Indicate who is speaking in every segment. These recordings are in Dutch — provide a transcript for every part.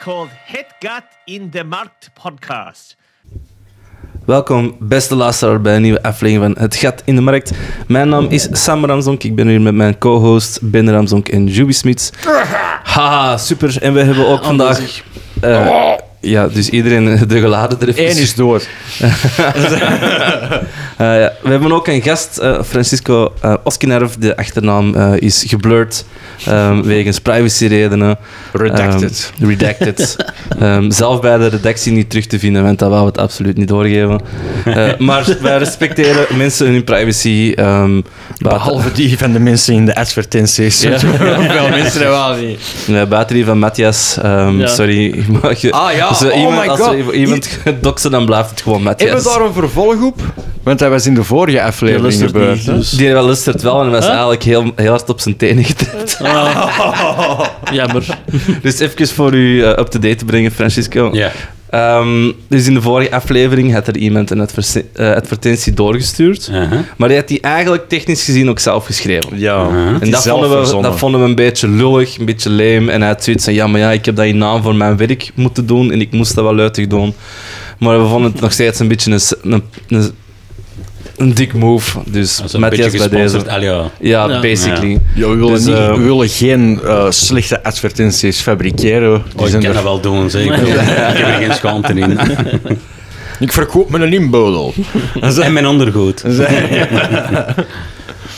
Speaker 1: called Hetgat in the Markt podcast.
Speaker 2: Welkom, beste luisteraar, bij een nieuwe aflevering van Het Gat in de Markt. Mijn naam is Sam Ramzonk. Ik ben hier met mijn co-host Ben Ramzonk en Juby Smits. Haha, super. En we hebben ook vandaag... eh, ja, dus iedereen eh, de geladen er even-
Speaker 3: Eén is door.
Speaker 2: Eh, ja. We hebben ook een gast, eh, Francisco eh Oskinerv. De achternaam eh, is geblurred ehm, wegens privacyredenen.
Speaker 3: Redacted.
Speaker 2: Ehm, redacted. Ehm, zelf bij de redactie niet terug te vinden, want dat wou het absoluut niet doorgeven. Eh, maar wij respecteren mensen hun privacy. ehm, buiten-
Speaker 3: Behalve die van de mensen in de advertenties. Ja. Hoeveel mensen er wel niet.
Speaker 2: Nee, buiten die van Matthias. ehm,
Speaker 4: Ja.
Speaker 2: Sorry. mag je-
Speaker 3: Ah, ja.
Speaker 2: Als er
Speaker 3: Oh
Speaker 2: iemand,
Speaker 3: my
Speaker 2: als er
Speaker 3: God.
Speaker 2: iemand doxen, dan blijft het gewoon Matthias.
Speaker 3: Hebben we daar een vervolg op? Want dat was in de vorige aflevering
Speaker 4: Ja, dat is er
Speaker 3: gebeurd.
Speaker 4: niet, dus.
Speaker 2: Die wel lustert wel en was eigenlijk heel, heel hard op zijn tenen getrapt.
Speaker 4: Jammer.
Speaker 2: Dus even voor u eh, up to date te brengen, Francisco.
Speaker 5: Ja.
Speaker 2: Ehm, dus in de vorige aflevering had er iemand een adverse- eh, advertentie doorgestuurd.
Speaker 5: Uh-huh.
Speaker 2: Maar die had die eigenlijk technisch gezien ook zelf geschreven.
Speaker 3: Ja.
Speaker 5: Uh-huh.
Speaker 2: En dat
Speaker 3: zelf
Speaker 2: vonden, we,
Speaker 3: verzonnen.
Speaker 2: dat vonden we een beetje lullig, een beetje leem. En hij had zoiets van, ja, maar ja, ik heb dat in naam voor mijn werk moeten doen. En ik moest dat wel luidig doen. Maar we vonden het nog steeds een beetje een, s- een, een, een dik move. Dus
Speaker 5: Dat
Speaker 2: met
Speaker 5: is een
Speaker 2: Matthias
Speaker 5: beetje
Speaker 2: bij deze.
Speaker 5: gesponsord. Al ja.
Speaker 2: Ja,
Speaker 4: Ja.
Speaker 2: basically.
Speaker 3: Ja, we willen,
Speaker 2: Dus,
Speaker 3: niet,
Speaker 2: eh,
Speaker 3: we willen geen eh, slechte advertenties fabriceren. Die
Speaker 5: Oh,
Speaker 3: zijn
Speaker 5: ik kan
Speaker 3: er-
Speaker 5: dat wel doen, zeg. Ik bedoel, ik heb er geen schaamte in.
Speaker 3: ik verkoop me een inbodel.
Speaker 5: En mijn ondergoed.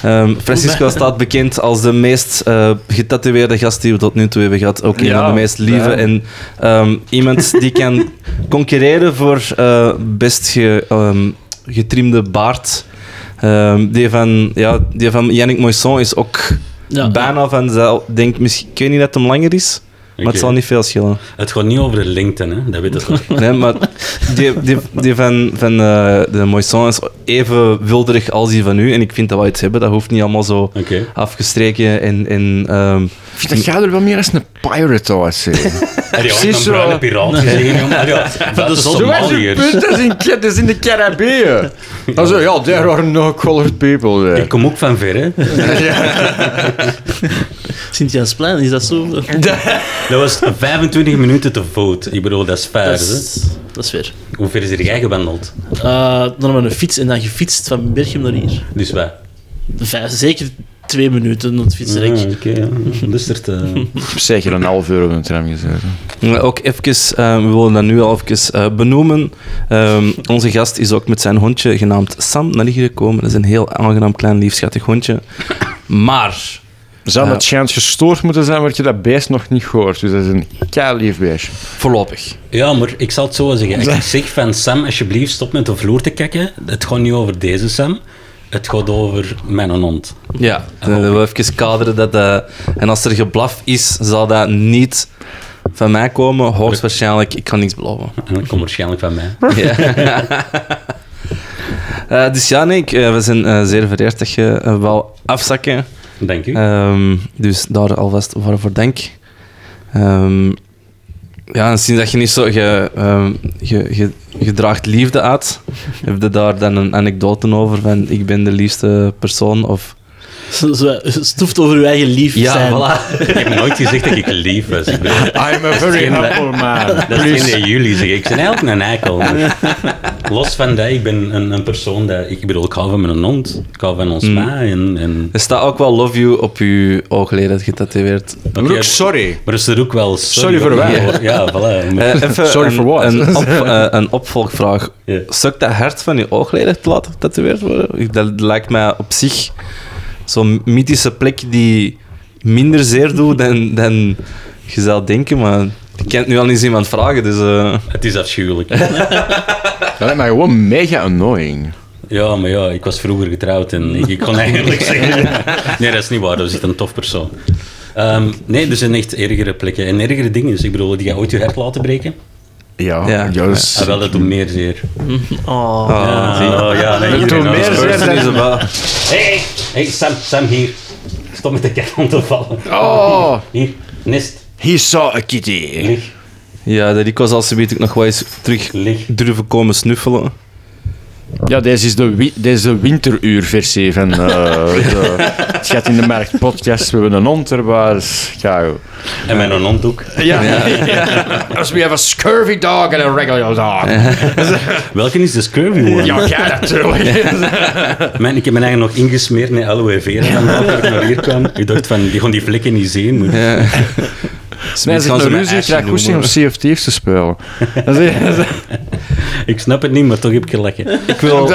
Speaker 2: Ehm, Francisco staat bekend als de meest eh getatoeëerde gast die we tot nu toe hebben gehad. Ook een
Speaker 3: Ja,
Speaker 2: van de meest lieve.
Speaker 3: ja.
Speaker 2: En ehm, iemand die kan concurreren voor eh, best ge, ehm, getrimde baard. Ehm, die, van, ja, die van Yannick Moisson is ook
Speaker 4: Ja.
Speaker 2: bijna van zelf. Denk, misschien, ik weet niet dat hem langer is, maar
Speaker 5: Oké.
Speaker 2: het zal niet veel schillen.
Speaker 5: Het gaat niet over de LinkedIn, hè. dat weet het wel.
Speaker 2: Nee, maar die, die, die van, van eh, de Moisson is even wilderig als die van u. En ik vind dat we iets hebben. Dat hoeft niet allemaal zo
Speaker 5: Oké.
Speaker 2: afgestreken en, en ehm,
Speaker 3: Ik vind dat jij er wel meer als een pirate uitzien.
Speaker 5: Heb je ooit
Speaker 3: Precies
Speaker 5: een
Speaker 3: zo.
Speaker 5: bruine piraat gezien? jongen? Ja, Dat is Somaliërs.
Speaker 3: dat is in, dat is in de Caribbean. Dan zo, ja, there are no colored people there.
Speaker 5: Ik kom ook van ver, hè.
Speaker 4: Sint-Jansplein, is dat zo? Dat
Speaker 5: Dat was 25 minuten te voet. Ik bedoel, dat is fair, hè.
Speaker 4: is, dat is weer.
Speaker 5: Hoe ver is er jij gewandeld?
Speaker 4: Eh, dan met een fiets en dan gefietst van Berchem naar hier.
Speaker 5: Dus wat?
Speaker 4: Vijf, zeker twee minuten op het fietsrek.
Speaker 2: Mm.
Speaker 5: Ah, Oké, ja. Dus er te...
Speaker 3: Ik heb zeker een half euro op een tram gezet.
Speaker 2: ja, ook even, eh, we willen dat nu al even eh, benoemen. Ehm, onze gast is ook met zijn hondje genaamd Sam naar hier gekomen. Dat is een heel aangenaam, klein, lief, schattig hondje. Maar,
Speaker 3: Zou
Speaker 2: Ja.
Speaker 3: dat chance gestoord moeten zijn, want je dat beest nog niet gehoord. Dus dat is een keilief beestje.
Speaker 2: voorlopig.
Speaker 5: Ja, maar ik zal het zo zeggen. Ik zeg van Sam, alsjeblieft, stop met de vloer te kakken. Het gaat niet over deze Sam. Het gaat over mijn hond.
Speaker 2: Ja, dan willen we even kaderen dat... eh, en als er geblaf is, zal dat niet van mij komen. Hoogstwaarschijnlijk, ik kan niks beloven.
Speaker 5: En dat komt waarschijnlijk van mij.
Speaker 2: Ja. Eh, dus ja, nee, ik, eh, we zijn eh, zeer vereerd dat je eh, wel afzakken.
Speaker 5: Dank u.
Speaker 2: Ehm, dus daar alvast voor, voor denk. Ehm, ja, en sinds dat je niet zo... Je, ehm, je, je, je draagt liefde uit. Heb je daar dan een anekdote over van ik ben de liefste persoon? Of...
Speaker 4: Zo, zo- stoeft over uw eigen lief zijn.
Speaker 5: Ik heb nooit gezegd dat ik lief was. Ik bedoel,
Speaker 3: I'm a very humble man.
Speaker 5: dat is geen dat jullie zeggen. Ik ben eigenlijk een eikel. maar Los van dat, ik ben een, een persoon dat... Ik bedoel, ik hou van mijn hond. Ik hou van ons ma. En, en,
Speaker 2: Er staat ook wel love you op je oogleden dat getatoeëerd.
Speaker 3: Maar
Speaker 5: Oké,
Speaker 3: ook sorry.
Speaker 5: maar is er ook wel...
Speaker 3: Sorry voor
Speaker 5: wat.
Speaker 3: wij.
Speaker 5: Ja, voilà.
Speaker 2: Eh, even
Speaker 3: Sorry
Speaker 2: een,
Speaker 3: for what?
Speaker 2: Een, op, eh, een opvolgvraag.
Speaker 5: Ja.
Speaker 2: Stuk dat hart van je oogleden te laten getatoeëerd worden? Ik- Dat lijkt mij op zich zo'n mythische plek die minder zeer doet dan, dan je zou denken, maar ik kan het nu al niet iemand vragen, dus... eh,
Speaker 5: Het is afschuwelijk.
Speaker 3: Dat lijkt mij gewoon mega annoying.
Speaker 5: Ja, maar ja, ik was vroeger getrouwd en ik, ik kon eigenlijk zeggen... Nee, dat is niet waar. Dat is echt een tof persoon. Ehm, nee, er zijn echt ergere plekken en ergere dingen. Dus Ik bedoel, die gaan ooit je hart laten breken.
Speaker 3: Ja,
Speaker 2: Ja.
Speaker 3: ja. dat is-
Speaker 5: Ah, wel, dat doet meer zeer.
Speaker 4: Oh.
Speaker 2: ah, zie je.
Speaker 5: oh, ja, nee,
Speaker 3: doet
Speaker 5: iedereen
Speaker 3: meer
Speaker 5: houdt
Speaker 3: zeer.
Speaker 5: ervan.
Speaker 2: First is about-
Speaker 5: Hé, hey, hey, Sam, Sam hier. Stop met de kat aan te vallen.
Speaker 3: Oh,
Speaker 5: Hier, nest,
Speaker 3: he saw a kitty.
Speaker 5: lig,
Speaker 2: Ja, dat ik was als ze weet ik nog wel eens terug
Speaker 5: lig.
Speaker 2: durven komen snuffelen.
Speaker 3: Ja, deze is de, wi- deze winteruurversie van eh, de, het gaat in de markt podcast. We hebben een dus onderbaas. Ja,
Speaker 5: En mijn hond ook.
Speaker 3: ja. Als we have a scurvy dog en een regular dog.
Speaker 5: Welke is de scurvy one?
Speaker 3: Ja, ja, natuurlijk.
Speaker 5: Mijn, ik heb mijn eigen nog ingesmeerd met aloe vera vandaag toen ik naar hier kwam. Ik dacht van, die gaan die vlekken niet zien. Maar...
Speaker 3: Nee,
Speaker 2: Smits
Speaker 3: ze
Speaker 2: gaan
Speaker 3: een
Speaker 2: ze
Speaker 3: ruzie.
Speaker 2: mijn
Speaker 3: Ik krijg
Speaker 2: asje
Speaker 3: goesting om
Speaker 2: noemen.
Speaker 3: Sea of Thieves te spelen. Dat is-
Speaker 5: Ik snap het niet, maar toch heb ik gelachen.
Speaker 2: Ik wil,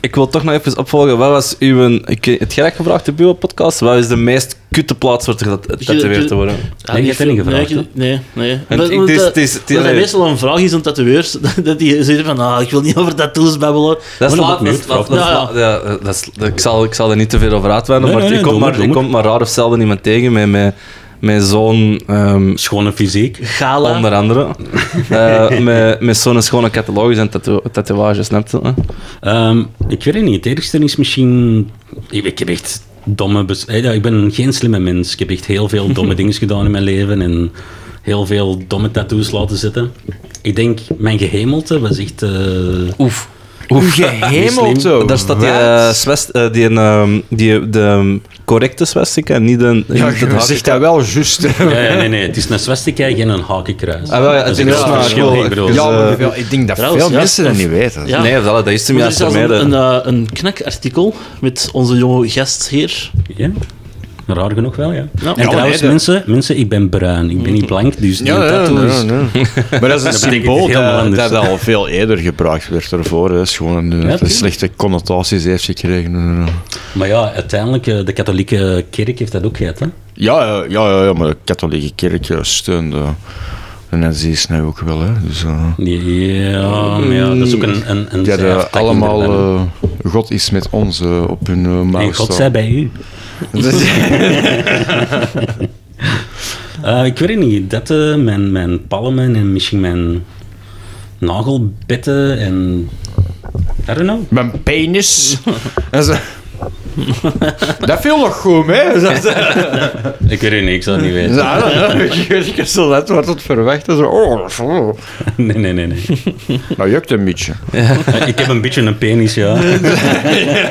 Speaker 2: ik wil toch nog even opvolgen. Wat was uw... Ik, het graag gevraagd op uw podcast. Wat is de meest kutte plaats voor getatoeëerd te worden?
Speaker 5: Nee, je hebt dat niet gevraagd,
Speaker 4: Nee, ik- nee. nee.
Speaker 2: En
Speaker 4: Dat-
Speaker 2: ik-
Speaker 4: dat-
Speaker 2: het is- het is- het is-
Speaker 4: dat dat meestal een vraag is aan tatoeëers, dat die zeggen van, ah, ik wil niet over tattoos babbelen.
Speaker 2: Dat is
Speaker 4: Maar
Speaker 2: laat,
Speaker 4: dat-
Speaker 2: dat is laat,
Speaker 4: Ja,
Speaker 2: dat is
Speaker 4: ja.
Speaker 2: laat. Ja, dat is- dat- Ik zal, ik zal er niet te veel over uitweiden,
Speaker 5: Nee,
Speaker 2: maar
Speaker 5: nee,
Speaker 2: ik kom
Speaker 5: doe maar,
Speaker 2: maar,
Speaker 5: doe
Speaker 2: ik
Speaker 5: maar.
Speaker 2: kom maar raar of zelden iemand tegen met, met, met zo'n... ehm,
Speaker 5: Schone fysiek.
Speaker 4: Gala.
Speaker 2: onder andere. Eh, met met zo'n schone catalogus en tattoo- tatoeages, snap je? hè?
Speaker 5: Ehm, ik weet het niet. Het ergste is misschien... Ik, ik heb echt domme... bes- Eh, ja, ik ben geen slimme mens. Ik heb echt heel veel domme dingen gedaan in mijn leven. En heel veel domme tattoos laten zitten. Ik denk, mijn gehemelte was echt... eh,
Speaker 2: Oef.
Speaker 3: Uw gehemelte.
Speaker 2: Daar staat die,
Speaker 3: Wat?
Speaker 2: eh, zwest, eh, die, ehm, die de ehm, correcte swastika, niet de...
Speaker 3: Ja,
Speaker 2: niet het
Speaker 3: je
Speaker 2: haken-
Speaker 3: zegt dat wel juist.
Speaker 5: Ja, ja, nee, nee. Het is een swastika en een hakenkruis.
Speaker 2: Ah, wel, ja,
Speaker 5: Dat
Speaker 2: het
Speaker 5: een
Speaker 2: is
Speaker 5: groot
Speaker 2: maar-
Speaker 5: verschil,
Speaker 2: wel-
Speaker 5: ik bedoel.
Speaker 2: Dus,
Speaker 3: ja, maar
Speaker 2: eh,
Speaker 3: wel, ik denk dat
Speaker 4: trouwens,
Speaker 3: veel
Speaker 4: ja,
Speaker 3: mensen dat
Speaker 4: en-
Speaker 3: niet weten.
Speaker 4: Ja.
Speaker 2: Nee, dat, dat is hem
Speaker 4: Maar er is
Speaker 2: juist
Speaker 4: zelfs een,
Speaker 2: vermijden.
Speaker 4: een, eh, een knakartikel met onze jonge gast hier.
Speaker 5: Ja. Raar genoeg wel, ja.
Speaker 4: Ja.
Speaker 5: en
Speaker 4: Ja,
Speaker 5: trouwens,
Speaker 3: nee, dat-
Speaker 5: mensen, mensen, ik ben bruin. Ik ben niet blank, dus die tattoos...
Speaker 3: Maar dat is een
Speaker 5: Dat betekent
Speaker 3: symbool
Speaker 5: iets helemaal
Speaker 3: dat,
Speaker 5: anders.
Speaker 3: dat al veel eerder gebruikt werd ervoor. hè. Dat is gewoon een, de
Speaker 5: tuurlijk.
Speaker 3: slechte connotaties heeft gekregen. eh.
Speaker 5: Maar ja, uiteindelijk, eh, de katholieke kerk heeft dat ook gehad, hè?
Speaker 3: Ja, ja, ja, ja, ja, maar de katholieke kerk eh, steunde de nazi's nu ook wel. Hè. Dus, eh,
Speaker 5: Ja, maar ja, dat is ook een... een, een
Speaker 3: die hadden
Speaker 5: zijtak
Speaker 3: allemaal
Speaker 5: inderdaad.
Speaker 3: eh, God is met ons eh, op hun eh, mouw
Speaker 5: en God
Speaker 3: staan.
Speaker 5: zij bij u. Eh, ik weet het niet. Dat, eh, mijn, mijn palmen en misschien mijn nagelbitten en... I don't know.
Speaker 3: Mijn penis. En ze- dat viel nog goed, hè? Dat-
Speaker 5: Ik weet het niet, ik zou het niet weten.
Speaker 3: Ja, ah, ja, ja. ik heb zo net wat het verwachten. Zo, oh, oh.
Speaker 5: Nee, nee, nee. nee.
Speaker 3: Nou, jukt een beetje.
Speaker 5: Eh, ik heb een beetje een penis, ja.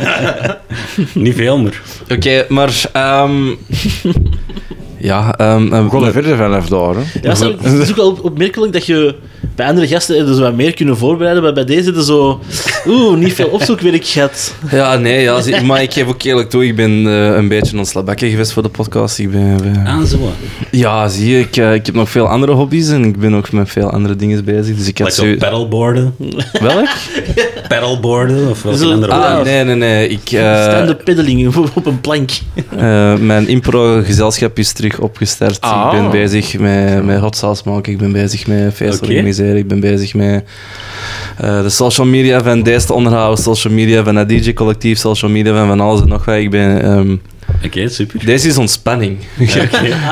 Speaker 5: niet veel, maar...
Speaker 2: Oké, maar... ehm, ja, ehm, ehm,
Speaker 3: We gaan er verder vanaf daar. Hè.
Speaker 4: Ja, sorry, het is ook wel op- opmerkelijk dat je bij andere gasten hebben ze wat meer kunnen voorbereiden, maar bij deze hebben ze zo... Oeh, niet veel opzoekwerk gehad.
Speaker 2: ja, nee, ja, zie- maar ik geef ook eerlijk toe, ik ben eh, een beetje ontslabakken geweest voor de podcast. Ik ben, ben-
Speaker 5: Ah, zo.
Speaker 2: Ja, zie je, ik, eh, ik heb nog veel andere hobby's en ik ben ook met veel andere dingen bezig. Dus ik had
Speaker 5: Like zo
Speaker 2: zo...
Speaker 5: paddleboarden.
Speaker 2: Welk?
Speaker 5: Paddleboarden of welke
Speaker 4: Zo-
Speaker 5: andere
Speaker 4: Ah,
Speaker 2: Ah,
Speaker 5: woorden?
Speaker 2: nee, nee, nee. Ik, eh,
Speaker 4: Staande peddeling op, op een plank.
Speaker 2: eh, mijn impro-gezelschap is terug opgestart.
Speaker 3: Ah.
Speaker 2: Ik ben bezig met, met hot sauce maken, ik ben bezig met feest
Speaker 5: Oké.
Speaker 2: organiseren, ik ben bezig met eh, de social media van deze te onderhouden, social media van het DJ-collectief, social media van van alles en nog wat. Ik ben... ehm,
Speaker 5: Oké, super.
Speaker 2: deze is ontspanning.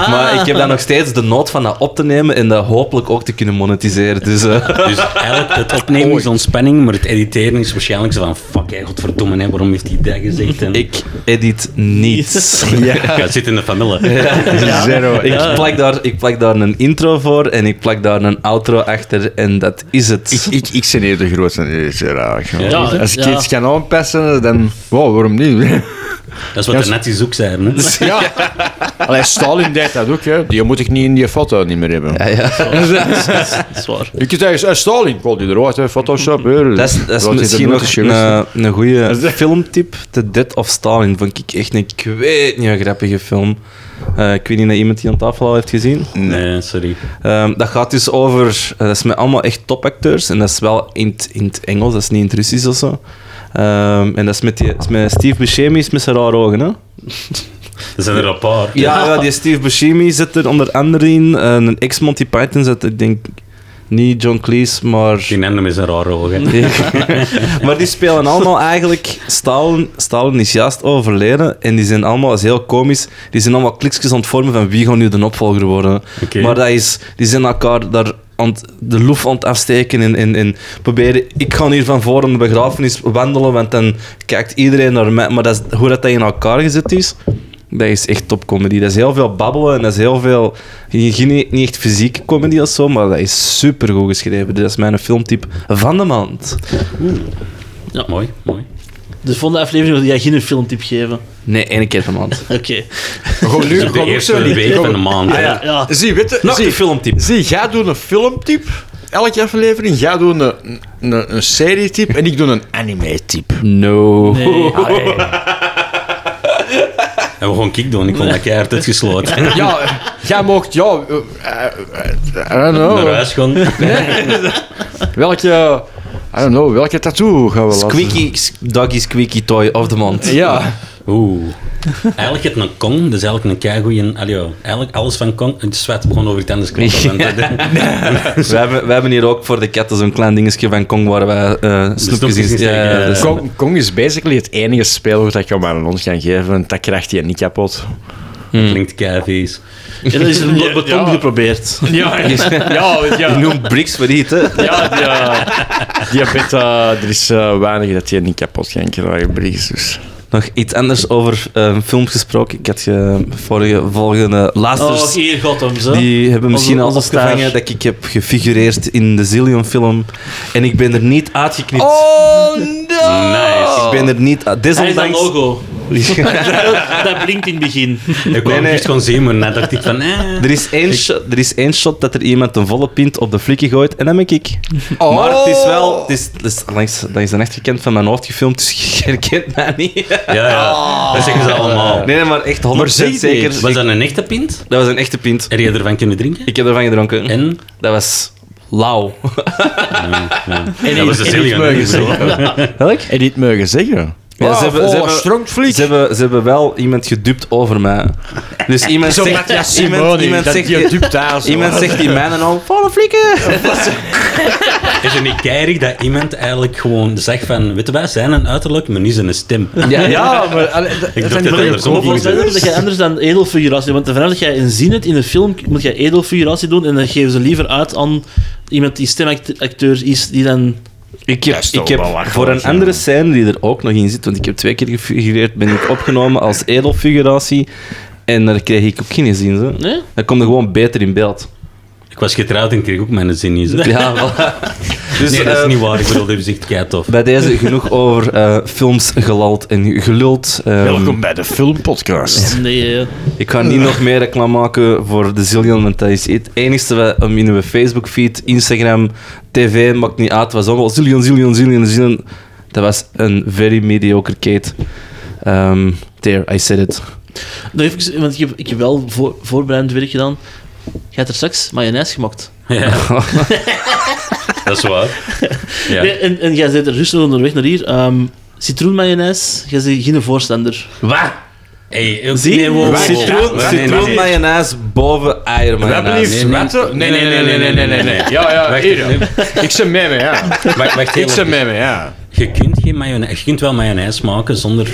Speaker 2: maar ik heb dan nog steeds de nood van dat op te nemen en dat hopelijk ook te kunnen monetiseren. Dus... eh,
Speaker 5: Dus eigenlijk, het opnemen is ontspanning, maar het editeren is waarschijnlijk zo van fuck, hey, godverdomme, hè, waarom heeft hij dat gezegd? En...
Speaker 2: Ik edit niets.
Speaker 5: Ja, het zit in de familie.
Speaker 3: Zero.
Speaker 2: Ik, plak daar, ik plak daar een intro voor en ik plak daar een outro achter en dat is
Speaker 3: Ik,
Speaker 2: het.
Speaker 3: ik, ik ben hier de grootste raar.
Speaker 4: Ja,
Speaker 3: Als ik
Speaker 4: ja.
Speaker 3: iets kan aanpassen, dan... Wow, waarom niet?
Speaker 5: Dat is wat de netjes ook zijn. Hè?
Speaker 3: Ja. Allee, Stalin deed dat ook, hè. Die moet ik niet in die foto niet meer hebben.
Speaker 4: Dat is waar.
Speaker 3: Ik zeg, eh, Stalin, kon die eruit, hè. Photoshop, hè.
Speaker 2: Dat is, dat is
Speaker 3: Laat
Speaker 2: misschien
Speaker 3: die er
Speaker 2: nog
Speaker 3: nooit eens
Speaker 2: een, eh, een goede filmtip. The Dead of Stalin vond ik echt een, ik weet niet, een grappige film. Eh, ik weet niet of iemand die aan tafel al heeft gezien.
Speaker 5: Nee, sorry.
Speaker 2: Ehm, dat gaat dus over, eh, dat is met allemaal echt topacteurs en dat is wel in het, in het Engels, dat is niet in het Russisch of zo. Ehm, en dat is met, die, dat is met Steve Buscemi, is met zijn rare ogen, hè?
Speaker 5: Er zijn er een paar.
Speaker 2: Ja, ja, die Steve Buscemi zit er onder andere in. En een ex-Monty Python zit er, denk ik, niet John Cleese, maar...
Speaker 5: Die nennen is een rare ogen.
Speaker 2: maar die spelen allemaal eigenlijk... Stalin, Stalin is juist overleden en die zijn allemaal, dat is heel komisch, die zijn allemaal kliksjes aan het vormen van wie gaat nu de opvolger worden.
Speaker 5: Oké.
Speaker 2: Maar dat is, die zijn elkaar daar aan het- de loef aan het afsteken en, en, en proberen... Ik ga hier van voor aan de begrafenis wandelen, want dan kijkt iedereen naar mij. Maar dat is, hoe dat, dat in elkaar gezet is... Dat is echt topcomedy. Dat is heel veel babbelen en dat is heel veel... Geen, niet echt fysieke comedy of zo, maar dat is supergoed geschreven. Dat is mijn filmtip van de maand.
Speaker 4: Ja.
Speaker 5: Mooi, mooi.
Speaker 4: De volgende aflevering wil jij geen filmtip geven.
Speaker 2: Nee, één keer per maand.
Speaker 4: Oké.
Speaker 3: Gewoon nu,
Speaker 5: De
Speaker 3: gewoon
Speaker 5: eerste
Speaker 3: zo niet.
Speaker 5: week van de maand. hè.
Speaker 4: Ja, ja.
Speaker 3: Zie, witte,
Speaker 2: Nog
Speaker 3: zie,
Speaker 2: een filmtip.
Speaker 3: Zie, jij doet een filmtype, elke aflevering. Jij doet een, een, een serietype en ik doe een anime-type.
Speaker 2: No.
Speaker 4: Nee. ah,
Speaker 5: En we gewoon kick doen. Ik vond dat keihard uitgesloten.
Speaker 3: Ja, jij mocht, ja, eh, eh, I don't
Speaker 5: Naar
Speaker 3: know.
Speaker 5: huis gaan.
Speaker 3: Welke, I don't know, welke tattoo gaan we laten?
Speaker 2: Squeaky, doggy squeaky toy of the month.
Speaker 3: Ja,
Speaker 5: Oeh. Eigenlijk het een Kong, dus eigenlijk een keigoeie... Allee, ja, eigenlijk alles van Kong... Het zwet gewoon over het anders
Speaker 2: We hebben, we hebben hier ook voor de katten zo'n klein dingetje van Kong waar wij eh snoepjes in
Speaker 5: stokjes in
Speaker 2: steken.
Speaker 5: steken, ja.
Speaker 2: dus-
Speaker 3: Eh, Kong, Kong is basically het enige spel dat je hem aan ons kan geven. want Dat krijgt hij niet kapot.
Speaker 5: Klinkt keivies.
Speaker 4: En dat is er nog beton geprobeerd.
Speaker 3: Ja, ja, dus
Speaker 2: Je
Speaker 3: ja.
Speaker 2: noemt Bricks voor iets, hè?
Speaker 3: ja, Die heeft, eh, er is eh, weinig dat hij niet kapot kan krijgen, Briggs. Dus.
Speaker 2: Nog iets anders over eh, films gesproken. Ik had je vorige, volgende, laatste...
Speaker 4: Oh, hier gaat hem zo.
Speaker 2: Die hebben
Speaker 4: Onze-
Speaker 2: misschien al
Speaker 4: onze star.
Speaker 2: opgevangen dat ik heb gefigureerd in de Zillion-film. En ik ben er niet uitgeknipt.
Speaker 5: Nice.
Speaker 2: Ik ben er niet... uit-
Speaker 4: Oh, Hij is dat
Speaker 2: Desondanks...
Speaker 4: logo. dat, dat blinkt in het begin.
Speaker 5: Ik wou
Speaker 2: Nee,
Speaker 5: nee,
Speaker 2: nee.
Speaker 5: eerst gewoon zien, maar dan dacht ik van... Eh,
Speaker 2: Er is, één shot, er is één shot dat er iemand een volle pint op de flikken gooit en dat ben ik. Maar het is wel... Het is, het is langs, dat is dan echt gekend van mijn hoofd gefilmd, dus je herkent mij niet.
Speaker 5: ja, ja. Dat zeggen ze allemaal.
Speaker 2: Nee, nee, maar echt 100%
Speaker 3: zeg
Speaker 2: zeker.
Speaker 5: Was dat een echte pint?
Speaker 2: Dat was een echte pint.
Speaker 5: Heb je ervan kunnen drinken?
Speaker 2: Ik heb ervan gedronken.
Speaker 5: En?
Speaker 2: Dat was lauw.
Speaker 5: dat was de Zillion. hè, ik bedoel.
Speaker 2: Welk?
Speaker 3: En niet mogen zeggen.
Speaker 2: Ja, ze hebben- ze hebben-
Speaker 3: stronkvlieg.
Speaker 2: Ze hebben, ze hebben wel iemand gedupt over mij. Dus iemand
Speaker 3: Zo
Speaker 2: zegt...
Speaker 3: Matthias
Speaker 2: iemand,
Speaker 3: Simoni,
Speaker 2: iemand
Speaker 3: dat
Speaker 2: zegt,
Speaker 3: die dupt daar zo.
Speaker 2: Iemand zegt in mijn al... Volle flikken!
Speaker 5: Is het niet keirig dat iemand eigenlijk gewoon zegt van... Weet je wij zijn een uiterlijk, maar niet zijn stem.
Speaker 3: Ja, ja maar... allee, dat-
Speaker 5: dacht
Speaker 3: zijn
Speaker 5: dat
Speaker 3: die-
Speaker 5: andersom
Speaker 4: Maar volgens mij
Speaker 5: Ja.
Speaker 4: is dat je anders dan edelfiguratie. Want vanaf dat jij een zin hebt in een film, moet je edelfiguratie doen. En dan geven ze liever uit aan iemand die stemacteur is, die dan...
Speaker 2: Ik heb,
Speaker 3: is toch
Speaker 2: ik heb
Speaker 3: belachelijk,
Speaker 2: voor een
Speaker 3: ja.
Speaker 2: andere scène die er ook nog in zit, want ik heb twee keer gefigureerd, ben ik opgenomen als edelfiguratie. En daar kreeg ik ook geen zin. Zo.
Speaker 4: Nee?
Speaker 2: Dan komt er gewoon beter in beeld.
Speaker 5: Ik was getrouwd en kreeg ook mijn zin niet. zo.
Speaker 2: Ja, voilà. Dus
Speaker 5: Nee, dat
Speaker 2: eh,
Speaker 5: is niet waar. Ik bedoel, dat is echt kei tof.
Speaker 2: bij deze genoeg over eh, films, gelald en geluld. Ehm,
Speaker 3: Welkom bij de filmpodcast.
Speaker 4: Nee, eh,
Speaker 2: Ik ga niet nog meer reclame maken voor de Zillion, want dat is het enigste wat om in uw Facebook-feed, Instagram, tv, maakt niet uit. Het was allemaal Zillion, Zillion, Zillion, Zillion. Dat was een very mediocre Kate. Ehm, there, I said it.
Speaker 4: nog even, want ik heb, ik heb wel voor, voorbereidend werk gedaan. Je hebt er straks mayonaise gemaakt.
Speaker 5: Ja. dat is waar. Ja.
Speaker 4: Nee, en, en jij zit er rustig onderweg naar hier. Ehm citroenmayonaise, jij bent geen voorstander.
Speaker 5: Wat? Hey, ook-
Speaker 4: Zie?
Speaker 5: nee, wow, wow, wow.
Speaker 2: Citroen,
Speaker 5: Nee, nee,
Speaker 2: citroen
Speaker 5: nee.
Speaker 2: mayonaise boven
Speaker 3: We hebben
Speaker 2: eiermayonaise.
Speaker 3: hier
Speaker 5: nee, nee.
Speaker 3: zwetten. Nee, nee, nee, nee, nee, nee, nee, nee. Ja, ja,
Speaker 5: Wacht,
Speaker 3: hier, ja.
Speaker 5: nee.
Speaker 3: Ik zit mee, mee, ja.
Speaker 5: Wacht, wacht
Speaker 3: Ik zit
Speaker 5: even.
Speaker 3: mee, mee, ja.
Speaker 5: Je kunt, geen mayonaise, je kunt wel mayonaise maken zonder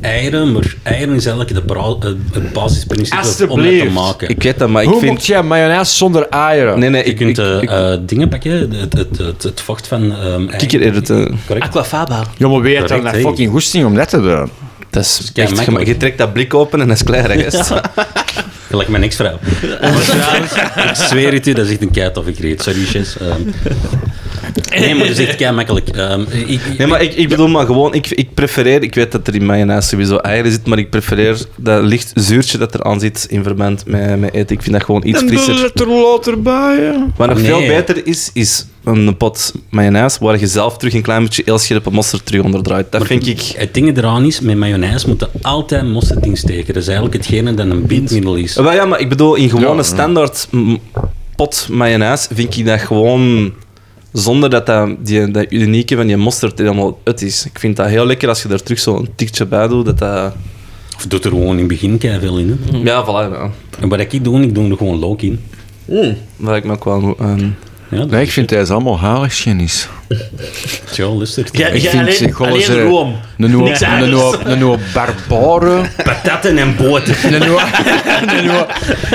Speaker 5: eieren, maar eieren is eigenlijk de bra- eh, het basisprincipe om het te
Speaker 3: Alsjeblieft.
Speaker 5: maken.
Speaker 2: Ik weet dat, maar ik
Speaker 3: Hoe
Speaker 2: vind...
Speaker 3: moet jij mayonaise zonder eieren?
Speaker 2: Nee, nee,
Speaker 5: je
Speaker 2: ik...
Speaker 5: kunt
Speaker 2: ik,
Speaker 5: eh,
Speaker 2: ik,
Speaker 5: eh, dingen pakken, het, het, het, het vocht van ehm
Speaker 2: kijk hier, Edward, eh,
Speaker 5: Correct.
Speaker 4: Aquafaba.
Speaker 3: Ja, maar weer dan
Speaker 5: Correct,
Speaker 3: naar
Speaker 5: hè.
Speaker 3: fucking goesting om dat te doen.
Speaker 2: Dat is
Speaker 5: kei
Speaker 2: echt... gema-
Speaker 5: makkelijk.
Speaker 2: Je trekt dat blik open en dat is klaar, hè, gast.
Speaker 5: Gelijk mijn ex-vrouw. Maar trouwens, ik zweer het u, dat is echt een kei toffe kreet. Sorry, Chess. Ehm, nee, maar dat is echt kei makkelijk. Ehm, ik- ik-
Speaker 2: Nee, maar ik, ik bedoel maar gewoon, ik, ik prefereer, ik weet dat er in mayonaise sowieso eieren zit, maar ik prefereer dat licht zuurtje dat er aan zit in verband met, met eten. Ik vind dat gewoon iets frisser.
Speaker 3: er later bij, ja.
Speaker 2: Wat nog veel
Speaker 5: Nee.
Speaker 2: beter is, is een pot mayonaise waar je zelf terug een klein beetje heel scherpe mosterd terug onder draait. Dat vind ik...
Speaker 5: Het ding eraan is, met mayonaise moeten altijd mosterd insteken. Dat is eigenlijk hetgene dat een bindmiddel is.
Speaker 2: Wel ja, maar ik bedoel, in gewone
Speaker 3: Ja, ja.
Speaker 2: standaard m- pot mayonaise vind ik dat gewoon... Zonder dat dat, die, dat unieke van je mosterd er helemaal uit is. Ik vind dat heel lekker als je er terug zo'n tikje bij doet. Dat dat...
Speaker 5: Of doet er gewoon in het begin veel in. hè.
Speaker 2: Ja, voilà. Ja.
Speaker 5: En wat ik doe, ik doe er gewoon look in.
Speaker 2: Dat lijkt me ook wel... ehm, een-
Speaker 5: Ja, dus dat
Speaker 3: Nee, ik vind deze allemaal haligschennis.
Speaker 5: is wel lustig.
Speaker 4: Ja,
Speaker 3: Ik
Speaker 4: ja,
Speaker 3: vind
Speaker 4: alleen,
Speaker 3: zeg,
Speaker 4: alleen
Speaker 3: ze-
Speaker 4: room.
Speaker 3: Een nieuwe,
Speaker 4: Niks
Speaker 3: een
Speaker 4: anders.
Speaker 3: nieuwe, een nieuwe barbaren.
Speaker 5: Patatten en boter.
Speaker 3: Een nieuwe, een nieuwe,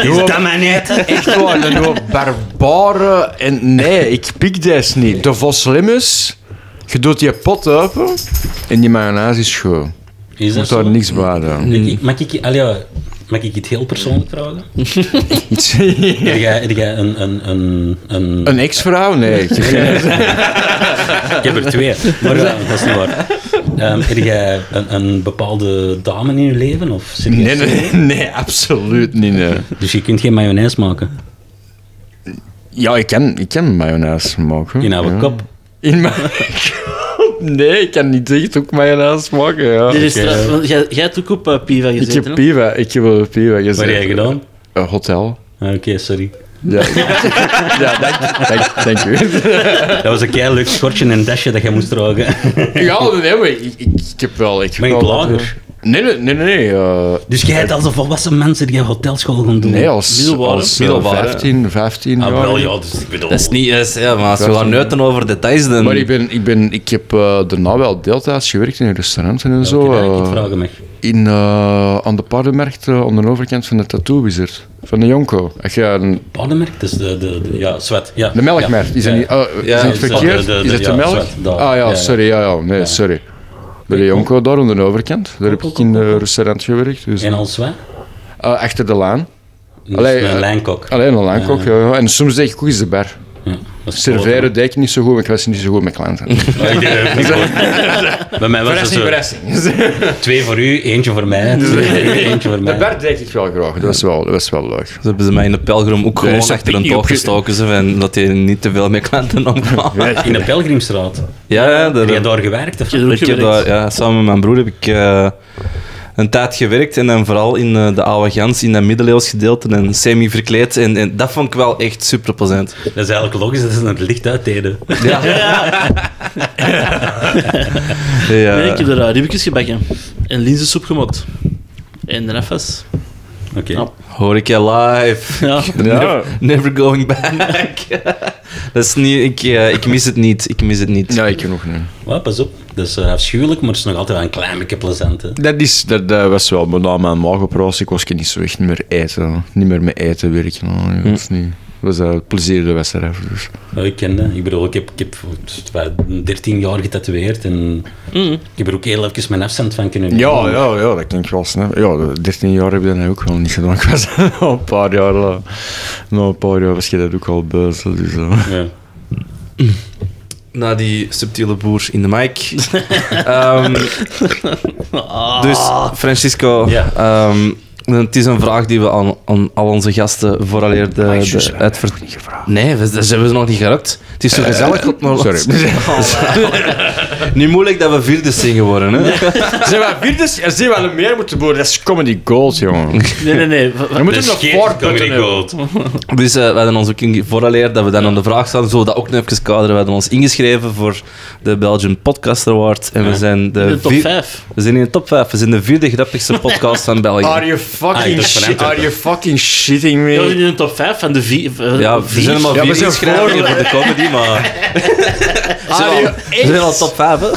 Speaker 3: nieuwe-
Speaker 5: maar net.
Speaker 3: echt waar, een nieuwe barbaren. En nee, ik pik deze niet. De Vos Limmus, je doet je pot open en die mayonaise is schoon.
Speaker 5: Is
Speaker 3: Je moet
Speaker 5: dat
Speaker 3: daar
Speaker 5: zo?
Speaker 3: niks bij doen.
Speaker 5: Mm. Ik- ik- Mag ik... Allee, ja, Mag ik iets heel persoonlijk vragen? Heb jij, heb jij een, een, een, een...
Speaker 3: Een ex-vrouw? Nee.
Speaker 5: Ik heb er twee, maar eh, dat is niet waar. Ehm, heb jij een, een bepaalde dame in je leven? Of zit jij-
Speaker 3: Nee, nee, nee, absoluut niet. nee.
Speaker 5: Dus je kunt geen mayonaise maken
Speaker 3: Ja, ik kan, ik kan mayonaise maken.
Speaker 5: in oude
Speaker 3: ja.
Speaker 5: kop.
Speaker 3: In mijn kop? Nee, ik kan niet echt ook mayonaise maken. Ja.
Speaker 4: Dit is
Speaker 5: Oké.
Speaker 4: straf, want jij, jij hebt ook op eh, Piva
Speaker 3: Ik
Speaker 4: gezeten.
Speaker 3: heb
Speaker 4: hè?
Speaker 3: piva, ik heb wel piva gezeten.
Speaker 5: Wat heb jij gedaan?
Speaker 3: Een hotel.
Speaker 5: Ah, Oké, sorry.
Speaker 3: Ja, ja dank, dank, dank u.
Speaker 5: Dat was een keihard leuk schortje en dasje dat jij moest dragen.
Speaker 3: Ja, nee, maar ik, ik, ik heb wel... Ik
Speaker 5: Ben ik
Speaker 3: wel-
Speaker 5: lager?
Speaker 3: Nee, nee, nee. Nee, eh,
Speaker 5: Dus jij hebt als een volwassen mensen die je hotelschool gaan doen.
Speaker 3: nee als,
Speaker 2: Middelbare.
Speaker 3: als eh,
Speaker 2: Middelbare.
Speaker 3: 15, 15
Speaker 5: Ah,
Speaker 3: jaar.
Speaker 5: wel, ja, dus ik bedoel...
Speaker 2: Dat is niet juist, ja, maar als we gaan neuten over details, dan...
Speaker 3: Maar ik, ben, ik, ben, ik heb eh, daarna wel deeltijds gewerkt in restauranten en zo.
Speaker 5: Oké, dat ik
Speaker 3: eh,
Speaker 5: iets vragen mag.
Speaker 3: in, eh, aan de paardenmarkt eh, aan de overkant van de Tattoo Wizard. Van de Jonko. Als je een-
Speaker 5: Paardenmerk? Dus de, de, de- ja, zwet. Ja.
Speaker 3: De melkmarkt, is,
Speaker 5: ja.
Speaker 3: het niet, oh, is het
Speaker 5: is dat
Speaker 3: verkeerd?
Speaker 5: de- de-
Speaker 3: is het
Speaker 5: ja,
Speaker 3: de melk?
Speaker 5: zwart, daar.
Speaker 3: ah
Speaker 5: Ja, ja.
Speaker 3: ja, sorry, ja, ja, nee, sorry. Bij de Jonko, daar aan de overkant, daar heb ik in een restaurant gewerkt. Dus,
Speaker 5: En als zwet?
Speaker 3: Ah, achter de laan.
Speaker 5: Dus
Speaker 3: Allee,
Speaker 5: een
Speaker 3: eh,
Speaker 5: lijnkok.
Speaker 3: Alleen een lankok, ja. ja. En soms deed ik ook eens de bar.
Speaker 5: Oh, Ja, dat is
Speaker 3: Serveren deed ik niet zo goed, maar ik was niet zo goed met klanten.
Speaker 5: kloten. Ik deed het niet. Bij mij was het zo twee voor u, eentje voor mij, twee- eentje voor
Speaker 3: De
Speaker 5: mij.
Speaker 3: bar deed ik wel graag, dat was wel, dat was wel leuk.
Speaker 2: Ze hebben ze mij in de pelgrim ook gewoon
Speaker 3: is
Speaker 2: achter
Speaker 3: een
Speaker 2: een
Speaker 3: picnic
Speaker 2: toog gestoken, ze, van dat hij niet te veel met klanten omkwam.
Speaker 5: In de Pelgrimstraat.
Speaker 2: Ja, ja,
Speaker 5: Heb je
Speaker 2: dat,
Speaker 5: daar gewerkt? Of?
Speaker 4: Je hebt
Speaker 2: ik
Speaker 4: ook
Speaker 2: heb
Speaker 4: gewerkt.
Speaker 2: daar, ja, samen met mijn broer heb ik eh, een tijd gewerkt en dan vooral in eh, de oude gans, in dat middeleeuws gedeelte en semi-verkleed. En, en dat vond ik wel echt super plezant.
Speaker 5: Dat is eigenlijk logisch, dat is een licht uit deden.
Speaker 2: Ja.
Speaker 4: Nee, ik heb er eh, ribbetjes gebakken. En linzensoep gemaakt. En de was.
Speaker 5: Oké.
Speaker 4: Ja.
Speaker 2: Hoor ik je live.
Speaker 4: Ja.
Speaker 2: Never, never going back. dat is niet, ik, eh, ik mis het niet. Ik mis het niet.
Speaker 3: Ja, ik nog niet.
Speaker 5: Maar pas op, dat is eh, afschuwelijk, maar het is nog altijd wel een klein beetje plezant. Hè.
Speaker 3: Dat, is, dat, dat was wel, maar na mijn maagoperatie ik was ik niet zo echt meer eten. Niet meer met eten werken. nou, Dat was niet... Dat was, eh, het plezier dat was eraf. Dus.
Speaker 5: Ja, ik ken dat. Ik bedoel, ik heb, ik heb wat, 13 jaar getatoeëerd en ik heb er ook heel even mijn afstand van kunnen
Speaker 3: Ja,
Speaker 5: nemen.
Speaker 3: ja, ja, dat klinkt wel snel. Ja, de 13 jaar heb ik dat ook wel niet gedaan. Ik was al een paar jaar, eh, na een paar jaar was je dat ook al buiten. Dus, eh.
Speaker 5: Ja.
Speaker 2: Na die subtiele boer in de mic. Ehm, dus Francisco,
Speaker 5: Ja.
Speaker 2: ehm, het is een vraag die we aan, aan al onze gasten vooraleer de,
Speaker 3: Ah, juist,
Speaker 2: de
Speaker 3: we hebben
Speaker 2: uitver-
Speaker 3: nog niet gevraagd.
Speaker 2: Nee, we, dat hebben ze nog niet gerukt. Het is zo gezellig. op maar
Speaker 3: sorry.
Speaker 2: Niet moeilijk dat we vierde zijn geworden. Hè?
Speaker 3: Zijn we vierdes? Er zijn wel meer moeten boeren. Dat is comedy gold, jongen.
Speaker 4: Nee, nee, nee. wa- wa-
Speaker 3: We moeten
Speaker 5: Dus
Speaker 3: nog
Speaker 5: geen
Speaker 3: voorputten
Speaker 5: comedy
Speaker 3: hebben.
Speaker 5: gold.
Speaker 2: Dus eh, we hadden ons ook inge- vooraleer dat we dan aan de vraag staan, zullen we dat ook nog even kaderen. We hadden ons ingeschreven voor de Belgian Podcast Award en we zijn de,
Speaker 4: De top
Speaker 2: eh, vier-
Speaker 4: 5.
Speaker 2: We zijn in de top 5. We zijn de vierde grappigste podcast van België.
Speaker 3: Are you
Speaker 5: Ah,
Speaker 3: fucking,
Speaker 5: dat is
Speaker 3: shi-
Speaker 5: van Antwerpen.
Speaker 3: are you fucking shitting
Speaker 4: Ja, we zijn
Speaker 3: me?
Speaker 4: in de top 5 van de vier. eh,
Speaker 2: Eh, Ja, we
Speaker 4: vier.
Speaker 2: zijn helemaal
Speaker 3: Ja,
Speaker 2: vier
Speaker 3: we zijn
Speaker 2: ingeschreven
Speaker 3: voor-
Speaker 2: voor de comedy, maar
Speaker 3: Are you
Speaker 2: we zijn al top 5, hè?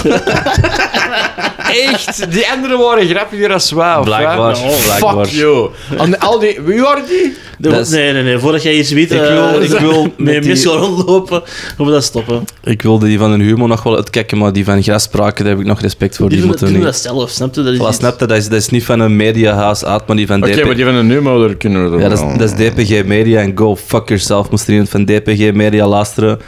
Speaker 3: echt? Die anderen waren grappiger dan wij, of
Speaker 2: Blijkbaar,
Speaker 3: wat?
Speaker 2: blijkbaar.
Speaker 3: Fuck you. En al die... Wie waren die?
Speaker 4: De-
Speaker 2: Dat is-
Speaker 4: Nee, nee, nee. Voordat jij iets weet... eh,
Speaker 2: Ik wil- ik wil
Speaker 4: Nee,
Speaker 2: met die-
Speaker 4: mis rondlopen. Hoe we dat stoppen.
Speaker 2: Ik wilde die van hun humor nog wel uitkijken, maar die van grasspraken, daar heb ik nog respect voor.
Speaker 4: Die,
Speaker 2: Die,
Speaker 4: doen,
Speaker 2: moeten
Speaker 4: doen
Speaker 2: we
Speaker 4: dat
Speaker 2: niet.
Speaker 4: zelf, snap je? Dat is
Speaker 2: Voilà,
Speaker 4: iets-
Speaker 2: snap je? Dat is, dat is niet van een mediahuis uit, maar die van DP.
Speaker 3: Oké, maar die van de nummer kunnen we er
Speaker 2: Ja, dat is, dat is DPG Media en go fuck yourself. Moest er iemand van DPG Media luisteren.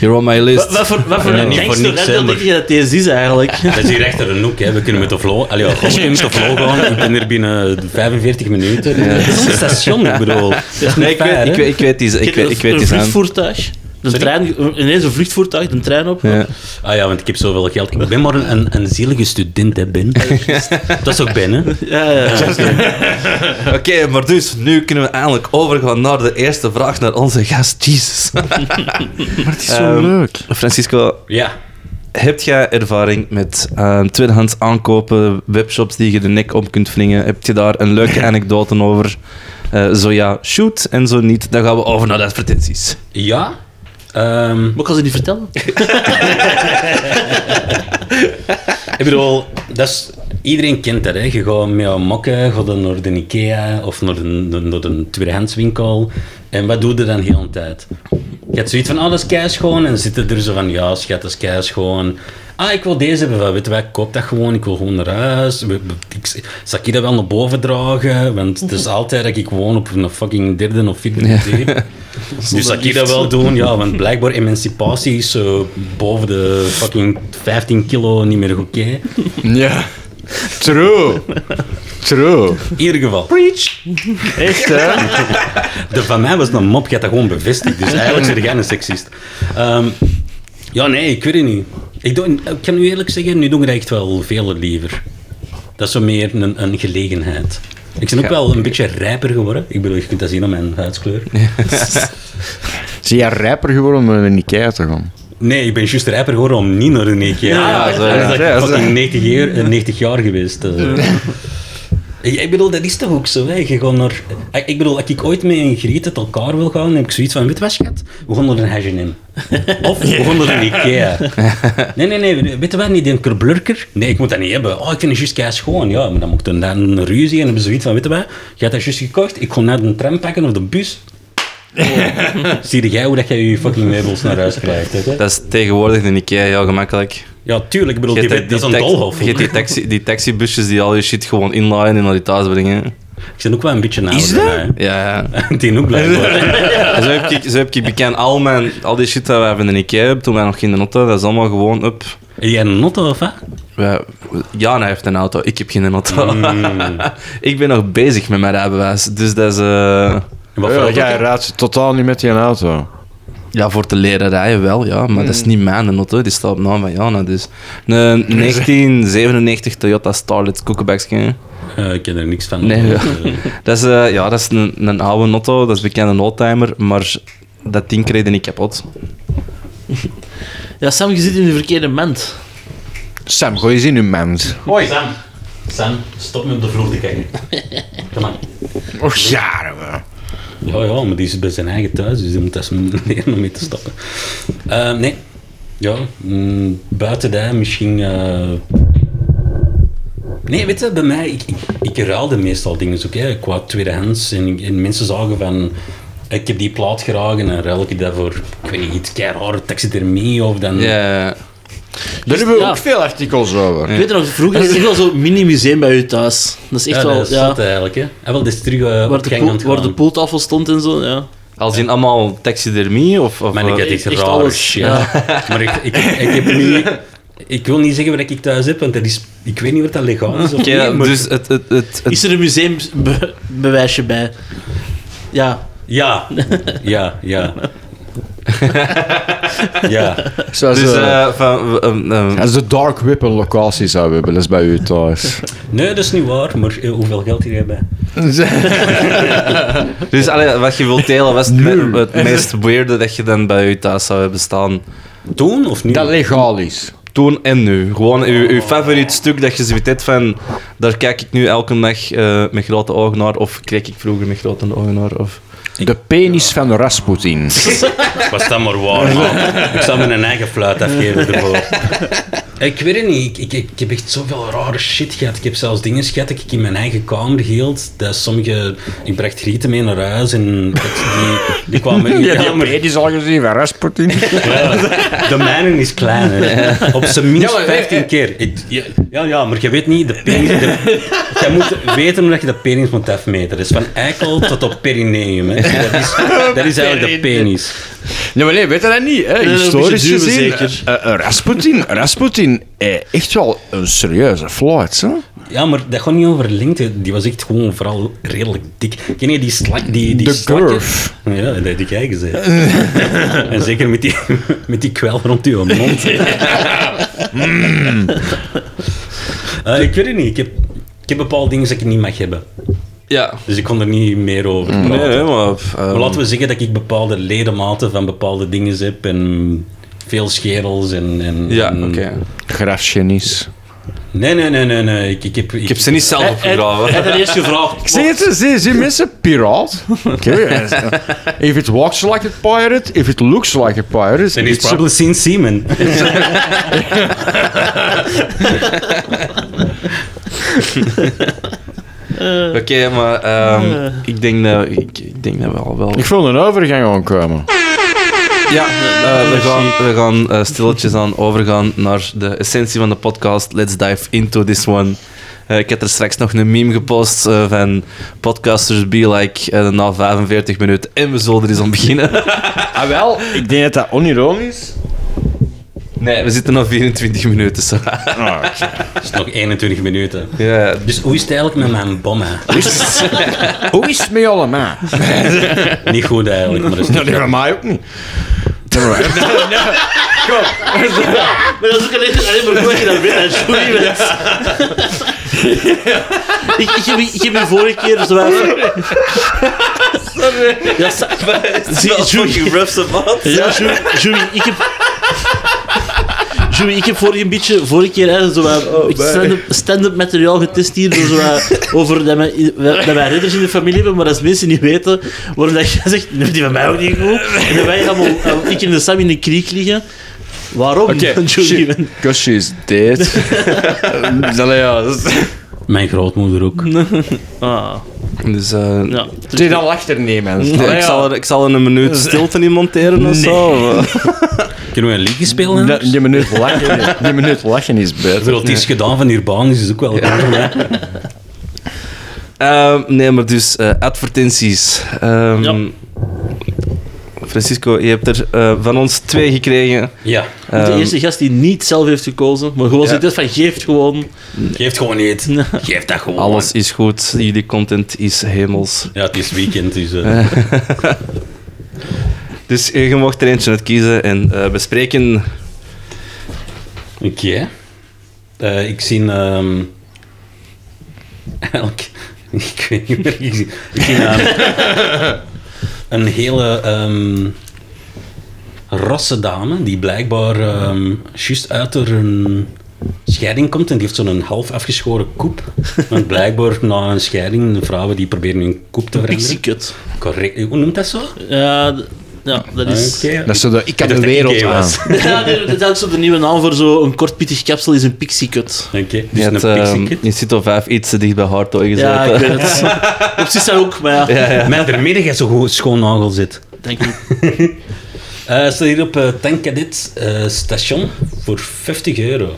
Speaker 2: You're on my
Speaker 4: Wat-
Speaker 2: list.
Speaker 4: Wat voor, wat voor
Speaker 5: Ja,
Speaker 4: een
Speaker 5: niet voor
Speaker 4: gangster
Speaker 5: niks,
Speaker 4: hè,
Speaker 5: hè,
Speaker 4: dat
Speaker 5: maar-
Speaker 4: denk je dat deze is eigenlijk?
Speaker 5: Dat is hier achter een hoek, hè. we kunnen met de flow. Allee, ja, we kunnen met de flow gaan. Ik ben er binnen 45 minuten. Het is een station, ik bedoel. Het is
Speaker 2: Nee,
Speaker 5: niet
Speaker 2: ik weet,
Speaker 5: fair,
Speaker 2: ik
Speaker 5: hè.
Speaker 2: weet, ik weet die, ik weet, ik weet
Speaker 4: een
Speaker 2: die zijn.
Speaker 4: vluchtvliegtuig. De trein, ineens een vluchtvliegtuig, de trein op.
Speaker 2: Ja.
Speaker 5: Ah ja, want ik heb zoveel geld. Ik ben maar een, een, een zielige student, hè, Ben. Dat is ook Ben, hè.
Speaker 4: Ja, ja, ja.
Speaker 2: Oké, maar dus, nu kunnen we eigenlijk overgaan naar de eerste vraag naar onze gast, Jesus. Ehm,
Speaker 3: Het is zo leuk.
Speaker 2: Francisco,
Speaker 5: Ja.
Speaker 2: heb jij ervaring met eh, tweedehands aankopen, webshops die je de nek om kunt wringen? Heb je daar een leuke anekdote over? Eh, zo ja, shoot, en zo niet, dan gaan we over naar de advertenties.
Speaker 5: Ja? Ehm,
Speaker 4: Maar ik kan ze niet vertellen.
Speaker 5: Ik bedoel, dat is, iedereen kent dat. Hè. Je gaat met je mokken, gaat dan naar de Ikea of naar een naar naar een tweedehandswinkel. En wat doe je dan heel hele tijd? Je hebt zoiets van, oh, dat is keischoon. En zitten er zo van, ja, schat, dat is keischoon. ah, ik wil deze hebben, van, weet je wat, ik koop dat gewoon, ik wil gewoon naar huis. We- we- Ik, zal ik dat wel naar boven dragen? Want het is altijd dat ik gewoon op een fucking derde of vierde verdieping. Dus zal ik dat wel doen? Ja, want blijkbaar emancipatie is zo boven de fucking 15 kilo niet meer oké.
Speaker 3: Ja. True. True.
Speaker 5: In ieder geval.
Speaker 4: Echt, hè?
Speaker 5: De van mij was het een mop, je had dat gewoon bevestigd. Dus eigenlijk zeg jij een seksist. Ehm, ja, nee, ik weet het niet. Ik, doe, ik kan nu eerlijk zeggen, nu doen we dat echt wel veel liever. Dat is zo meer een, een gelegenheid. Ik ben ook wel een beetje rijper geworden. Ik bedoel, je kunt dat zien aan mijn huidskleur.
Speaker 3: Zie jij rijper geworden om in Ikea te gaan?
Speaker 5: Nee, ik ben juist rijper geworden om niet naar een E IKEA. Ja,
Speaker 3: zo, ja.
Speaker 5: dat
Speaker 3: Ja,
Speaker 5: ik
Speaker 3: zo.
Speaker 5: fucking 90 jaar, eh, 90 jaar geweest. eh. Ik, ik bedoel, dat is toch ook zo, hè? Je gaat naar... Ik, ik bedoel, als ik ooit met een griet uit elkaar wil gaan, dan heb ik zoiets van, weet je wat, schat? We gaan naar een H&M. Of we gaan naar een Ikea. Nee, nee, nee, weet je wat, niet een kerblurker? Nee, ik moet dat niet hebben. Oh, ik vind het juist kei schoon. Ja, maar dan moet ik dan een ruzie en dan hebben ze zoiets van, weet je wat? Je hebt dat juist gekocht, ik ga naar de tram pakken of de bus. Oh. Zie jij hoe dat jij je fucking meubels naar huis krijgt, hè?
Speaker 2: Dat is tegenwoordig in Ikea heel gemakkelijk.
Speaker 5: Ja, tuurlijk. Ik bedoel,
Speaker 2: Je
Speaker 5: die,
Speaker 2: hebt
Speaker 5: dat is een
Speaker 2: tax-
Speaker 5: doolhof.
Speaker 2: je hebt die, taxi, die taxibusjes die al je shit gewoon inlaaien en naar je thuis brengen.
Speaker 5: Ik ben ook wel een beetje nauw. Is
Speaker 2: Ja, ja.
Speaker 5: Die ook blijkbaar.
Speaker 2: zo, heb ik, zo heb ik bekend al, mijn, al die shit dat wij van de Ikea hebben, toen wij nog geen auto hadden, dat is allemaal gewoon op.
Speaker 5: Heb jij een notto of wat?
Speaker 2: Ja, Jana heeft een auto, ik heb geen auto. ik ben nog bezig met mijn rijbewijs, dus dat is... eh,
Speaker 5: En Wat voor
Speaker 3: Ja,
Speaker 5: auto?
Speaker 3: jij raadt totaal niet met die auto.
Speaker 2: ja, voor te leren rijden wel, ja, maar dat is niet mijn auto, die staat op naam van Jana, dus... Een 1997 Toyota Starlet koekenbaksje.
Speaker 5: Eh, ik ken er niks van.
Speaker 2: Nee, ja.
Speaker 5: Eh,
Speaker 2: Dat is, eh, ja, dat is een, een oude auto, dat is bekend een oldtimer, maar dat ding kreeg niet kapot.
Speaker 4: Ja, Sam, je zit in de verkeerde mand.
Speaker 3: Sam, gooi eens in uw mens.
Speaker 5: Hoi, Sam. Sam, stop me op de vloer te kijken. Kom aan.
Speaker 3: Och ja, we.
Speaker 5: Ja, ja, maar die is bij zijn eigen thuis, dus die moet dat eens leren om mee te stappen. Eh, nee. Ja, mm, buiten dat misschien... eh, Nee, weet je, bij mij, ik, ik, ik ruilde meestal dingen ook, hè, qua tweedehands. En, ik- en mensen zagen van, ik heb die plaat graag en dan ruil ik dat voor, ik weet niet, iets keiharde taxidermie of dan...
Speaker 2: Ja,
Speaker 3: Daar hebben we
Speaker 4: ja.
Speaker 3: ook veel artikels over.
Speaker 4: Ik weet nog, vroeger is er echt wel zo'n mini-museum bij je thuis. Dat is echt
Speaker 5: Ja,
Speaker 4: wel,
Speaker 5: dat is
Speaker 4: ja,
Speaker 5: zot eigenlijk, hè. En wel, dit is terug eh,
Speaker 4: waar
Speaker 5: op
Speaker 4: de,
Speaker 5: gang aan het
Speaker 4: poel- waar de
Speaker 5: gaan.
Speaker 4: poeltafel stond en zo, ja.
Speaker 2: als in allemaal taxidermie of... of
Speaker 5: Maar ik
Speaker 2: eh,
Speaker 5: heb iets
Speaker 4: echt
Speaker 5: raars.
Speaker 4: alles,
Speaker 5: ja. maar ik, ik, ik heb nu... Ik wil niet zeggen wat ik thuis heb, want dat is, ik weet niet wat dat legaal is. Of
Speaker 2: Oké, ja,
Speaker 5: niet, maar-
Speaker 2: dus het, het, het, het-
Speaker 4: Is er een museumbewijsje bij? Ja.
Speaker 5: Ja, ja, ja. ja.
Speaker 3: Zoals,
Speaker 2: dus,
Speaker 3: eh,
Speaker 2: eh, van, w- ehm, ehm,
Speaker 3: als de Dark Whip een locatie zou hebben, dat is bij u thuis.
Speaker 5: Nee, dat is niet waar, maar eh, hoeveel geld hier heb je?
Speaker 2: dus allee, wat je wilt delen, was het, me- het meest weirde dat je dan bij je thuis zou hebben staan?
Speaker 5: Toen of nu?
Speaker 3: dat legaal is.
Speaker 2: Toen en nu. Gewoon je, je favoriet stuk dat je zoiets hebt van... Daar kijk ik nu elke dag eh, met grote ogen naar, of kijk ik vroeger met grote ogen naar, of...
Speaker 3: De penis van Rasputin.
Speaker 5: Was dat maar waar, man. Ik zou mijn eigen fluit afgeven ervoor. Ik weet het niet. Ik, ik, ik heb echt zoveel rare shit gehad. Ik heb zelfs dingen gehad dat ik in mijn eigen kamer hield. Dat sommige... Ik bracht grieten mee naar huis en dat die, die kwamen... in- Ja, maar
Speaker 3: penis al gezien van Rasputin.
Speaker 5: de mijne is kleiner. Op zijn minst 15 keer. eh, Ik- ja, ja, ja, maar je weet niet, de penis... de- je moet weten hoe dat je de penis moet afmeten. Dat is van eikel tot op perineum. Hè. Dat, is, dat is eigenlijk de penis.
Speaker 3: Ja, maar nee, weet je dat niet? Hè?
Speaker 4: dat is
Speaker 3: Historisch
Speaker 4: een beetje
Speaker 3: gezien,
Speaker 4: duwen,
Speaker 3: eh, eh, Rasputin, Rasputin eh, echt wel een serieuze flight, hè?
Speaker 5: Ja, maar dat gaat niet over lengte. Die was echt gewoon vooral redelijk dik. Ken je die slak? Die, die
Speaker 3: De
Speaker 5: slakken?
Speaker 3: curve.
Speaker 5: Ja, dat heb ik eigen gezegd. en zeker met die, met die kwel rond uw mond. Eh, ik weet het niet. Ik heb, ik heb bepaalde dingen dat ik niet mag hebben.
Speaker 2: Ja.
Speaker 5: Dus ik kon er niet meer over praten.
Speaker 2: Nee, nee, maar... ehm,
Speaker 5: Maar laten we zeggen dat ik bepaalde ledematen van bepaalde dingen heb. En veel scherels en... en
Speaker 2: Ja,
Speaker 5: en-
Speaker 2: oké.
Speaker 3: Grafgenies.
Speaker 5: Nee, nee, nee, nee. nee. Ik, ik, heb, ik,
Speaker 2: Ik heb ze niet zelf opgegraven.
Speaker 4: Hij had eerst gevraagd.
Speaker 3: Zie je het? Zie, zie mensen? Piraat. Oké. If it walks like a pirate, if it looks like a pirate...
Speaker 5: Then
Speaker 3: it's
Speaker 5: he's probably seen semen.
Speaker 2: Oké, maar ehm, ik, denk dat, ik, ik denk dat we al wel...
Speaker 3: Ik voel een overgang aankomen.
Speaker 2: Ja, eh, we gaan, we gaan eh, stilletjes aan overgaan naar de essentie van de podcast. Let's dive into this one. Eh, ik heb er straks nog een meme gepost eh, van podcasters be like eh, na 45 minuten en we zullen er eens aan beginnen.
Speaker 3: Ah, wel, ik denk dat dat onironisch
Speaker 2: Nee, we zitten nog 24 minuten. zo.
Speaker 5: Dat is nog 21 minuten.
Speaker 2: Ja,
Speaker 5: Dus hoe is het eigenlijk met mijn bommen?
Speaker 3: Hoe is het met allemaal?
Speaker 5: Niet goed eigenlijk, maar dat is
Speaker 3: Dat is bij Nou, mij ook niet.
Speaker 4: Maar dat is ook alleen, alleen maar goed dat je dat weet, dat is goed niet weet. Ik, ik, heb, ik heb hier vorige keer zo Sorry. Ja, sa- Zie- Joey- Ja, Joey, Joey, ik heb... Joey, ik heb vorige, een beetje, vorige keer hè, zo
Speaker 3: Oh,
Speaker 4: wat stand-up, stand-up materiaal getest hier. door Zo wat over dat wij, dat wij ridders in de familie hebben, maar dat mensen niet weten waarom dat jij zegt, nee, die van mij ook niet goed. En dat wij allemaal, eh, ik en de Sam in de kriek liggen. Waarom,
Speaker 3: Oké,
Speaker 4: Joey?
Speaker 3: shit. Because she's dead. Allee, ja, dat is...
Speaker 5: Mijn grootmoeder ook.
Speaker 4: Ah,
Speaker 2: dus eh,
Speaker 4: ja. Oh,
Speaker 3: Die dan lacht er niet, man.
Speaker 2: nee, ik, zal er, ik zal er een minuut stilte in monteren of zo.
Speaker 5: Kunnen we een liedje spelen?
Speaker 3: Die,
Speaker 5: anders?
Speaker 3: die minuut lachen, die minuut lachen is beter.
Speaker 5: Hoeveel het is gedaan van Urbanus is ook wel...
Speaker 2: Ehm, nee, maar dus eh, advertenties. Ehm,
Speaker 4: Ja.
Speaker 2: Francisco, je hebt er eh, van ons twee gekregen.
Speaker 5: Ja,
Speaker 4: de
Speaker 2: Ehm,
Speaker 4: eerste gast die niet zelf heeft gekozen, maar gewoon zegt dus van geeft gewoon.
Speaker 5: geeft gewoon niet. Geef dat gewoon.
Speaker 2: Alles is goed, jullie content is hemels.
Speaker 5: Ja, het is weekend, dus... eh,
Speaker 2: Dus eh, je mocht er eentje uit kiezen en eh, bespreken.
Speaker 5: Oké. Eh, ik zie... ehm elk... Ik weet niet meer. Ik zie, ik zie ehm, een hele ehm rasse dame die blijkbaar ehm juist uit haar een scheiding komt en die heeft zo'n half afgeschoren koep. Want blijkbaar na een scheiding, de vrouwen die proberen hun koep te veranderen.
Speaker 4: Pixiekut.
Speaker 5: Correct. Hoe noemt dat zo?
Speaker 4: Ja, d- ja, dat is.
Speaker 5: Ah, Oké.
Speaker 3: Dat is zo de, ik heb
Speaker 5: dacht
Speaker 3: de
Speaker 5: dat ik
Speaker 3: wereld
Speaker 5: gay
Speaker 3: aan.
Speaker 5: was.
Speaker 4: Ja, nee, dat is ook zo de nieuwe naam voor zo'n kort pittig kapsel is een pixiekut.
Speaker 5: Oké,
Speaker 2: Je,
Speaker 5: dus een
Speaker 2: hebt, ehm,
Speaker 5: pixie kid.
Speaker 2: je zit al vijf iets te dicht bij Hartoy gezeten.
Speaker 4: Ja, ik weet het. Op zich zijn ook, maar ja.
Speaker 2: ja, ja.
Speaker 5: Mijn vermiddag is zo goed schoon nagel zit.
Speaker 4: Denk ik.
Speaker 5: Eh staat hier op uh, Tankadit eh, station voor 50 euro.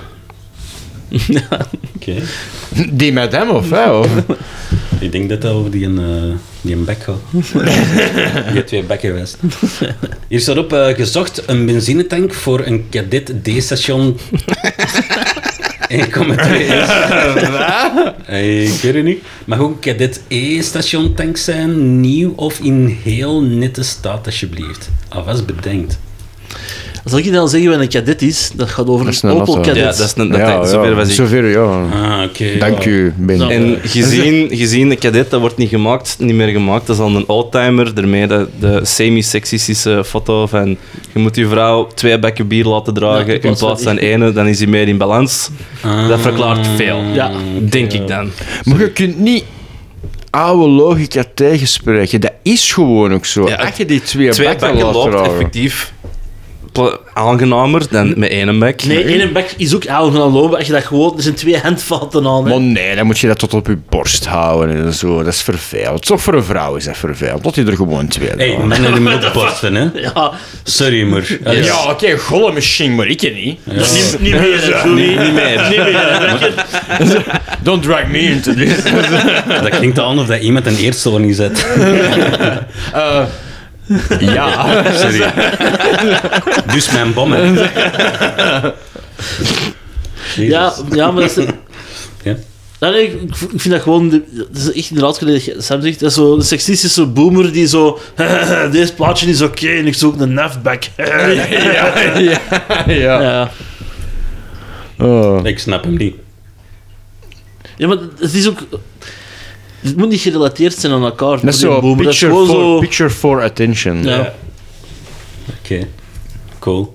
Speaker 5: Oké.
Speaker 3: Die met hem of hè? Of?
Speaker 5: Ik denk dat dat over die een, eh, die een bek gaat. die twee bekken geweest. Hier staat op eh, gezocht een benzinetank voor een Kadit D-station. 1,2 Eh, Ik weet het niet. Mag ook een Kadit E-station tank zijn, nieuw of in heel nette staat alsjeblieft. Alvast bedenkt.
Speaker 4: Als ik je dan zeggen wat een kadet is, dat gaat over
Speaker 3: Dat is
Speaker 4: een
Speaker 3: een
Speaker 4: Opel
Speaker 3: auto.
Speaker 4: kadet.
Speaker 2: Ja, dat is een, dat zover was ik.
Speaker 3: Zover, ja.
Speaker 5: Ah, oké.
Speaker 3: Dank
Speaker 5: ja.
Speaker 3: u, Ben.
Speaker 4: Zo.
Speaker 2: En gezien, gezien de cadet, dat wordt niet gemaakt, niet meer gemaakt. Dat is al een oldtimer. Daarmee de, de semi-sexistische foto van je moet je vrouw twee bekken bier laten dragen
Speaker 4: Ja, in
Speaker 2: in
Speaker 4: plaats
Speaker 2: plaats
Speaker 4: van
Speaker 2: van ene, dan is hij meer in balans.
Speaker 5: Ah.
Speaker 2: Dat verklaart veel.
Speaker 4: Ah, Ja.
Speaker 2: Denk ik dan.
Speaker 3: Maar je kunt niet oude logica tegenspreken. Dat is gewoon ook zo.
Speaker 2: Ja.
Speaker 3: Als je die twee,
Speaker 2: Twee
Speaker 3: bakken,
Speaker 2: bekken
Speaker 3: laat
Speaker 2: loopt
Speaker 3: dragen.
Speaker 2: effectief pla- aangenamer dan met één bek.
Speaker 4: Nee, één bek is ook aan gaan lopen als je dat gewoon... Er zijn twee handvaten aan. hè.
Speaker 3: Maar nee, dan moet je dat tot op je borst houden en zo. Dat is vervuild. Toch voor een vrouw is dat vervuild. Dat je er gewoon twee
Speaker 5: Hé, hey,
Speaker 3: draagt.
Speaker 5: mannen die moeten opborsten, hè?
Speaker 4: Ja,
Speaker 5: Sorry, maar. Allee,
Speaker 3: Ja, oké, golle misschien, maar ik niet.
Speaker 4: dat is niet, niet meer, hè, Joey. Niet, meer. Niet meer.
Speaker 3: Don't drag me into this.
Speaker 5: Dat klinkt al of dat iemand een eerstoornis zet.
Speaker 3: ja.
Speaker 5: Sorry. Dus mijn bommen. Jezus.
Speaker 4: Ja, ja, maar dat is...
Speaker 5: Ja.
Speaker 4: Ja, nee, ik, ik v- ik vind dat gewoon... de- Dat is echt inderdaad gelijk, Sam zegt, dat is zo'n seksistische boomer die zo... Deze plaatje is oké en ik zoek een nafback.
Speaker 3: ja.
Speaker 4: ja.
Speaker 3: Oh.
Speaker 5: Ik snap hem niet.
Speaker 4: ja, maar het is ook... Het moet niet gerelateerd zijn aan elkaar. voor
Speaker 3: Dat is
Speaker 4: die
Speaker 3: zo,
Speaker 4: boomer.
Speaker 3: picture,
Speaker 4: dat is
Speaker 3: for,
Speaker 4: gewoon zo...
Speaker 3: picture for attention.
Speaker 4: Ja.
Speaker 5: Oké, cool.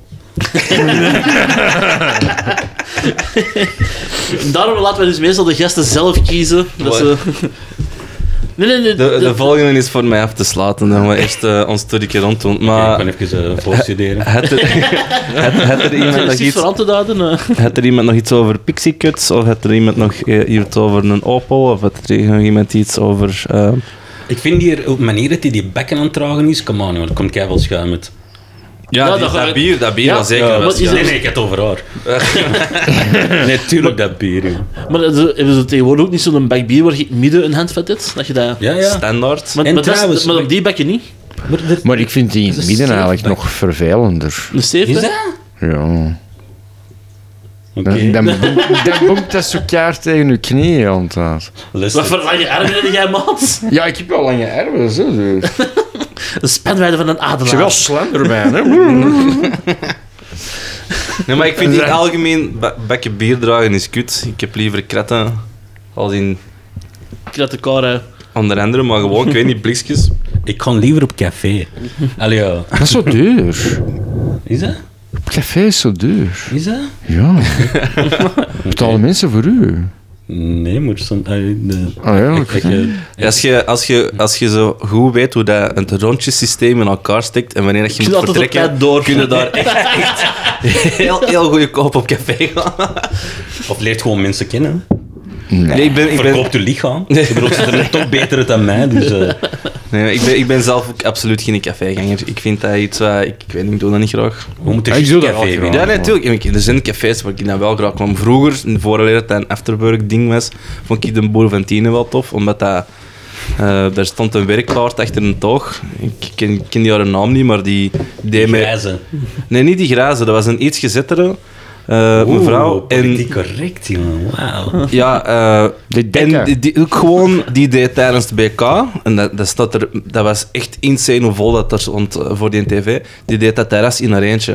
Speaker 4: Daarom laten we dus meestal de gasten zelf kiezen. Dat ze... Nee, nee, nee.
Speaker 2: De, de
Speaker 4: dat-
Speaker 2: volgende is voor mij af te slaten. Dan gaan we eerst eh, ons toerikje rond doen.
Speaker 5: Oké,
Speaker 2: Maar
Speaker 5: ik ben even eh, voorstuderen.
Speaker 2: had er, had, had er iemand
Speaker 4: dat is
Speaker 2: nog
Speaker 4: precies
Speaker 2: iets
Speaker 4: voor aan te duiden. eh.
Speaker 2: Had er iemand nog iets over pixiecuts? Of had er iemand nog eh, iets over een Opel? Of had er nog iemand iets over... eh,
Speaker 5: Ik vind hier op de manier dat hij die bekken aan het dragen is, come on, jongen, er komt keihard schuim uit.
Speaker 2: Ja,
Speaker 4: Ja,
Speaker 2: die-
Speaker 4: dat
Speaker 2: dat,
Speaker 4: ga ik-
Speaker 2: bier, dat bier,
Speaker 4: Ja,
Speaker 2: dat zeker
Speaker 4: ja,
Speaker 2: wel.
Speaker 4: maar is
Speaker 2: ja.
Speaker 5: Nee, nee, ik heb het over haar. nee, tuurlijk dat bier, joh.
Speaker 4: Maar is er- hebben ze tegenwoordig ook niet zo'n bak bier waar je in het midden een handvat hebt? Dat je dat...
Speaker 5: Ja, ja.
Speaker 2: Standaard.
Speaker 4: Maar,
Speaker 5: En
Speaker 4: maar, dat is-
Speaker 5: trouwens-
Speaker 4: maar op die bakje niet.
Speaker 5: Maar er-
Speaker 3: Maar ik vind die in het
Speaker 5: is
Speaker 3: midden
Speaker 5: zeer
Speaker 3: eigenlijk
Speaker 5: leuk.
Speaker 3: nog vervelender.
Speaker 4: Een safe,
Speaker 5: Is
Speaker 4: hè?
Speaker 5: dat?
Speaker 3: Ja. Dan,
Speaker 5: Oké.
Speaker 3: dan, boem- dan boemt dat zo keihard tegen je knieën aan het laat.
Speaker 4: Wat
Speaker 5: Luister,
Speaker 4: voor lange armen heb jij, maat?
Speaker 3: Ja, ik heb wel lange dus. erben. Zo. Ik
Speaker 4: Een spanwijde van een
Speaker 3: ben wel
Speaker 4: adelaar.
Speaker 3: slender bij, hè.
Speaker 2: Nee, maar ik vind in het algemeen ba- bakje bier dragen is kut. Ik heb liever kratten als in
Speaker 4: Ik had de eh, kar, hè.
Speaker 2: onder andere, maar gewoon, ik weet niet, blikjes.
Speaker 5: ik ga liever op café. Allee, ja.
Speaker 3: Dat is zo duur.
Speaker 5: Is dat?
Speaker 3: Café is zo duur.
Speaker 5: Is dat?
Speaker 3: Ja. Betalen mensen voor u.
Speaker 5: Nee, maar soms... allee, de-
Speaker 3: Ah ja,
Speaker 5: Ik- ik,
Speaker 3: oké.
Speaker 5: eh,
Speaker 2: Ja, Als je, als, je, als je zo goed weet hoe dat het rondjesysteem in elkaar steekt en wanneer dat je
Speaker 4: Ik
Speaker 2: moet
Speaker 4: zit altijd op
Speaker 2: vertrekken,
Speaker 4: tijd door.
Speaker 2: kun je daar echt, echt heel, heel goede koop op café gaan.
Speaker 5: Of leert gewoon mensen kennen.
Speaker 2: Nee, ik ben, ik ben,
Speaker 5: Verkoopt je lichaam.
Speaker 2: Nee.
Speaker 5: Ik bedoel, ze zijn er toch beter uit dan mij, dus... eh,
Speaker 2: nee, ik ben, ik ben zelf ook absoluut geen caféganger. Ik vind dat iets, wat ik, ik weet niet, ik doe dat niet graag.
Speaker 5: we moeten
Speaker 3: Ik doe dat
Speaker 5: café
Speaker 3: wel
Speaker 5: winnen.
Speaker 2: Ja, natuurlijk. er zijn cafés waar ik dan wel graag kwam. Vroeger, vooraleer het een Afterburg-ding was, vond ik de Boer van Tienen wel tof, omdat dat, eh, daar stond een werkkaart achter een toog. Ik ken, ik ken die haar naam niet, maar die deed mij...
Speaker 5: Grijze.
Speaker 2: Nee, niet die grazen. Dat was een iets gezettere eh, mevrouw.
Speaker 5: Oeh,
Speaker 2: En
Speaker 5: politiek correct, jongen. Wauw.
Speaker 2: ja, eh,
Speaker 3: Die dikke.
Speaker 2: en die, die- ook gewoon die deed tijdens de BK. En dat, dat, staat er, dat was echt insane hoe vol dat er stond eh, voor die tv. Die deed dat terras in haar eentje.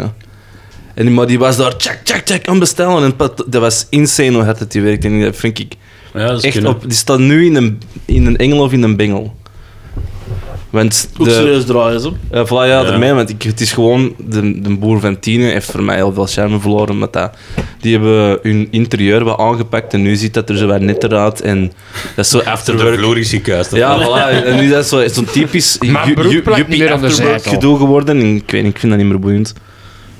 Speaker 2: En die, maar die was daar, check, check, check, aan bestellen. En pat- dat was insane hoe hard dat die werkte. En dat vind ik
Speaker 5: Ja, dat is
Speaker 2: echt
Speaker 5: kunnen.
Speaker 2: op... Die staat nu in een, in een engel of in een bengel. Want
Speaker 4: Ook
Speaker 2: de,
Speaker 4: serieus draaien, ze.
Speaker 2: eh voilà, ja, ermee, want ik, het is gewoon... De, de boer van Tienen heeft voor mij heel veel charme verloren. Met dat. Die hebben hun interieur wat aangepakt en nu ziet dat er zo wat netter uit. En dat is zo
Speaker 5: De
Speaker 2: afterwork.
Speaker 5: vloer is gekuist.
Speaker 2: Ja, voilà. En nu is dat zo- zo'n typisch ju-
Speaker 3: Maar
Speaker 2: ju-
Speaker 3: broek plakt
Speaker 2: juppie
Speaker 3: niet meer aan de
Speaker 2: afterwork
Speaker 3: zijkant.
Speaker 2: gedoe geworden. En ik weet niet, ik vind dat niet meer boeiend.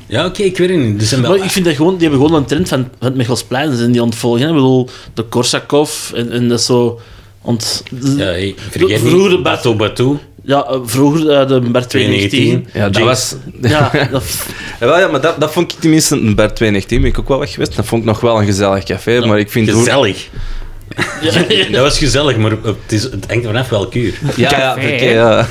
Speaker 5: Ja, oké, ik weet het niet. Er zijn wel...
Speaker 4: Maar ik vind dat gewoon, die hebben gewoon een trend van, van het Michelsplein zijn die aan het volgen. hè. Ik bedoel, de Korsakov en, en dat zo. ont-
Speaker 5: Ja,
Speaker 4: ja,
Speaker 5: hey, vergeet
Speaker 4: Vroeger
Speaker 5: niet,
Speaker 4: de
Speaker 5: Bato Bato,
Speaker 4: eh, vroeger eh, de Bert 219.
Speaker 5: 2019.
Speaker 2: Ja, dat was...
Speaker 4: Ja, dat,
Speaker 2: Ja, wel, ja, maar dat, dat vond ik tenminste... Een bar 219 ben ik ook wel weg geweest. Dat vond ik nog wel een gezellig café, maar ik vind... hoe-
Speaker 5: Gezellig.
Speaker 4: ja, ja.
Speaker 5: Dat was gezellig, maar het, is, het hangt vanaf welk uur.
Speaker 2: Ja, ja, oké, ja.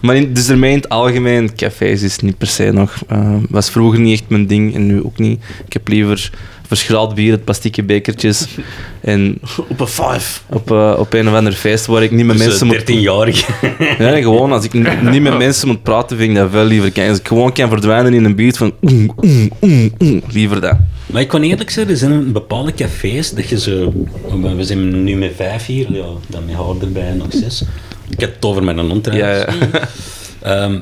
Speaker 2: Maar in, dus ermee in het algemeen, cafés is niet per se nog. eh, was vroeger niet echt mijn ding en nu ook niet. Ik heb liever verschraald bier, het plastieke bekertjes. En
Speaker 4: op een 5.
Speaker 2: op, eh, op een of ander feest waar ik niet met
Speaker 5: Dus,
Speaker 2: mensen
Speaker 5: eh,
Speaker 2: moet...
Speaker 5: 13-jarige.
Speaker 2: Ja, nee, gewoon als ik n- niet met mensen moet praten, vind ik dat veel liever. Als ik gewoon kan verdwijnen in een buurt van... oeh, oeh, oeh, oeh, liever dat.
Speaker 5: Maar ik kan eerlijk zeggen, er zijn een bepaalde cafés dat je zo... We zijn nu met vijf hier, ja, dan met haar erbij, nog zes. Ik heb het over met een hond
Speaker 2: Ja,
Speaker 5: trouwens.
Speaker 2: ja.
Speaker 5: Ehm,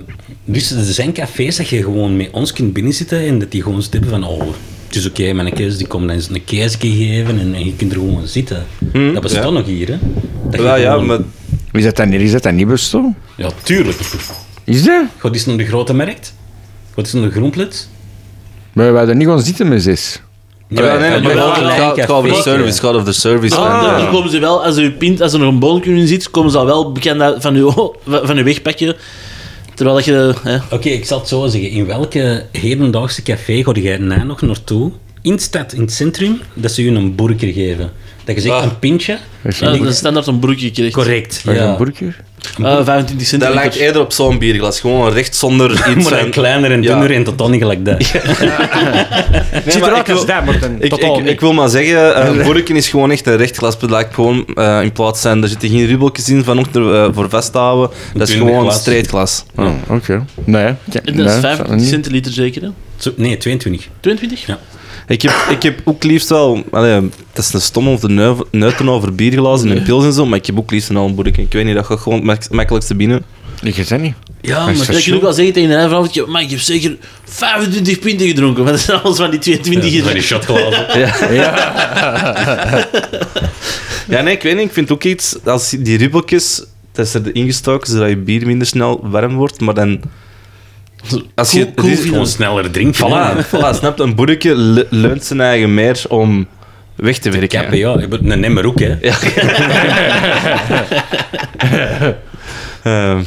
Speaker 5: dus er zijn cafés dat je gewoon met ons kunt binnenzitten en dat die gewoon stippen van, oh, het is oké, mijn kees die komen dan eens een keesje geven en, en je kunt er gewoon zitten. dat bestaat nog hier, hè? Dat je
Speaker 2: Hm, Wel, ja,
Speaker 5: gewoon-
Speaker 2: maar...
Speaker 3: Is dat dan, is dat dan niet bestel?
Speaker 5: Ja, tuurlijk.
Speaker 3: Is dat?
Speaker 5: Gaat eens naar de grote markt? Gaat eens naar de groenplet?
Speaker 3: Maar we hadden niet gewoon zitten met zes.
Speaker 2: Ja, Ah, nee,
Speaker 5: maar-
Speaker 2: maar
Speaker 5: maar-
Speaker 2: het
Speaker 5: maar-
Speaker 2: gaat- het gaat over de
Speaker 5: café.
Speaker 2: service, het gaat over de service. en,
Speaker 5: Ah.
Speaker 2: eh,
Speaker 4: Dan komen ze wel, als u pint, als er nog een bolletje in zit, komen ze al wel bekend uit van uw, van uw wegpakken. Terwijl dat je. Hè,
Speaker 5: Oké, ik zal het zo zeggen. In welke hedendaagse café ga jij na nog naartoe? In de stad, in het centrum, dat ze je een burger geven. Dat je zegt,
Speaker 2: Ah.
Speaker 5: een pintje.
Speaker 4: ja, dat is standaard eh, een broekje krijgt.
Speaker 5: Correct,
Speaker 3: Waar is
Speaker 5: ja.
Speaker 3: een burger?
Speaker 5: Mhm.
Speaker 4: Eh, 25 cent.
Speaker 2: Dat lijkt eerder op zo'n bierglas. Gewoon recht zonder iets.
Speaker 5: Maar dan
Speaker 2: en-
Speaker 5: kleiner en
Speaker 2: Ja.
Speaker 5: dunner en totaal niet gelijk dat.
Speaker 2: Nee, maar ik wil-
Speaker 3: dat, maar dan
Speaker 2: Ik, ik, ik wil maar zeggen, eh, een vorken is gewoon echt een recht glas. Dat lijkt gewoon eh, in plaats zijn. Er zitten geen ribbeltjes in van onder, eh, voor vasthouden. Dat is
Speaker 5: Dunner
Speaker 2: gewoon
Speaker 5: glas.
Speaker 2: straight glas.
Speaker 3: Oh, oké. Nee. ja,
Speaker 4: En
Speaker 3: nee,
Speaker 4: dat is
Speaker 3: staat er
Speaker 4: 25
Speaker 3: niet.
Speaker 4: centiliter zeker, hè?
Speaker 5: Zo- nee, 22.
Speaker 4: 22?
Speaker 5: Ja.
Speaker 2: Ik, heb, ik heb ook liefst wel. Allee, het is een stom of de neu- neuten over bierglazen en pils en zo. Maar ik heb ook liefst een al borken. Ik weet niet, dat gaat gewoon het mak- makkelijkste binnen.
Speaker 3: Ik weet dat niet. Dat
Speaker 5: Ja,
Speaker 3: is
Speaker 5: maar
Speaker 4: Ja, ik wil ook wel zeggen tegen een vrouw, maar ik heb zeker 25 pinten gedronken. Want dat zijn alles van die 22
Speaker 5: Ja,
Speaker 4: hier.
Speaker 5: van die shotglazen.
Speaker 2: Ja, nee, ik weet niet. Ik vind ook iets. Als die ribbeltjes. Dat is er ingestoken zodat je bier minder snel warm wordt. Maar dan. Als je,
Speaker 4: Cool- cool
Speaker 2: het is-
Speaker 5: Gewoon sneller drinken. hè.
Speaker 2: Voilà, voilà snapt een boerke le- leunt zijn eigen meer om weg te werken.
Speaker 5: Kappen, ja. Je bent een nemmer ook, hè.
Speaker 2: Ehm,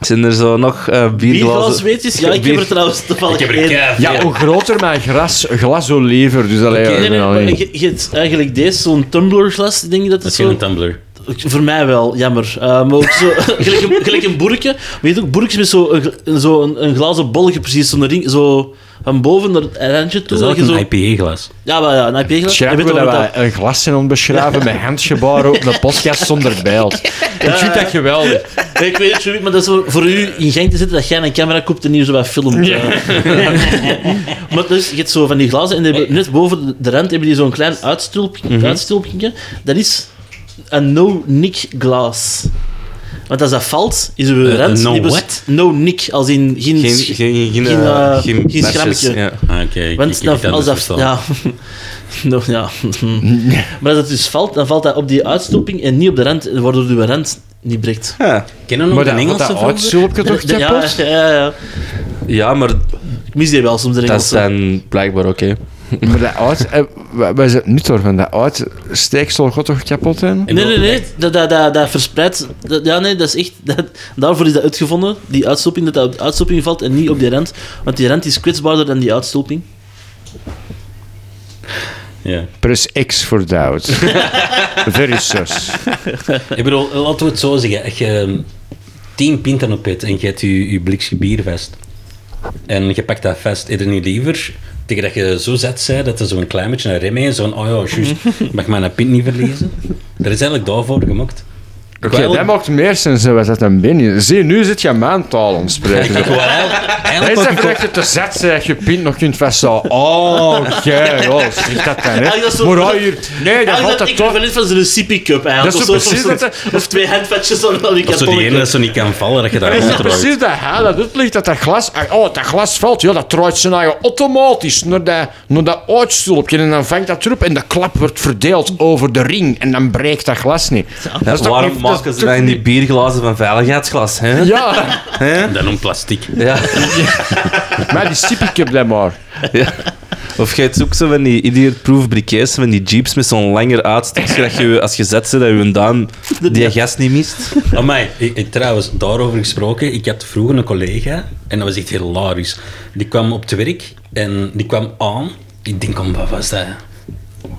Speaker 2: Zijn er zo nog eh bierglazen?
Speaker 4: Bierglasweetjes? Ja, ik heb
Speaker 2: Bier-
Speaker 4: er trouwens toevallig
Speaker 5: heb er
Speaker 4: één.
Speaker 5: keiveel.
Speaker 3: Ja, hoe groter mijn gras, glas oliver. Dus alleen.
Speaker 4: Nee, nee, maar je, je hebt eigenlijk deze, zo'n tumblerglas, denk je dat
Speaker 5: Dat
Speaker 4: het
Speaker 5: is geen
Speaker 4: zo...
Speaker 5: tumbler.
Speaker 4: Voor mij wel, jammer. Eh, maar ook zo, gelijk, een, gelijk een boerkje. Maar je hebt ook boerkjes met zo'n gl- een- zo een, een glazen bolletje, precies, zo'n ring, zo van boven naar het randje
Speaker 5: Dat is
Speaker 4: toe. dat je
Speaker 5: eigenlijk
Speaker 4: zo...
Speaker 5: een IPA-glas.
Speaker 4: Ja, maar ja, een IPA-glas. Je
Speaker 3: Schrijven
Speaker 4: weet
Speaker 3: we
Speaker 4: wel
Speaker 3: dat
Speaker 4: wat
Speaker 3: wij een glas zijn ontbeschrijven met handgebaren op een podcast zonder bijl. Ik vind dat geweldig.
Speaker 4: dat- Ik weet het, Jimmy, maar dat is voor- voor u in gang te zitten dat jij een camera koopt en hier zo wat filmt. eh. maar dus, je hebt zo van die glazen en die hebben, net boven de- de rand hebben die zo'n klein uitstulpje.
Speaker 5: Mhm.
Speaker 4: uitstulpje. Dat is een no-nick glas. Want als dat valt, is uw rand...
Speaker 5: een Eh, no
Speaker 4: die bes-
Speaker 5: what?
Speaker 4: No nick, als in geen...
Speaker 2: Geen,
Speaker 4: sch-
Speaker 2: geen, geen, eh,
Speaker 4: geen,
Speaker 2: geen
Speaker 4: eh, geen
Speaker 2: mesjes,
Speaker 4: schrammetje.
Speaker 2: ja.
Speaker 5: Ah, Oké, ik- ik
Speaker 4: Want
Speaker 5: heb
Speaker 4: dat,
Speaker 5: dat
Speaker 4: als
Speaker 5: dus
Speaker 4: dat...
Speaker 5: verstaan.
Speaker 4: Ja. No, ja. maar als het dus valt, dan valt dat op die uitstulping en niet op de rand, waardoor uw rand niet breekt.
Speaker 2: Ja.
Speaker 5: Kennen we
Speaker 3: Maar
Speaker 5: nog
Speaker 3: dat,
Speaker 5: een
Speaker 3: wat dat
Speaker 5: Engelse vulver?
Speaker 3: uitstulpje toch,
Speaker 4: Ja, ja,
Speaker 3: Tjeppels?
Speaker 4: ja, ja.
Speaker 2: ja, maar
Speaker 4: Ik mis die wel soms, de
Speaker 2: dat
Speaker 4: Engelse.
Speaker 2: zijn blijkbaar oké.
Speaker 3: Maar dat uit... eh, wa- Wij zijn niet door van dat uit... Steeksel gaat toch kapot zijn?
Speaker 4: Nee, nee, nee. Dat, dat, dat, dat verspreidt... dat- ja, nee, dat is echt... Dat, daarvoor is dat uitgevonden, die uitstulping, dat dat op de uitstulping valt en niet op die rand. Want die rand is kwetsbaarder dan die uitstulping.
Speaker 5: Ja.
Speaker 3: Press X voor doubt. Very sus.
Speaker 5: Ik bedoel, laten we het zo zeggen. Als je ehm, tien pinten op hebt en je hebt je, je blikje bier vast. En je pakt dat vast, eet er niet liever. Tegen dat je zo zet zei dat er zo'n klein beetje een rem in, zo'n oh ja, juist, ik mag mijn pint niet verliezen. Dat is eigenlijk daarvoor gemokt.
Speaker 3: Oké, dat maakt meer zin zijn wat dat dan binnen. Zie, nu zit je maantaal om te spreken.
Speaker 5: Ik wou eigenlijk-
Speaker 3: Hij
Speaker 5: eigenlijk
Speaker 3: is
Speaker 5: ook een
Speaker 3: even dat je te zet zeg je pint nog kunt vasthouden. Oh, oké, joh, zeg dat dan,
Speaker 4: Ja, Ah, dat is
Speaker 3: hè.
Speaker 4: zo-
Speaker 3: Maar hij hier... Nee, dat
Speaker 4: Eigenlijk
Speaker 3: valt
Speaker 4: dat
Speaker 3: het toch...
Speaker 4: equivalent van zo'n sippy cup, eigenlijk.
Speaker 3: Dat is zo
Speaker 4: Of zo-
Speaker 3: precies
Speaker 4: of, zo-
Speaker 3: dat-
Speaker 4: of twee handvatjes van van die
Speaker 5: Of zo die ene
Speaker 4: katholieke.
Speaker 5: dat zo niet kan vallen, dat je daar
Speaker 3: Dat is
Speaker 5: rond
Speaker 3: toch
Speaker 5: draait.
Speaker 3: precies dat hè, dat het ligt dat dat glas... ah, Oh, dat glas valt, ja, dat draait zijn eigen automatisch naar dat, naar dat uitstulpje en dan vangt dat terug en de klap wordt verdeeld over de ring en dan breekt dat glas niet.
Speaker 2: Ja,
Speaker 3: is toch
Speaker 2: waarom
Speaker 3: niet- dat is
Speaker 2: maken ze
Speaker 3: toch
Speaker 2: dat in die bierglazen van veiligheidsglas? Hè?
Speaker 3: Ja,
Speaker 2: Hè?
Speaker 5: Dan om plastic.
Speaker 2: Ja.
Speaker 3: maar die sippiecup dan maar.
Speaker 2: Ja. Of jij zoekt zo van die idiotproof briquets, van die jeeps met zo'n langer uitstapje, dat je als je zet ze, dat je een duim die gas niet mist.
Speaker 5: Amai, ik, ik- trouwens, daarover gesproken. Ik had vroeger een collega, en dat was echt hilarisch. Die kwam op het werk en die kwam aan. Ik denk om, wat was dat?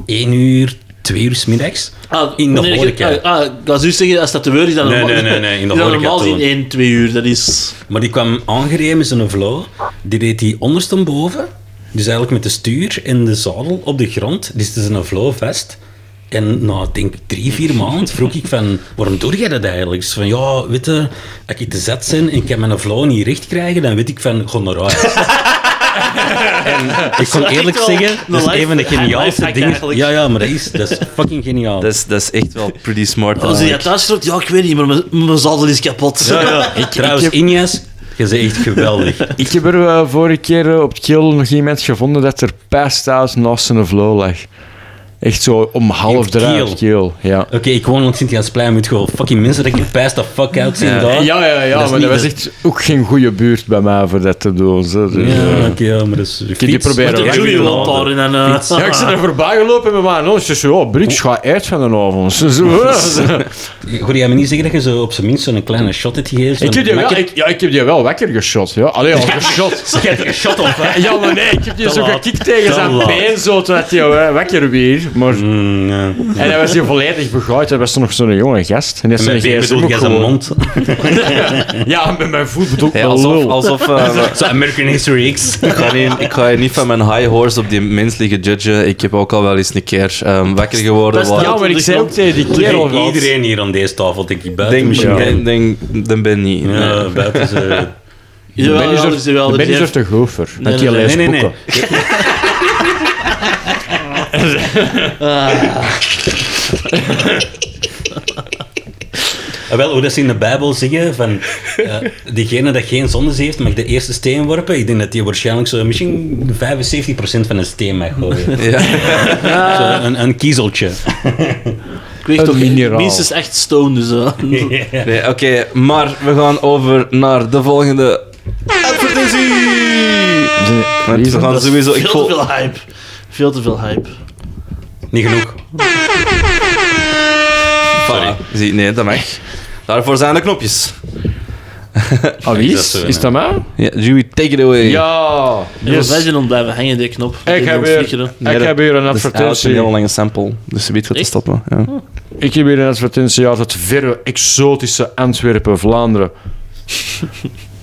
Speaker 5: 1 uur, 2 uur 's middags.
Speaker 4: Ah,
Speaker 5: in de
Speaker 4: nee,
Speaker 5: horeca.
Speaker 4: ik- Ah, ah, ik was juist zeggen, als dat de is, dan
Speaker 5: Nee,
Speaker 4: normaal-
Speaker 5: nee, nee, nee, in de
Speaker 4: dan
Speaker 5: horeca
Speaker 4: normaal
Speaker 5: toen.
Speaker 4: zien 1, 2 uur, dat is...
Speaker 5: Maar die kwam aangereden met zijn vlo. Die deed die ondersteboven. Dus eigenlijk met de stuur en de zadel op de grond. Die zette zijn vlo vast. En na, ik denk drie, vier maanden vroeg ik van... Waarom doe jij dat eigenlijk? Ze van, ja, weet je... Als ik te zet ben en ik kan mijn vlo niet recht krijgen... Dan weet ik van, ga naar huis. en ik kon
Speaker 4: echt
Speaker 5: eerlijk
Speaker 4: wel
Speaker 5: zeggen...
Speaker 4: een
Speaker 5: Dat is
Speaker 4: life-
Speaker 5: een van de
Speaker 4: een
Speaker 5: geniaalste
Speaker 4: lifehack
Speaker 5: dingen...
Speaker 4: eigenlijk.
Speaker 5: Ja, ja, maar dat is, dat is fucking geniaal.
Speaker 2: Dat is, dat is echt wel pretty smart. eh.
Speaker 4: Als je
Speaker 2: eigenlijk.
Speaker 4: dat thuis groot, ja, ik weet niet, maar mijn- mijn zadel is kapot.
Speaker 5: Trouwens,
Speaker 3: heb-
Speaker 5: Injas... Je bent echt geweldig.
Speaker 3: Ik heb er eh, vorige keer eh, op het kill nog iemand gevonden dat er past out naast zijn vlo lag. Echt zo om half
Speaker 5: In Kiel?
Speaker 3: drie op het kiel. Ja.
Speaker 5: Oké, ik woon op Sint-Jansplein met gewoon fucking mensen dat ik de pijs de fuck out zien daar.
Speaker 3: Eh, Ja, ja, ja,
Speaker 5: Eh, Dat is
Speaker 3: maar
Speaker 5: niet
Speaker 3: dat was
Speaker 5: de-
Speaker 3: echt ook geen goede buurt bij mij voor dat te doen. zo. Dus, eh.
Speaker 5: Ja, oké, ja, maar dat is... Ik
Speaker 3: die proberen
Speaker 4: De
Speaker 3: Ja,
Speaker 4: Joey
Speaker 3: ja,
Speaker 4: loopt daar in een... eh,
Speaker 5: Fiets.
Speaker 3: Ja, ik zit er voorbij gelopen met mijn oom. Ze zei, oh, Brits, ga uit van de avond. Ze zei, "Oh."
Speaker 5: Goed, jij me niet zeggen dat je zo op zijn minst zo'n kleine shot hebt gegeven? zo'n
Speaker 3: ik, heb die wel,
Speaker 5: makker-
Speaker 3: ik, ja, ik heb die wel wakker geschot. Ja. Allee, al geschot.
Speaker 5: Je hebt er een shot op, hè?
Speaker 3: Ja, maar nee, ik heb die
Speaker 5: Te
Speaker 3: zo
Speaker 5: laat.
Speaker 3: gekikt tegen
Speaker 5: Te
Speaker 3: zijn
Speaker 5: laat.
Speaker 3: been, zo, toen had hij eh, wakker weer. Maar...
Speaker 5: Mm, ja. En
Speaker 3: En hij was hier volledig begooid. Er was toen nog zo'n jonge gast. En dat
Speaker 5: met wie bedoel jij zijn mond?
Speaker 3: Ja, met mijn voet bedoel ik
Speaker 2: Hey,
Speaker 3: wel
Speaker 2: alsof,
Speaker 3: lul.
Speaker 2: alsof eh, we-
Speaker 5: Zo American History X.
Speaker 2: ik, ga niet, ik ga hier niet van mijn high horse op die mens liggen judgen. Ik heb ook al wel eens een keer ehm, wakker geworden.
Speaker 4: Best-
Speaker 2: waar-
Speaker 3: Ja, maar ik zei ook tegen die kerel van...
Speaker 5: Iedereen hier aan deze tafel, denk ik, buiten
Speaker 2: Denk,
Speaker 5: misschien.
Speaker 2: denk, denk, dan ben niet.
Speaker 5: Ja,
Speaker 2: Nee.
Speaker 5: buiten ze...
Speaker 3: De
Speaker 4: Jawel, ja, dat is
Speaker 3: manager- de
Speaker 4: wel, dat is
Speaker 3: manager
Speaker 4: echt-
Speaker 3: te goed voor.
Speaker 4: nee,
Speaker 3: Dat je
Speaker 4: nee,
Speaker 3: leest
Speaker 5: nee, nee,
Speaker 3: boeken.
Speaker 5: Ah, Wel, hoe dat ze in de Bijbel zeggen van eh, diegene dat geen zondes heeft, mag de eerste steen worpen. Ik denk dat die waarschijnlijk zo misschien 75% van een steen mag gooien. Zo een, een kiezeltje.
Speaker 4: Ik weeg
Speaker 3: Een
Speaker 4: toch
Speaker 3: mineraal.
Speaker 4: minstens echt stone, dus... eh.
Speaker 2: Nee, Oké, maar we gaan over naar de volgende advertentie. Want we gaan sowieso. Ik
Speaker 4: Veel
Speaker 2: vol-
Speaker 4: te veel hype. Veel te veel hype.
Speaker 5: Niet genoeg.
Speaker 2: Ah, Voilà. Zie, nee, dat mag. Daarvoor zijn de knopjes.
Speaker 3: Ah, wie
Speaker 5: dat
Speaker 3: is?
Speaker 5: zo,
Speaker 3: Is
Speaker 5: ja.
Speaker 3: dat mij?
Speaker 2: Ja, Jimmy, take it away.
Speaker 3: Ja.
Speaker 4: Yes. Wij
Speaker 3: Yes.
Speaker 4: zijn ontblijven hangen, die knop.
Speaker 3: Ik heb weer, ik
Speaker 2: Nee, dat-
Speaker 3: heb weer een
Speaker 2: Dat is eigenlijk een
Speaker 3: advertentie.
Speaker 2: heel lange sample, dus je weet wat te
Speaker 4: Echt?
Speaker 2: stoppen. Ja.
Speaker 3: Ik heb hier een advertentie uit het verre, exotische Antwerpen, Vlaanderen.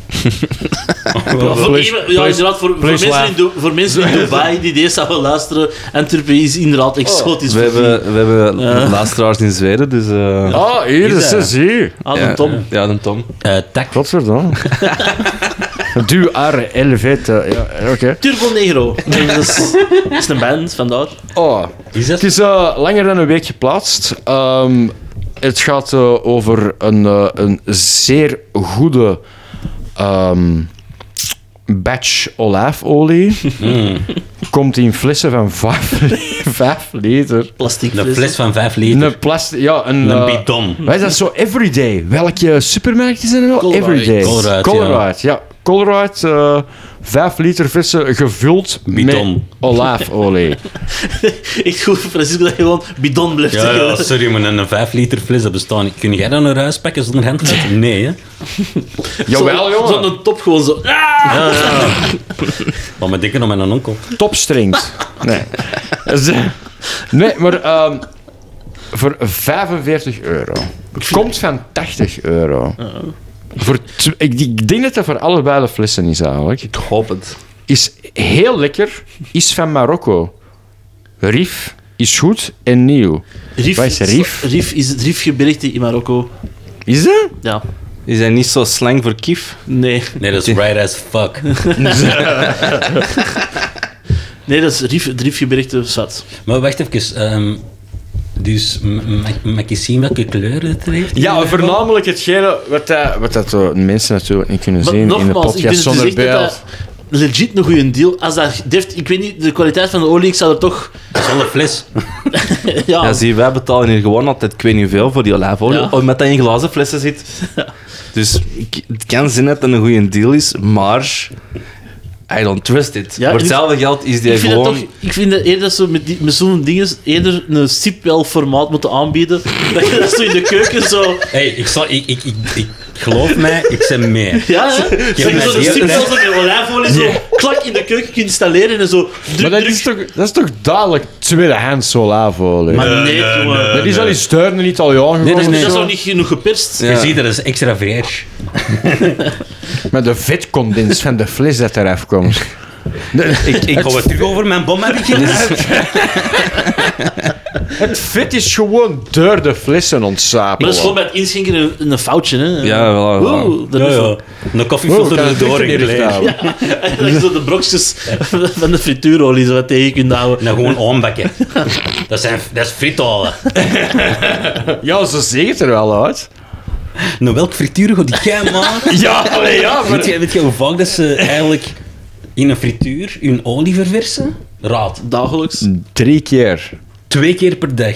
Speaker 3: Please-
Speaker 4: ja,
Speaker 3: please-
Speaker 4: inderdaad, voor, voor,
Speaker 3: please
Speaker 4: mensen
Speaker 3: laugh.
Speaker 4: in Du- voor mensen in Dubai die deze zouden luisteren, Antwerpen is inderdaad exotisch.
Speaker 2: We
Speaker 4: voor die.
Speaker 2: hebben, we hebben luisteraars in Zweden, dus... eh,
Speaker 3: Ah, hier is ze, zie.
Speaker 4: Ah,
Speaker 2: ja,
Speaker 4: dan Tom.
Speaker 2: Ja, dan Tom.
Speaker 5: Eh, tak.
Speaker 3: Godverdomme. Du are elvete. Ja, oké.
Speaker 4: Turbo Negro. Nee, dat, is, dat is een band, vandaar.
Speaker 3: Oh.
Speaker 5: Is dat?
Speaker 3: Het is eh, langer dan een week geplaatst. Ehm, het gaat eh, over een, eh, een zeer goede ehm batch olijfolie.
Speaker 5: Hmm.
Speaker 3: Komt in flessen van 5, liter.
Speaker 4: Plastic
Speaker 5: Een
Speaker 4: fles.
Speaker 5: fles van 5 liter.
Speaker 3: Een plastic, ja, een,
Speaker 5: Een
Speaker 3: eh,
Speaker 5: bidon.
Speaker 3: Wij zijn zo everyday. Welke supermarkt is er wel?
Speaker 4: Colruyt.
Speaker 3: Everyday.
Speaker 5: Colruyt,
Speaker 3: ja. Colruyt, eh, vijf liter vissen gevuld met
Speaker 5: Bidon.
Speaker 3: olijfolie.
Speaker 4: Ik goed voor Francisco dat je gewoon bidon blijft
Speaker 5: Ja,
Speaker 4: zeggen.
Speaker 5: ja, sorry, maar een 5 liter fles, dat bestaat niet. Kun jij dan een ruis pakken zonder handvat? Nee, hè?
Speaker 3: Jawel,
Speaker 4: Zo-
Speaker 3: jongen.
Speaker 4: Zo'n top gewoon zo. Ah!
Speaker 5: Laat me denken aan mijn onkel.
Speaker 3: Topstrengt. Nee. Ze- nee, maar ehm, voor 45 euro. Komt van 80 euro. Voor tw- ik, ik denk dat dat voor allebei de flessen is eigenlijk.
Speaker 2: Ik hoop het.
Speaker 3: Is heel lekker. Is van Marokko. Rif is goed en nieuw.
Speaker 4: Rif,
Speaker 3: Wat is Rif?
Speaker 4: Rif is het Rifgebergte in Marokko.
Speaker 3: Is dat?
Speaker 4: Ja.
Speaker 2: Is hij niet zo slang voor kief?
Speaker 4: Nee.
Speaker 5: Nee, dat is right as fuck.
Speaker 4: Nee, dat is Rif, het Rifgebergte zat.
Speaker 5: Maar wacht even. ehm, dus m- mag, mag ik zien welke kleur het heeft?
Speaker 3: Ja, voornamelijk hetgene wat, dat- wat dat eh, mensen natuurlijk niet kunnen
Speaker 4: Maar
Speaker 3: zien in de
Speaker 4: nogmaals, ik
Speaker 3: podcast
Speaker 4: vind het dus
Speaker 3: zonder
Speaker 4: echt dat
Speaker 3: beeld.
Speaker 4: dat legit een goede deal. Als dat deft, ik weet niet, de kwaliteit van de olie, ik zou er toch...
Speaker 5: Zonder fles.
Speaker 4: Ja,
Speaker 2: Ja, zie, wij betalen hier gewoon altijd, ik weet niet hoeveel, voor die olijfolie.
Speaker 4: Oh. Ja.
Speaker 2: Omdat dat in glazen flessen zit. Dus ik- het kan zijn dat het een goede deal is, maar... I don't trust it.
Speaker 4: Ja,
Speaker 2: voor
Speaker 4: ik-
Speaker 2: hetzelfde geld is die
Speaker 4: ik vind, dat
Speaker 2: gewoon...
Speaker 4: toch, ik vind dat eerder dat ze met, die- met zo'n dingen eerder een sipwel formaat moeten aanbieden. Dat je dat zo in de keuken zo...
Speaker 5: hey, ik, zal, ik, ik, ik, ik geloof mij, ik ben mee.
Speaker 4: Ja, hè? Zo
Speaker 5: dat
Speaker 4: zo'n
Speaker 5: heel-
Speaker 4: sipwel zo met olijfolie zo klak in de keuken installeren en zo druk,
Speaker 3: Maar dat
Speaker 4: druk.
Speaker 3: is, toch, dat is toch duidelijk tweedehands solavolie?
Speaker 4: Maar nee, jongen.
Speaker 3: dat is al iets duurder in Italiaan
Speaker 5: nee,
Speaker 3: geworden.
Speaker 5: nee.
Speaker 4: Dus dat
Speaker 3: of
Speaker 4: is
Speaker 3: zo.
Speaker 4: nog niet genoeg geperst.
Speaker 5: Je
Speaker 2: Ja.
Speaker 5: ziet, dat is extra verge.
Speaker 3: Met de vetcondens van de fles dat eraf komt.
Speaker 2: Ik, ik,
Speaker 5: Gaan we terug over mijn bom hebben beginnen?
Speaker 3: Het vet is gewoon door de flessen
Speaker 4: Maar dat is
Speaker 3: ontsapelen.
Speaker 4: gewoon bij het inschenken een, een foutje, hè?
Speaker 2: ja, wel, wel.
Speaker 4: Oeh, dat
Speaker 5: Ja,
Speaker 4: is wel-
Speaker 5: ja. Een
Speaker 3: Wow,
Speaker 5: koffiefilter
Speaker 3: Oh, kan
Speaker 5: er
Speaker 3: het echt
Speaker 5: door
Speaker 3: niet recht
Speaker 5: in
Speaker 3: houden.
Speaker 4: Dat je zo de brokjes van de frituurolie zo wat tegen je kunt houden.
Speaker 5: En dan gewoon aanbakken. Dat, zijn, dat is frietalen.
Speaker 3: Ja, ze ziet het er wel uit.
Speaker 5: Nou, welk frituur gaat die jij maken?
Speaker 3: Ja, allee, ja, maar...
Speaker 5: Weet je, weet je hoe vaak dat ze eigenlijk in een frituur hun olie verversen? Raad.
Speaker 4: Dagelijks.
Speaker 3: Drie keer.
Speaker 5: Twee keer per dag.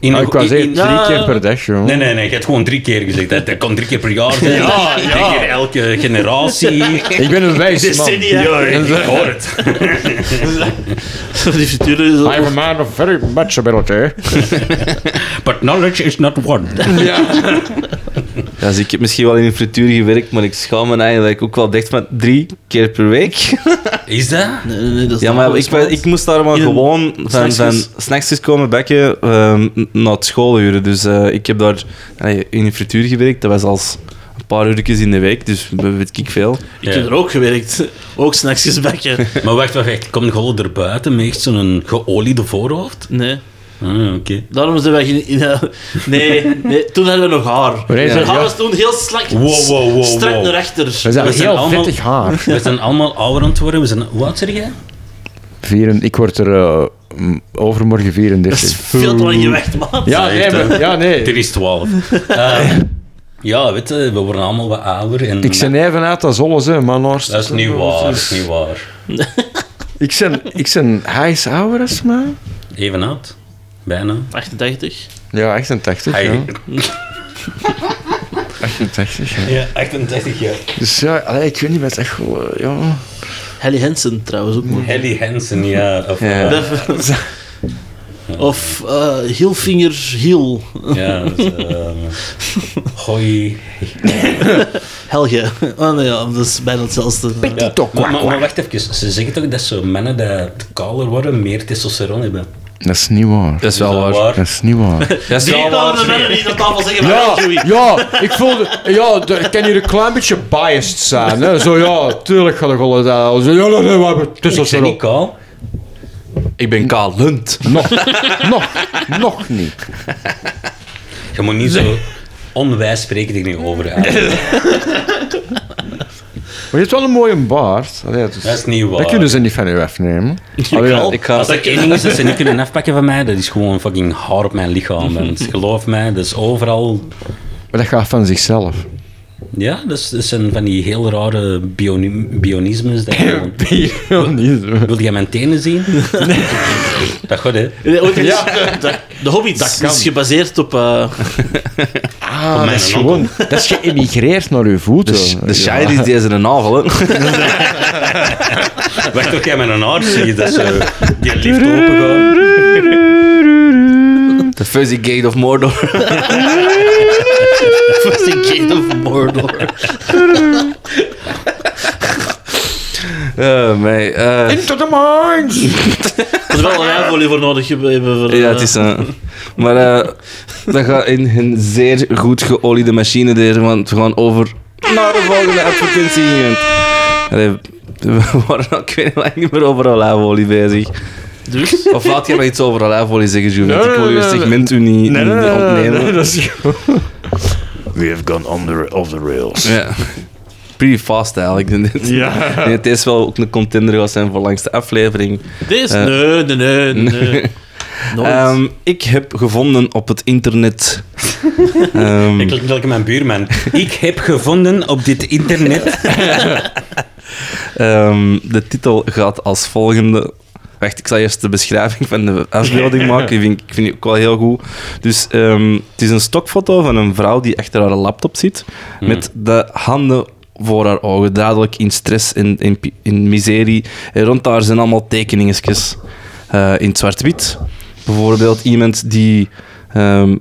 Speaker 5: In
Speaker 3: Ah, ik wou
Speaker 5: in-
Speaker 3: zeggen,
Speaker 5: in-
Speaker 3: drie
Speaker 4: Ja.
Speaker 3: keer per dag, joh.
Speaker 5: Nee, nee, nee. Je hebt gewoon drie keer gezegd. Dat, dat kan drie keer per jaar zijn. Ja, Drie keer elke generatie.
Speaker 3: Ik ben een wijs man. Oh.
Speaker 4: Decennia.
Speaker 5: ik hoor het.
Speaker 4: Die frituren zo.
Speaker 3: I'm a man of very much ability.
Speaker 5: But knowledge is not one.
Speaker 2: Ja, dus ik heb misschien wel in een frituur gewerkt, maar ik schaam me eigenlijk ook wel dicht met drie keer per week.
Speaker 5: Is dat?
Speaker 4: Nee, nee, nee, dat is
Speaker 2: Ja, maar ik,
Speaker 4: dagelijks, man.
Speaker 2: ik moest daar maar
Speaker 4: In een
Speaker 2: gewoon van, van
Speaker 4: snacksjes.
Speaker 2: snacksjes komen bekken ehm na het schooluren. Dus eh, ik heb daar allee, in een frituur gewerkt. Dat was als een paar uurtjes in de week, dus dat weet ik veel.
Speaker 4: Ik heb er ook gewerkt. Ook snacksjes bakken.
Speaker 5: Maar wacht, wacht, wacht. Komt gewoon erbuiten met echt zo'n geoliede voorhoofd?
Speaker 4: Nee.
Speaker 5: Ah, oké.
Speaker 4: Daarom zijn wij geen... ja, Nee, nee. Toen hadden we nog haar.
Speaker 3: Maar hij
Speaker 4: Haar
Speaker 3: zei, ja.
Speaker 4: was toen heel slak.
Speaker 5: Wow, wow, wow, wow.
Speaker 4: Strak naar achter.
Speaker 3: We zijn
Speaker 5: We zijn
Speaker 3: heel
Speaker 5: allemaal-
Speaker 3: vettig haar.
Speaker 5: We zijn allemaal ouder aan het worden. We zijn... Hoe oud zeg jij?
Speaker 3: Vieren, ik word er eh, m- overmorgen 34.
Speaker 4: Dat is veel te lang gewacht, man.
Speaker 3: Ja,
Speaker 5: Echt,
Speaker 3: nee,
Speaker 5: hè?
Speaker 3: maar, ja,
Speaker 5: Er
Speaker 3: nee.
Speaker 5: is 12. Eh, ja, weet je, we worden allemaal wat ouder. En
Speaker 3: Ik ben even uit als alles, hè, man. Horst.
Speaker 5: Dat is niet waar, dat is niet waar.
Speaker 3: Ik ben, ik ben, hij is ouder als mij.
Speaker 5: Even oud. Bijna.
Speaker 4: 88.
Speaker 3: Ja, 88.
Speaker 5: Hij-
Speaker 3: Ja. 88, ja.
Speaker 5: Ja, 38 jaar.
Speaker 3: Dus ja, allee, ik weet niet, maar het is echt wel, eh, ja.
Speaker 4: Helly Hansen trouwens ook nog.
Speaker 5: Helly Hansen, ja. Of,
Speaker 2: Ja.
Speaker 5: eh,
Speaker 4: Dat- Of eh hielvinger hiel.
Speaker 5: Ja, dus, eh, hoi.
Speaker 4: Helge. Oh nee, ja, dat is bijna hetzelfde.
Speaker 5: Ja, maar, maar, maar wacht even, ze zeggen toch dat zo mannen dat kaler worden meer testosteron hebben?
Speaker 3: Dat is niet waar.
Speaker 2: Dat is wel waar.
Speaker 3: Dat is niet waar.
Speaker 2: Dat is wel waar.
Speaker 4: mannen niet aan tafel zeggen,
Speaker 3: Ja, ja, ik voel de- ja, de- ik kan hier een klein beetje biased zijn. Hè. Zo ja, tuurlijk gaat ik al dat. Zo, Ja, nee, nee, maar het is
Speaker 5: Ik
Speaker 3: als
Speaker 5: ben niet kaal.
Speaker 2: Ik ben Kaal Lund.
Speaker 3: Nog, nog, nog niet.
Speaker 5: Je moet niet zo onwijs spreken tegen je over.
Speaker 3: Maar je hebt wel een mooie baard. Allee, dat, is,
Speaker 5: Dat is niet waar.
Speaker 3: dat kunnen ze niet van u afnemen. Allee, ja,
Speaker 2: Ik ga...
Speaker 5: Als er één ding is dat ze niet kunnen afpakken van mij, dat is gewoon fucking haar op mijn lichaam. En geloof mij, dat is overal...
Speaker 3: maar dat gaat van zichzelf.
Speaker 5: Ja, dat, is, dat zijn van die heel rare bioni- bionismes. Dat je gewoon- Wil jij mijn tenen zien? Dat goed, hè?
Speaker 4: Nee, ooit eens- de, de hobby dat is gebaseerd op... eh,
Speaker 3: Ah, dat is
Speaker 5: mijn onkel.
Speaker 3: gewoon... Dat is geëmigreerd naar uw voeten.
Speaker 2: De shiny is deze een navel, hè.
Speaker 5: Wacht tot jij met een haar ziet, dat zo die lift open gaat.
Speaker 2: The Fuzzy Gate of Mordor.
Speaker 4: First in Gate of Mordor.
Speaker 2: Oh, mei. eh,
Speaker 3: Into the mines!
Speaker 4: Er is wel een rijfolie voor nodig hebben. Voor,
Speaker 2: ja,
Speaker 4: eh,
Speaker 2: het is een... Maar eh, dat gaat in een zeer goed geoliede machine deze, want we gaan over naar de volgende advertentie. Allee, we waren al, ik weet niet lang niet meer over olijfolie bezig.
Speaker 4: Dus?
Speaker 2: Of laat jij maar iets over olijfolie zeggen, Jules? want
Speaker 3: Nee,
Speaker 2: ik wil
Speaker 3: nee,
Speaker 2: je
Speaker 3: nee, nee.
Speaker 2: segment u niet
Speaker 3: Nee,
Speaker 2: niet
Speaker 3: nee, nee, nee, nee,
Speaker 2: ontnemen.
Speaker 3: nee, dat is gewoon-
Speaker 6: We have gone on the, off the rails.
Speaker 2: Ja. Pretty fast eigenlijk.
Speaker 3: Ja.
Speaker 2: Nee, het is wel ook een contender gaat zijn voor langste aflevering.
Speaker 4: Deze?
Speaker 2: Eh.
Speaker 4: nee, nee, nee, nee. Nooit.
Speaker 2: Ehm, ik heb gevonden op het internet. Ehm,
Speaker 5: Ik klink gelijk mijn buurman. Ik heb gevonden op dit internet...
Speaker 2: ehm, de titel gaat als volgende. Wacht, ik zal eerst de beschrijving van de afbeelding maken. Ik vind, ik vind die ook wel heel goed. Dus ehm, het is een stokfoto van een vrouw die achter haar laptop zit. Met de handen voor haar ogen. Duidelijk in stress en in, pi- in miserie. En rond haar zijn allemaal tekeningetjes eh, in het zwart-wit. Bijvoorbeeld iemand die ehm,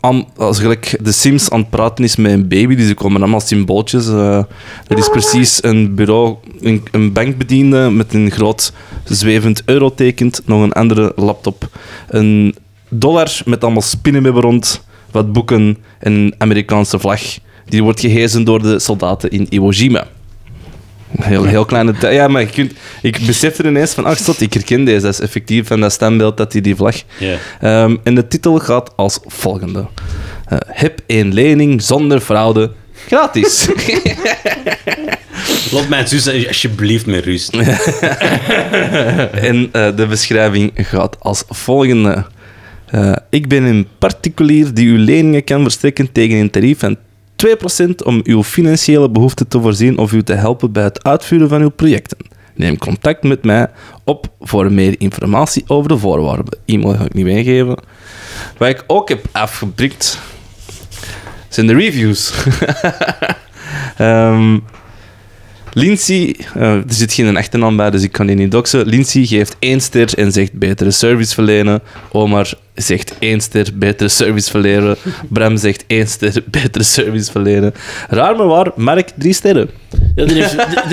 Speaker 2: am- als gelijk de Sims aan het praten is met een baby, dus er komen allemaal symbooltjes. eh. dat is precies een bureau, een, een bankbediende met een groot zwevend eurotekent, nog een andere laptop, een dollar met allemaal spinnenwebben rond, wat boeken en een Amerikaanse vlag. Die wordt gehezen door de soldaten in Iwo Jima. Een Heel, heel kleine tijd. Ja, maar je kunt, ik besefte ineens van, ach, stot, ik herken deze. Dat is effectief van dat standbeeld dat hij die vlag
Speaker 5: Ja.
Speaker 2: Ehm, en de titel gaat als volgende: Eh, Heb één lening zonder fraude gratis.
Speaker 5: Laat mijn zus alsjeblieft met rust.
Speaker 2: en eh, de beschrijving gaat als volgende: Eh, Ik ben een particulier die uw leningen kan verstrekken tegen een tarief van 2% om uw financiële behoeften te voorzien of u te helpen bij het uitvoeren van uw projecten. Neem contact met mij op voor meer informatie over de voorwaarden. E-mail ga ik niet meegeven. Wat ik ook heb afgeprikt, zijn de reviews. Ehm Lindsay, eh, er zit geen achternaam bij, dus ik kan die niet doxen. Lindsay geeft één ster en zegt betere service verlenen. Omar zegt één ster, betere service verlenen. Bram zegt één ster, betere service verlenen. Raar maar waar, Mark drie sterren.
Speaker 4: Ja, die heeft, die-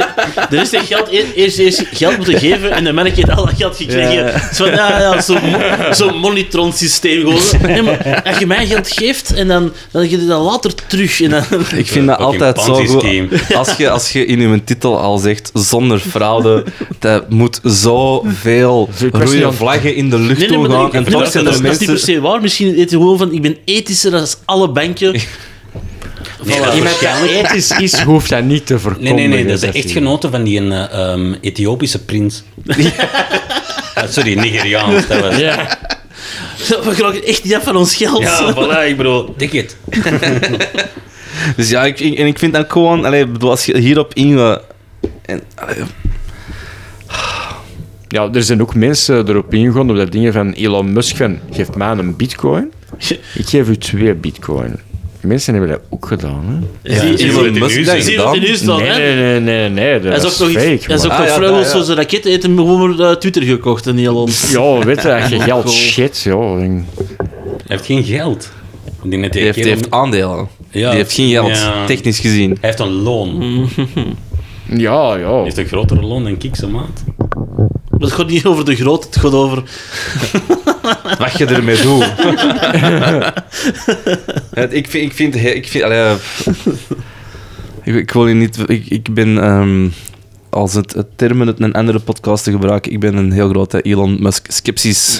Speaker 4: die- er is echt geld, e- eerst, eerst geld moeten geven en dan merk je dat al dat geld gekregen.
Speaker 2: Ja.
Speaker 4: Het is van, ja, ja, zo'n mo- zo'n monitron-systeem gewoon. Nee, maar als je mij geld geeft en dan, dan geef je dat later terug. En dan,
Speaker 2: Ik vind dat
Speaker 5: Fucking
Speaker 2: altijd zo goed.
Speaker 5: Ponzi-scheme.
Speaker 2: Als je, als je in je titel al zegt zonder fraude, dat moet zoveel
Speaker 3: was niet
Speaker 2: rode
Speaker 3: aan-
Speaker 2: vlaggen in de lucht
Speaker 4: nee, nee,
Speaker 2: toe
Speaker 4: maar
Speaker 2: gaan.
Speaker 4: ik-
Speaker 2: en
Speaker 4: ik-
Speaker 2: toch
Speaker 4: dat,
Speaker 2: zijn
Speaker 4: dat,
Speaker 2: er
Speaker 4: is- dat is niet per
Speaker 2: mensen...
Speaker 4: se waar. Misschien eet je gewoon van, ik ben ethischer dan alle banken.
Speaker 5: Nee,
Speaker 2: dus
Speaker 5: dat is
Speaker 3: Iemand die
Speaker 5: waarschijnlijk-
Speaker 3: ethisch is, hoeft dat niet te
Speaker 5: Nee,
Speaker 3: verkondigen.
Speaker 5: nee, nee, dat is echt
Speaker 3: hij-
Speaker 5: genoten van die eh, ehm, Ethiopische prins. Ah, sorry, Nigeriaans, dat was...
Speaker 3: Ja.
Speaker 4: We krijgen echt niet af van ons geld.
Speaker 5: Ja, voilà, ik bedoel, dik het.
Speaker 2: Dus ja, ik, ik- en ik vind dat gewoon... Allee, ik bedoel, als je hierop ingaat... En, allee,
Speaker 3: Ja, er zijn ook mensen erop ingegaan op dat dingen van Elon Musk van, geef mij een bitcoin, ik geef u twee bitcoin. mensen hebben dat ook gedaan. Hè?
Speaker 4: Zie-
Speaker 2: Elon
Speaker 4: zie-
Speaker 2: Musk
Speaker 4: zie-
Speaker 2: dat
Speaker 4: Zie je
Speaker 2: gedaan?
Speaker 4: dat in nieuws dan,
Speaker 3: nee,
Speaker 4: hè?
Speaker 3: nee, nee, nee, nee, dat
Speaker 4: Hij
Speaker 3: is
Speaker 4: is ook nog
Speaker 3: fake.
Speaker 4: iets. Hij is
Speaker 3: man.
Speaker 4: ook
Speaker 2: Ah,
Speaker 4: nog
Speaker 2: ja,
Speaker 4: vrijwel
Speaker 2: ja, ja.
Speaker 4: zo'n raket eten hem gewoon maar, eh, Twitter gekocht en heel ons.
Speaker 3: Ja, weet je, als je geld shit, joh. dan-
Speaker 5: Hij heeft geen geld. Die net die
Speaker 2: Die heeft, die
Speaker 5: kerel-
Speaker 2: heeft aandelen.
Speaker 5: Ja.
Speaker 2: Die heeft geen geld,
Speaker 5: Ja.
Speaker 2: technisch gezien.
Speaker 5: Hij heeft een loon.
Speaker 2: Hmm.
Speaker 5: Hij
Speaker 3: Ja, ja.
Speaker 5: heeft een grotere loon dan Kikse maat.
Speaker 4: Maar het gaat niet over de groot, het gaat over.
Speaker 2: Wat je ermee doet. Het- ik vind... Ik, vind, ik, vind allee, pff. ik, ik wil hier niet... Ik, ik ben... ehm, als het, het termen uit een andere podcast te gebruiken, ik ben een heel grote Elon Musk sceptisch.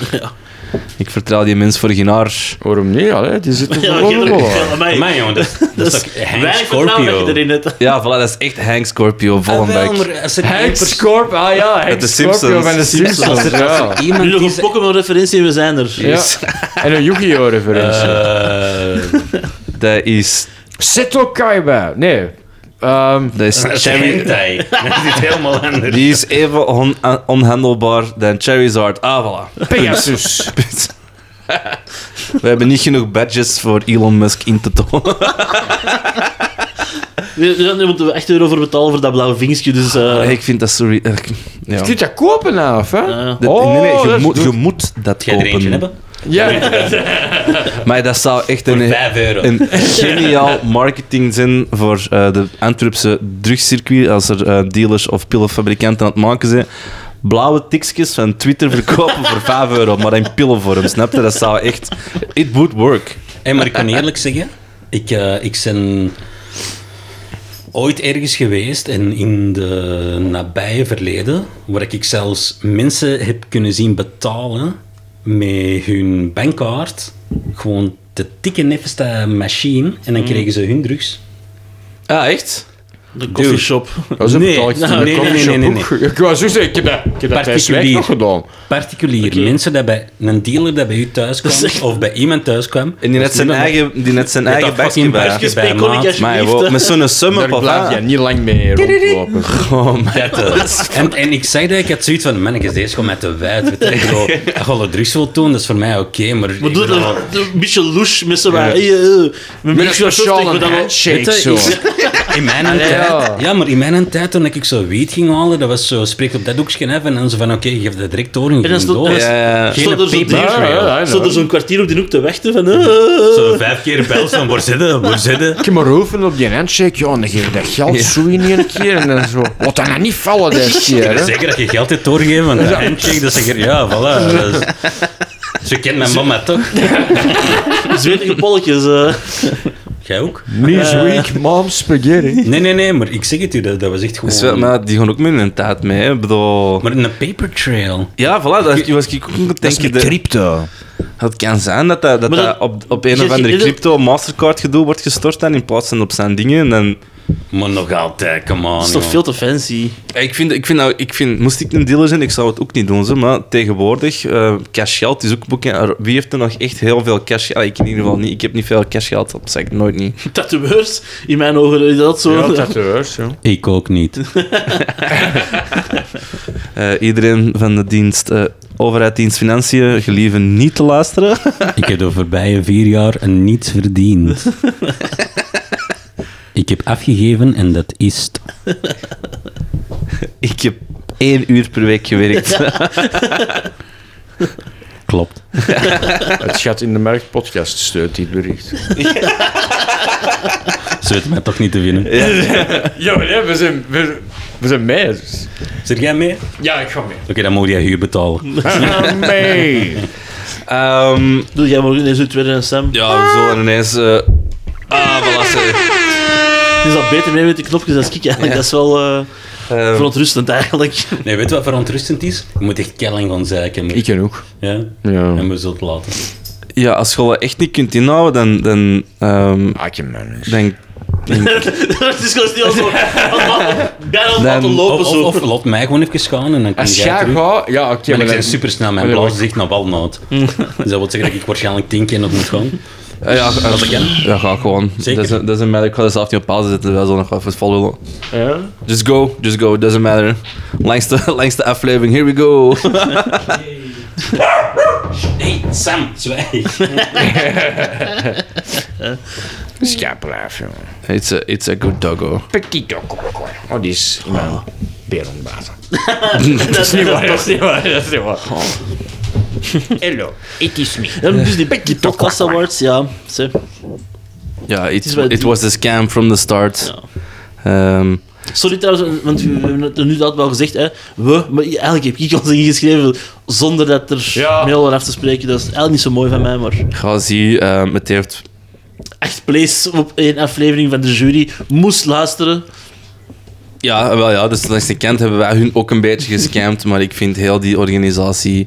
Speaker 2: Ik vertrouw die mens voor geen haar.
Speaker 3: Waarom niet? Allee, die zitten
Speaker 4: Ja,
Speaker 3: gewoon
Speaker 4: geen-
Speaker 3: wel.
Speaker 4: Ja, amai.
Speaker 5: Maar jongen, dat, dat
Speaker 4: Dat
Speaker 5: is
Speaker 4: is
Speaker 5: toch Hank
Speaker 4: weinig Dus vertrouwen dat
Speaker 5: Scorpio.
Speaker 4: je erin hebt.
Speaker 2: Ja, voilà, dat is echt Hank Scorpio, Vollenbeck.
Speaker 5: Ah, wel, maar als er één
Speaker 3: Hank
Speaker 5: pers-
Speaker 3: Scorpio, ah ja, Hank
Speaker 2: de
Speaker 3: Scorpio
Speaker 2: Simpsons.
Speaker 3: van de Simpsons.
Speaker 5: Als er- als er
Speaker 3: Ja.
Speaker 5: iemand
Speaker 4: Nu nog
Speaker 5: is-
Speaker 4: een Pokémon-referentie en we zijn er.
Speaker 3: Ja. En een Yu-Gi-Oh! referentie.
Speaker 5: Eh,
Speaker 2: Dat is...
Speaker 3: Seto Kaiba. Nee. Ehm,
Speaker 2: Dat is
Speaker 5: Ah, dat is
Speaker 2: Cherry-
Speaker 5: hentai. Dat is iets helemaal anders.
Speaker 2: Die is even on- onhandelbaar dan Charizard. Ah, voilà.
Speaker 3: Pegasus.
Speaker 2: Punt. We hebben niet genoeg badges voor Elon Musk in te tonen.
Speaker 4: Dus Nu, nu- nu moeten we echt euro voor betalen voor dat blauwe vinkje, dus... eh,
Speaker 2: Ik vind dat sorry. eh, ik- Ja.
Speaker 3: Je kunt dat kopen nou, of hè? Oh,
Speaker 4: Ja.
Speaker 2: Dat- nee, nee, je,
Speaker 3: dat is
Speaker 2: moet, je
Speaker 3: goed.
Speaker 2: moet dat
Speaker 5: Jij er eentje
Speaker 2: kopen.
Speaker 5: hebben?
Speaker 3: Ja,
Speaker 2: Maar dat zou echt een,
Speaker 5: 5 euro.
Speaker 2: een geniaal marketing zijn voor eh, de Antwerpse drugscircuit. Als er eh, dealers of pillenfabrikanten aan het maken zijn. Blauwe tikjes van Twitter verkopen voor 5 euro, maar in pillenvorm. Snap je? Dat zou echt. It would work.
Speaker 5: Hey, maar ik kan eerlijk zeggen, ik, eh, ik ben ooit ergens geweest en in de nabije verleden, waar ik zelfs mensen heb kunnen zien betalen met hun bankkaart, gewoon de dikke nefeste machine,
Speaker 2: Mm.
Speaker 5: en dan kregen ze hun drugs.
Speaker 2: Ah, echt?
Speaker 4: de coffeeshop.
Speaker 3: dat is een
Speaker 5: Nee,
Speaker 3: betaaltje.
Speaker 5: nou, nee, nee, nee, nee, nee.
Speaker 3: Ik wou zo zeggen, ik heb dat, ik heb dat thuis
Speaker 5: Particulier.
Speaker 3: nog gedaan.
Speaker 5: Particulier, mensen dat bij een dealer dat bij u thuis kwam, of bij iemand thuis kwam.
Speaker 2: En die net zijn eigen, die net zijn eigen
Speaker 5: dat
Speaker 2: bakje
Speaker 5: fucking
Speaker 2: bij.
Speaker 5: bakje.
Speaker 4: Dus bij kon ik
Speaker 5: maat,
Speaker 2: Maar
Speaker 4: alsjeblieft,
Speaker 2: wow,
Speaker 4: eh,
Speaker 2: Ah, met zo'n sum
Speaker 3: Daar
Speaker 2: op
Speaker 3: blijf je
Speaker 2: af.
Speaker 3: niet lang mee rondlopen.
Speaker 5: Dat, eh, en, en ik zei dat ik had zoiets van, man, ik is deze gewoon met de wijd. Weet je, ik bedoel, als je alle drugs wilt doen, dat is voor mij oké, maar... ik
Speaker 4: Maar doe
Speaker 5: bedoel,
Speaker 4: dat een beetje louche met z'n hey, eh, Met
Speaker 3: Met een
Speaker 4: mixed shot, ik
Speaker 3: speciale
Speaker 4: wil dat wel-
Speaker 3: handshake
Speaker 5: Weet je,
Speaker 3: zo.
Speaker 5: ik- in mijn tijd,
Speaker 3: ja.
Speaker 5: ja. maar in mijn tijd, toen ik zo wiet ging halen, dat was zo, spreek op dat doekje even, en dan zo van, oké, geef dat direct door, en je
Speaker 4: dan
Speaker 5: ging
Speaker 4: stond-
Speaker 5: door.
Speaker 4: ja,
Speaker 2: ja, ja.
Speaker 5: Geen
Speaker 4: Stond er zo'n
Speaker 5: paper
Speaker 4: deur-
Speaker 5: trail.
Speaker 3: Ja, ja.
Speaker 4: Stond er zo'n kwartier op die hoek te wachten van... eh, eh,
Speaker 5: Zo vijf keer bel van, waar zitten, waar zitten?
Speaker 3: Ik heb maar oefenen op die handshake, ja, en dan geef je dat geld zo in één keer en dan zo. Wat dan nou niet vallen deze keer, hè?
Speaker 5: Zeker dat je geld hebt doorgegeven, want de handshake, dat zeg je, ja, voilà. dat is- Ze kent mijn mama toch?
Speaker 4: Zwetige polletjes. eh.
Speaker 5: Jij ook?
Speaker 3: This week, mom spaghetti.
Speaker 5: Nee, nee, nee, maar ik zeg het u, dat, dat was echt
Speaker 2: Dus wel,
Speaker 5: gewoon...
Speaker 2: maar die gaan ook met hun tijd mee. hè. Ik bedoel...
Speaker 5: Maar een paper trail.
Speaker 2: Ja, voilà, dat was ik ook aan het denken. dat-
Speaker 6: crypto.
Speaker 2: Het kan zijn dat dat, dat,
Speaker 4: Maar
Speaker 2: dat
Speaker 4: dat-
Speaker 2: op, op een
Speaker 4: je-
Speaker 2: of andere
Speaker 4: je-
Speaker 2: crypto Mastercard gedoe wordt gestort dan, in plaats van op zijn dingen. En dan,
Speaker 5: Maar nog altijd, come on.
Speaker 4: Dat is toch
Speaker 5: joh.
Speaker 4: veel te fancy.
Speaker 2: Ja, ik, vind, ik, vind, nou- ik vind, moest ik een dealer zijn, ik zou het ook niet doen. Zo, maar tegenwoordig, eh cashgeld is ook bekend. Wie heeft er nog echt heel veel cashgeld? Ik in ieder geval niet. Ik heb niet veel cashgeld op, zeg ik nooit niet.
Speaker 4: Tatoeërs, in mijn ogen, is dat zo.
Speaker 3: Ja, tatoeërs, ja.
Speaker 5: Ik ook niet.
Speaker 2: Eh, iedereen van de dienst, eh, overheid, dienst, financiën, gelieven niet te luisteren.
Speaker 5: Ik heb de voorbije vier jaar niets verdiend. Ik heb afgegeven en dat is het.
Speaker 2: Ik heb één uur per week gewerkt.
Speaker 5: Klopt.
Speaker 3: Het gaat in de markt podcast, steunt dit bericht.
Speaker 5: Ze weten mij toch niet te vinden.
Speaker 3: Ja, maar nee, we zijn, we, we zijn mee. dus.
Speaker 5: Zit jij mee? Oké,
Speaker 3: Ja, ik ga mee.
Speaker 5: dan moet jij huur betalen.
Speaker 3: mee.
Speaker 2: Ehm,
Speaker 4: Doe jij morgen ineens uw tweede en Sam?
Speaker 2: ja, we zullen ineens... eh, ah, voilà. zeg.
Speaker 4: Het is al beter mee met de knopjes dan ik eigenlijk. Dat is wel eh,
Speaker 2: Ehm,
Speaker 4: verontrustend eigenlijk.
Speaker 5: Nee, weet je wat verontrustend is? Je moet echt kelling gaan zeiken. maar-
Speaker 3: Ik ken ook.
Speaker 5: Ja?
Speaker 3: Ja.
Speaker 5: En we zullen het laten.
Speaker 2: ja, als je dat echt niet kunt inhouden, dan... dan ehm,
Speaker 3: Ik ken mij niet.
Speaker 2: denk,
Speaker 4: Het is gewoon niet al zo. als ma- Bijna al laten
Speaker 5: Of,
Speaker 4: lopen
Speaker 5: of,
Speaker 4: zo.
Speaker 5: of laat mij gewoon even gaan en dan kan
Speaker 3: Als
Speaker 5: jij
Speaker 3: jij
Speaker 5: terug.
Speaker 3: gaat... Ja, oké,
Speaker 5: Maar
Speaker 3: maar
Speaker 5: ik
Speaker 3: dan...
Speaker 5: ben supersnel, mijn
Speaker 3: maar dan-
Speaker 5: blaas zegt naar walnoot. dus dat wil zeggen dat ik waarschijnlijk tien keer nog moet gaan.
Speaker 2: eh, ja, eh,
Speaker 5: Dat ik ken.
Speaker 2: ja, ga gewoon.
Speaker 5: Zeker.
Speaker 2: Doesn't, doesn't matter. Ik ga dus dat zelf niet op pauze zetten. Wij zullen nog wel even volgen.
Speaker 3: Ja?
Speaker 2: Just go, just go. Doesn't matter. Langste, langste aflevering. Here we go.
Speaker 5: hey, Sam, zwijg.
Speaker 3: Dus ja, braaf, jongen.
Speaker 2: It's a, it's a good doggo.
Speaker 3: Petito kokko. Oh, die is mijn berenbaas.
Speaker 4: Dat is niet waar.
Speaker 3: is niet waar, dat is niet waar. Hello, it is me.
Speaker 4: Ja, dus die, die podcast awards, ja. ze-
Speaker 2: Ja, it,
Speaker 4: is wel
Speaker 2: it
Speaker 4: die-
Speaker 2: was a scam from the start. Ehm,
Speaker 4: Sorry trouwens, want we hebben het nu dat wel gezegd, hè. We, maar eigenlijk heb ik ons ingeschreven zonder dat er
Speaker 3: Ja.
Speaker 4: mail aan af te spreken. Dat is eigenlijk niet zo mooi van mij, maar...
Speaker 2: ga zie, ehm, het heeft...
Speaker 4: Echt place op één aflevering van de jury. Moest luisteren.
Speaker 2: Ja, wel ja, dus langs de kant hebben wij hun ook een beetje gescamd, maar ik vind heel die organisatie...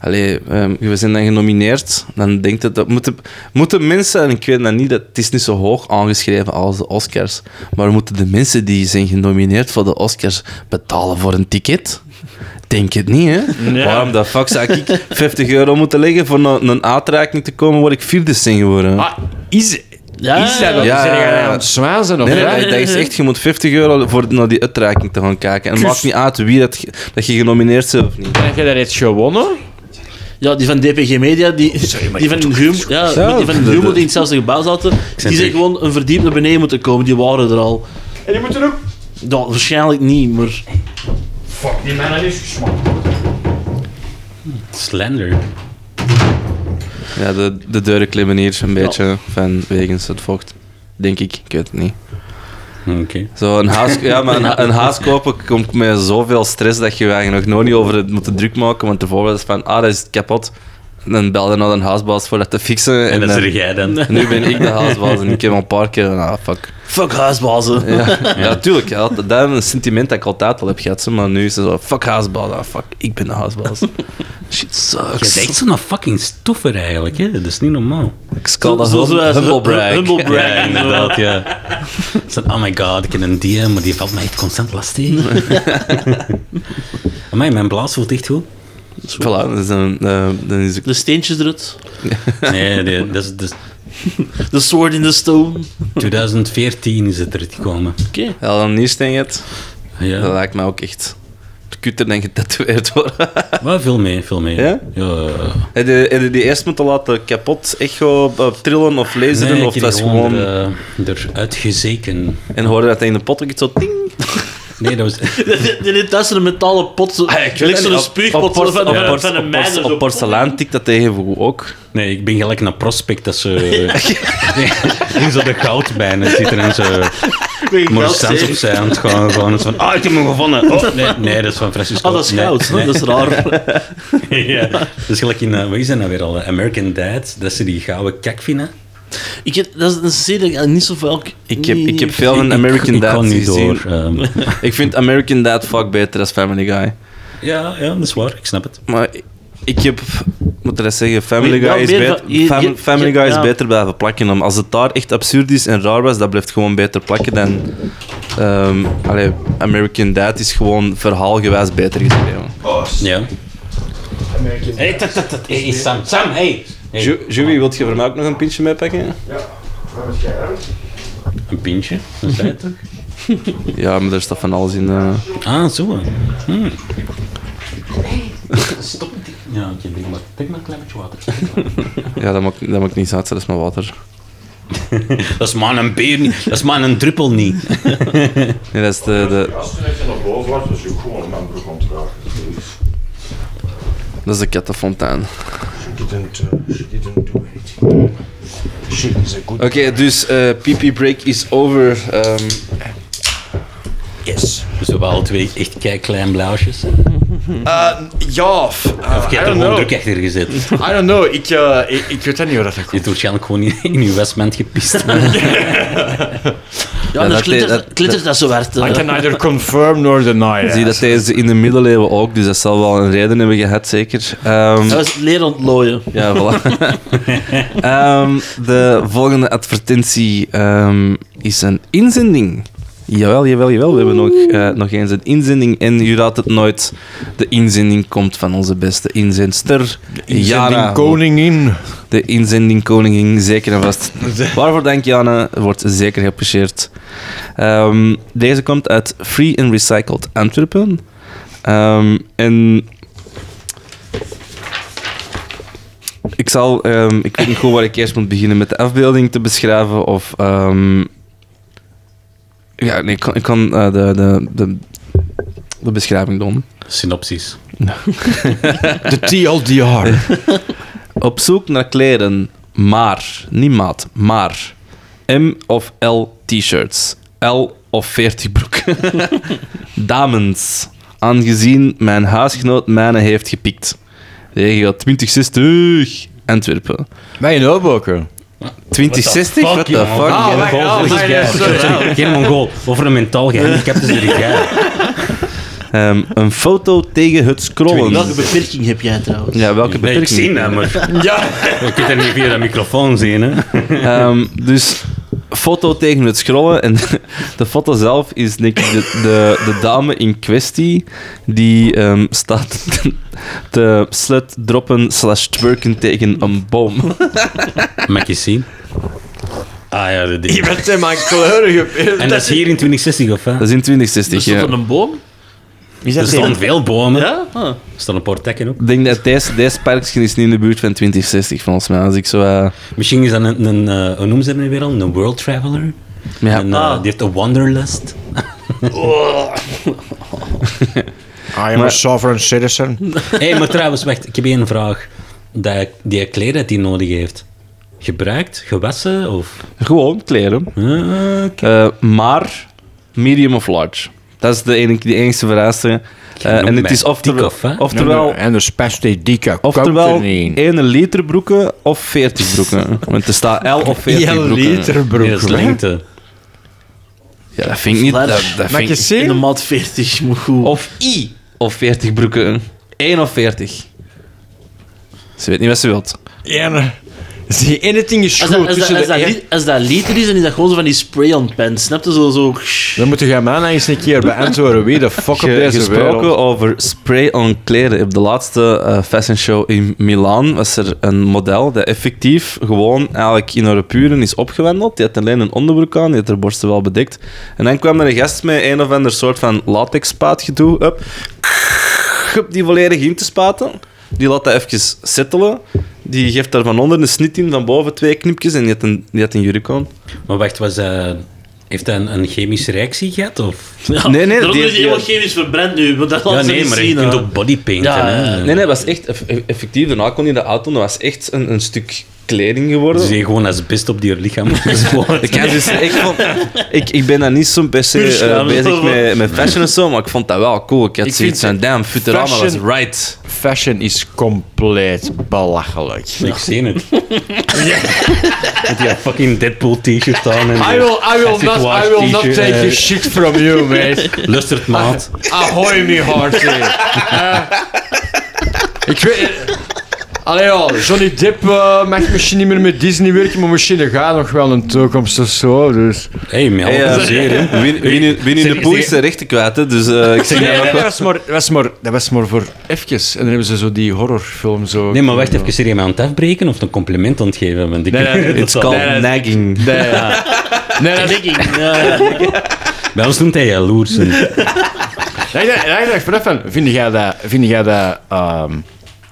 Speaker 2: Allee, ehm, we zijn dan genomineerd, dan denkt het... Dat moeten, moeten mensen, en ik weet dat niet, dat, het is niet zo hoog aangeschreven als de Oscars, maar moeten de mensen die zijn genomineerd voor de Oscars betalen voor een ticket? Denk het niet, hè? Waarom de fuck zou ik 50 euro moeten leggen voor een, een uitreiking te komen waar ik vierde zijn geworden?
Speaker 3: Ah, is,
Speaker 4: Ja,
Speaker 3: is dat dan?
Speaker 2: ja,
Speaker 3: Zijn
Speaker 2: ja,
Speaker 3: jij
Speaker 2: ja.
Speaker 3: aan het zwazen of
Speaker 2: Nee, nee,
Speaker 3: wat?
Speaker 2: nee, dat is echt, je moet 50 euro voor naar die uitreiking te gaan kijken. En het maakt niet uit wie dat, ge- dat je genomineerd bent of niet.
Speaker 3: Heb je daar iets gewonnen?
Speaker 4: Ja, die van DPG Media, die, die van Humo, ja,
Speaker 2: Ja,
Speaker 4: die van
Speaker 2: de-
Speaker 4: Humo
Speaker 2: de-
Speaker 4: die in hetzelfde gebouw zaten, die zijn
Speaker 5: terug.
Speaker 4: gewoon een verdiep naar beneden moeten komen. Die waren er al.
Speaker 3: En die moeten ook...
Speaker 4: Ja, waarschijnlijk niet, maar...
Speaker 3: Fuck, die man is gesmaakt.
Speaker 5: Slender.
Speaker 2: Ja, de, de deuren klimmen hier een beetje van wegens het vocht. Denk ik, ik weet het niet.
Speaker 5: Oké.
Speaker 2: Zo, een, huis, ja, maar een, ha- een huis kopen komt met zoveel stress dat je je eigenlijk nog niet over het moet druk maken. Want bijvoorbeeld is van, ah, dat is kapot. En dan bel je naar een huisbaas voor dat te fixen.
Speaker 5: En dat
Speaker 2: dan-
Speaker 5: zeg jij dan.
Speaker 2: nu ben ik de huisbaas en ik heb al een paar keer... Ah, fuck.
Speaker 4: Fuck huisbazen.
Speaker 2: Ja, natuurlijk. Ja, dat dat is een sentiment dat ik altijd al heb gehad. zo, Maar nu is het zo, fuck huisbaas. Ah, fuck, ik ben de huisbaas. Shit
Speaker 5: Je
Speaker 2: sucks.
Speaker 5: bent zo'n fucking stoever eigenlijk, hè? Dat is niet normaal.
Speaker 2: Ik call dat
Speaker 4: Zo- zo-
Speaker 2: hum-
Speaker 4: zo-
Speaker 2: humble brag.
Speaker 4: humble brag.
Speaker 5: Ja, inderdaad, ja. Het is dan, oh my god, ik heb een DM, maar die valt mij echt constant lastig. Amai, mijn blaas voelt echt goed.
Speaker 2: Voilà, dat is een, eh, dan is het-
Speaker 4: De steentjes eruit.
Speaker 5: Nee, nee, dat is, dat is-
Speaker 4: De sword in the stone.
Speaker 5: 2014 is het eruit gekomen.
Speaker 4: Oké.
Speaker 2: Ja, dan niet het. Dat
Speaker 5: Ja.
Speaker 2: lijkt mij ook echt kutter dan getatoeëerd worden.
Speaker 5: Maar veel mee, veel mee.
Speaker 2: Ja?
Speaker 5: ja, ja.
Speaker 2: Heb je, heb je die eerst moeten laten kapot echo eh, trillen of lezen?
Speaker 5: Nee,
Speaker 2: of
Speaker 5: ik
Speaker 2: dat is gewoon...
Speaker 5: er, eh, eruit gezeken.
Speaker 4: eh,
Speaker 2: En hoorde dat hij in de pot ook zo ting?
Speaker 5: Nee, dat was...
Speaker 4: Die dit thuis een metalen pot. Zo,
Speaker 2: Ah, ik weet
Speaker 4: gelijk
Speaker 2: het
Speaker 4: zo'n
Speaker 2: niet. Op- op
Speaker 4: spuugpot van,
Speaker 2: pors-
Speaker 4: van,
Speaker 2: op
Speaker 4: van,
Speaker 2: pors-
Speaker 4: van een
Speaker 2: op
Speaker 4: mijner.
Speaker 2: pors-
Speaker 4: zo.
Speaker 2: Op porselein tikt dat tegenvoeg ook.
Speaker 5: Nee, ik ben gelijk een prospect dat ze nee, in zo de goudbijnen zitten en ze
Speaker 4: geld
Speaker 5: morstans
Speaker 4: tegen.
Speaker 5: opzij aan het gaan. Gewoon eens van, ah, ik heb hem gevonden. Oh, nee, nee, dat is van Francisco.
Speaker 4: Ah, dat is
Speaker 5: Nee,
Speaker 4: goud. hè?
Speaker 5: nee.
Speaker 4: Dat is raar.
Speaker 5: ja. Dat is gelijk in, eh, wat is dat nou weer al? eh, American Dad, dat ze die gouden kak vinden.
Speaker 4: Ik heb, dat is een serie dat ik niet zo vaak...
Speaker 2: Ik heb,
Speaker 4: niet-
Speaker 2: ik heb veel van
Speaker 5: Ik-
Speaker 2: American
Speaker 5: ik
Speaker 2: Dad
Speaker 5: kan niet
Speaker 2: gezien.
Speaker 5: door. ehm.
Speaker 2: Ik vind American Dad vaak beter dan Family Guy.
Speaker 5: ja, ja, dat is waar, ik snap het.
Speaker 2: Maar ik heb, moet ik dat zeggen, Family
Speaker 4: Weet je
Speaker 2: Guy
Speaker 4: wel
Speaker 2: is,
Speaker 4: meer
Speaker 2: beter,
Speaker 4: van- je-
Speaker 2: Fam-
Speaker 4: je-
Speaker 2: Family
Speaker 4: je-
Speaker 2: Guy is
Speaker 4: ja.
Speaker 2: beter blijven plakken. Om, als het daar echt absurd is en raar was, dat blijft gewoon beter plakken dan... ehm, allee, American Dad is gewoon verhaalgewijs beter geschreven.
Speaker 5: Ja. Hey, dat, dat, dat, hey, Sam, Sam, hey. Hey,
Speaker 2: Joey, wilt je voor mij ook nog een pintje meepakken?
Speaker 5: Een pintje, dat zei je toch?
Speaker 2: Ja, maar daar staat van alles in. eh.
Speaker 5: Ah, zo. Hm. Stop het. Ja, oké, drink maar, drink maar een klein beetje water.
Speaker 2: ja, dat maakt, dat maakt niets uit, dat is maar water.
Speaker 5: Dat is maar een beer niet. Dat is maar een druppel niet.
Speaker 2: Nee, dat is de, de,
Speaker 6: Als je echt naar boven was, was je ook gewoon mijn broek aan het raken. Please.
Speaker 2: dat is de kattenfontein.
Speaker 6: She didn't, uh, she didn't do anything. She is a good
Speaker 2: Oké, dus eh, PP break is over. ehm,
Speaker 5: Yes. Dus we hebben alle twee echt kei klein blauwsjes.
Speaker 3: Ja, f- uh,
Speaker 5: Of
Speaker 3: I
Speaker 5: je hebt er
Speaker 3: don't
Speaker 5: gewoon
Speaker 3: know.
Speaker 5: druk achter gezet.
Speaker 3: I don't know, ik, eh, ik, ik weet dat niet hoe dat dat
Speaker 5: Je
Speaker 3: komt.
Speaker 5: hebt waarschijnlijk gewoon in, in je westment gepist.
Speaker 4: Ja,
Speaker 2: dat-
Speaker 4: dat glittert
Speaker 2: dat-
Speaker 4: dat, glittert dat zo hard.
Speaker 3: I
Speaker 4: eh.
Speaker 3: can neither confirm nor deny.
Speaker 2: Zie dat deze in de middeleeuwen ook, dus dat zal wel een reden hebben gehad, zeker. Ehm,
Speaker 4: Dat was leren ontlooien.
Speaker 2: ja, voilà. Ehm, de volgende advertentie ehm, is een inzending. Jawel, jawel, jawel. We hebben nog, eh, nog eens een inzending. En u raadt het nooit. De inzending komt van onze beste inzendster. Jana.
Speaker 3: koningin.
Speaker 2: De inzending koningin, zeker en vast. Waarvoor dank, Janne. Wordt zeker geapprecieerd. Ehm, deze komt uit Free and Recycled Antwerpen. Ehm, en zal, ehm, ik weet niet goed waar ik eerst moet beginnen met de afbeelding te beschrijven of. ehm, ja, nee, ik kan, ik kan eh, de, de, de, de beschrijving doen.
Speaker 5: Synopsis.
Speaker 3: De TLDR.
Speaker 2: Op zoek naar kleren, maar, niet maat, maar. M of L t-shirts. L of 40 broeken. Dames, aangezien mijn huisgenoot mijne heeft gepikt. Regio 2060, Antwerpen.
Speaker 3: Mijn notebooker.
Speaker 2: 2060? What
Speaker 5: fuck,
Speaker 2: the
Speaker 5: jongen?
Speaker 2: fuck?
Speaker 5: Ah,
Speaker 2: Geen
Speaker 5: wacht,
Speaker 2: goal
Speaker 5: ah,
Speaker 2: voor die
Speaker 5: wacht,
Speaker 2: guy.
Speaker 5: Sorry, Geen Mongool. Over een mentaal gehandicapte is er jij.
Speaker 2: Ehm, een foto tegen het scrollen.
Speaker 4: Welke beperking heb jij trouwens?
Speaker 2: Ja, welke
Speaker 5: Nee, ik
Speaker 2: beperking?
Speaker 5: zie dat, maar... Ja. Je kunt dat niet via de microfoon zien, hè.
Speaker 2: Ehm, dus foto tegen het scrollen. En de foto zelf is denk ik de, de, de dame in kwestie die ehm, staat te slut droppen slash twerken tegen een boom.
Speaker 5: Mag je zien? Ah ja, dat ding.
Speaker 3: bent
Speaker 2: eh,
Speaker 3: in mijn kleuren
Speaker 5: En dat is hier in 2060, of hè?
Speaker 2: Dat is in 2060.
Speaker 4: Is dat
Speaker 2: ja.
Speaker 4: een boom?
Speaker 5: Er staan veel bomen. Er
Speaker 4: Ja? Ah.
Speaker 5: staan een paar tekken ook.
Speaker 2: Ik denk dat deze, deze parkje is niet in de buurt van 2060 volgens mij. Als ik zo. eh,
Speaker 5: Misschien is dat een, een eh, hoe noemen ze hem nu weer al? Een world traveler?
Speaker 2: ja.
Speaker 5: Een, eh,
Speaker 4: Ah.
Speaker 5: Die heeft een wanderlust.
Speaker 3: I
Speaker 2: Ah,
Speaker 3: am a sovereign citizen.
Speaker 5: Hé, maar trouwens, wacht. Ik heb één vraag. Dat, die kleren dat hij nodig heeft. Gebruikt? Gewassen? Of...
Speaker 2: Gewoon kleren.
Speaker 5: Eh,
Speaker 2: Eh, maar medium of large. Dat is de enige, de enige verrassing. Eh, en het is
Speaker 5: mij
Speaker 2: oftewel,
Speaker 5: dik of, hè?
Speaker 2: oftewel
Speaker 3: En de Spastic Dica
Speaker 2: Oftewel,
Speaker 3: Company.
Speaker 2: 1 liter broeken of 40 broeken. Want er staat L of 40 broeken.
Speaker 5: nee, dat is lengte.
Speaker 2: Ja, dat vind ik niet. Dat, dat
Speaker 3: Mag
Speaker 2: vind
Speaker 3: je
Speaker 2: ik...
Speaker 4: In de
Speaker 3: zien?
Speaker 4: maat 40, moet goed.
Speaker 2: Of I of 40 broeken. 1 of 40. Ze weet niet wat ze wilt.
Speaker 3: Ja. Zie, anything is
Speaker 4: Als dat,
Speaker 3: goed
Speaker 4: als, dat,
Speaker 3: tussen
Speaker 4: als,
Speaker 3: de
Speaker 4: dat,
Speaker 3: één-
Speaker 4: li- als dat liter is, dan is dat gewoon zo van die spray-on pants. Snap je? Zo, zo...
Speaker 3: Dan moet je mij eens een keer beantwoorden wie de fuck op
Speaker 2: Ge-
Speaker 3: deze
Speaker 2: gesproken
Speaker 3: wereld...
Speaker 2: over spray-on kleren. Op de laatste eh, fashion show in Milaan was er een model dat effectief gewoon eigenlijk in haar puren is opgewendeld. Die had alleen een onderbroek aan, die had haar borsten wel bedekt. En dan kwam er een gast met een of ander soort van latexpaatgedoe. Up. Hup, die volledig in te spaten. Die laat dat even settelen. Die geeft daar van onder een snit in, van boven twee knipjes en die had een, die had een jurk aan.
Speaker 5: Maar wacht, was, eh, heeft hij een, een chemische reactie gehad? Of...
Speaker 4: Ja,
Speaker 2: Nee, nee,
Speaker 4: Daarom
Speaker 2: die-
Speaker 4: is hij
Speaker 2: die-
Speaker 4: helemaal chemisch verbrand nu. Want dat
Speaker 5: Ja,
Speaker 4: laat ze
Speaker 5: nee,
Speaker 4: niet
Speaker 5: maar je
Speaker 4: zien,
Speaker 5: kunt
Speaker 4: hè.
Speaker 5: ook bodypainten.
Speaker 4: Ja,
Speaker 5: hè.
Speaker 2: Nee, nee, dat was echt eff- effectief. Daarna kon hij de auto, dat was echt een, een stuk kleding geworden.
Speaker 5: Dus je gewoon asbest op die lichaam gespoord.
Speaker 2: Ik, heb dus, ik, vond, ik, ik ben daar niet zo per se
Speaker 4: Puur
Speaker 2: eh,
Speaker 4: schaamte
Speaker 2: bezig
Speaker 4: over.
Speaker 2: met, met fashion en zo, maar ik vond dat wel cool. Ik had
Speaker 3: Ik
Speaker 2: zoiets van,
Speaker 3: vind-
Speaker 2: damn, Futurama
Speaker 3: fashion-
Speaker 2: was right.
Speaker 3: Fashion is compleet belachelijk.
Speaker 5: Ik zie het. Met die fucking Deadpool t-shirt aan. En
Speaker 3: I will, I will
Speaker 5: Acid
Speaker 3: not,
Speaker 5: wash
Speaker 3: I will not
Speaker 5: t-shirt,
Speaker 3: take
Speaker 5: eh,
Speaker 3: your shit from you, mate.
Speaker 5: Lustert maat.
Speaker 3: Ahoy, me hearty. Eh, ik weet... Allee, ja, Johnny Depp eh, mag misschien niet meer met Disney werken, maar misschien gaat nog wel een toekomst of zo, dus...
Speaker 5: Hé, mij
Speaker 2: Hey,
Speaker 5: al
Speaker 2: eh, Win, win, in- win in
Speaker 5: Zeg-
Speaker 2: de poel is
Speaker 5: zeg-
Speaker 2: de rechten kwijt, hè, dus eh, ik zeg
Speaker 3: Nee,
Speaker 2: dat
Speaker 3: dat,
Speaker 2: ook wel.
Speaker 3: was maar, dat, was maar, dat was maar voor eventjes. En dan hebben ze zo die horrorfilm zo...
Speaker 5: Nee, maar wacht even. Serie je mij aan het afbreken of een compliment aan het geven? Want ik
Speaker 3: Nee, nee,
Speaker 5: dat
Speaker 2: It's
Speaker 5: zal-
Speaker 2: called nagging.
Speaker 3: Nee, ja. nee, dat,
Speaker 5: Bij ons noemt hij jaloers. En-
Speaker 3: nee, nee, nee, nee, vanaf van, vind jij dat, vind jij dat ehm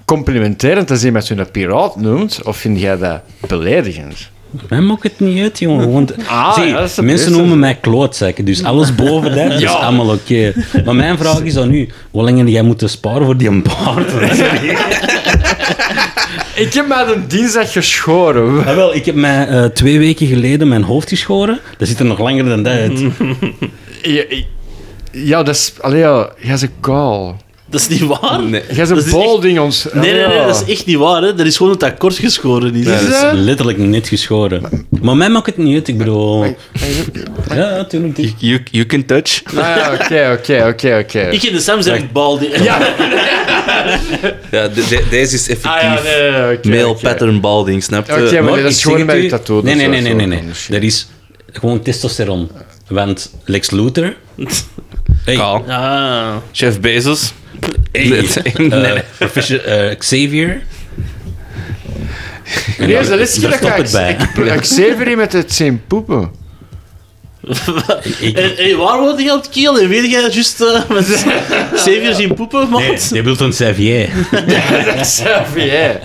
Speaker 3: complimenterend als iemand zo'n piraat noemt? Of vind jij dat beledigend?
Speaker 5: Mij maakt het niet uit, jongen. Want,
Speaker 3: Ah,
Speaker 5: zie,
Speaker 3: ja, dat is de
Speaker 5: mensen
Speaker 3: beste.
Speaker 5: noemen mij klootzak. Dus alles boven dat is allemaal oké. Maar mijn vraag is dan nu. Hoe lang heb jij moeten sparen voor die baard?
Speaker 3: Ik heb mij een dinsdag geschoren.
Speaker 5: Ah, wel, ik heb mij eh, twee weken geleden mijn hoofd geschoren. Dat zit er nog langer dan dat uit.
Speaker 3: Ja, ik- ja, dat is... Allee, ja, jij is een kaal.
Speaker 4: Dat is niet waar.
Speaker 2: Nee.
Speaker 3: Jij is
Speaker 4: Dat
Speaker 3: een
Speaker 4: is
Speaker 3: balding ons.
Speaker 4: Nee, nee, nee, dat is echt niet waar. Hè. Dat is gewoon dat dat kort geschoren is.
Speaker 5: Dat
Speaker 3: Is
Speaker 5: is
Speaker 3: dat?
Speaker 5: letterlijk net geschoren. Maar mij maakt het niet uit, ik bedoel... Ja, natuurlijk.
Speaker 2: You, you, you can touch.
Speaker 3: Ah, ja, oké, oké, oké, oké.
Speaker 4: Ik in de Sam zijn bal die... Ja,
Speaker 2: Ja, de- de- deze is effectief.
Speaker 3: Ah, ja, nee, nee, nee, oké,
Speaker 2: Male
Speaker 3: oké.
Speaker 2: pattern balding, snap je?
Speaker 3: Oké, maar
Speaker 5: Maar
Speaker 3: dat
Speaker 5: ik
Speaker 3: is
Speaker 5: zeg
Speaker 3: gewoon
Speaker 5: het
Speaker 3: bij
Speaker 5: u-
Speaker 3: je tattoo. dat
Speaker 5: Nee, nee,
Speaker 3: is
Speaker 5: nee,
Speaker 3: wel
Speaker 5: nee,
Speaker 3: zo
Speaker 5: nee. nee.
Speaker 3: van de shit.
Speaker 5: Dat is gewoon testosteron. Want Lex Luthor... Hey,
Speaker 2: Kaal.
Speaker 4: ah.
Speaker 2: Chef Bezos.
Speaker 5: hey,
Speaker 2: Nee,
Speaker 5: eh,
Speaker 2: nee, nee.
Speaker 5: Professor eh, Xavier.
Speaker 3: Nee, dat is
Speaker 5: Daar
Speaker 3: dat
Speaker 5: stopt het bij.
Speaker 3: ik... Ik zeef erin met het zijn poepen.
Speaker 5: Ik-
Speaker 4: En, en waar woont hij aan het kiel? En weet jij dat juist eh, met Xavier zien poepen, man?
Speaker 5: Nee, je bedoelt een Xavier.
Speaker 3: Xavier.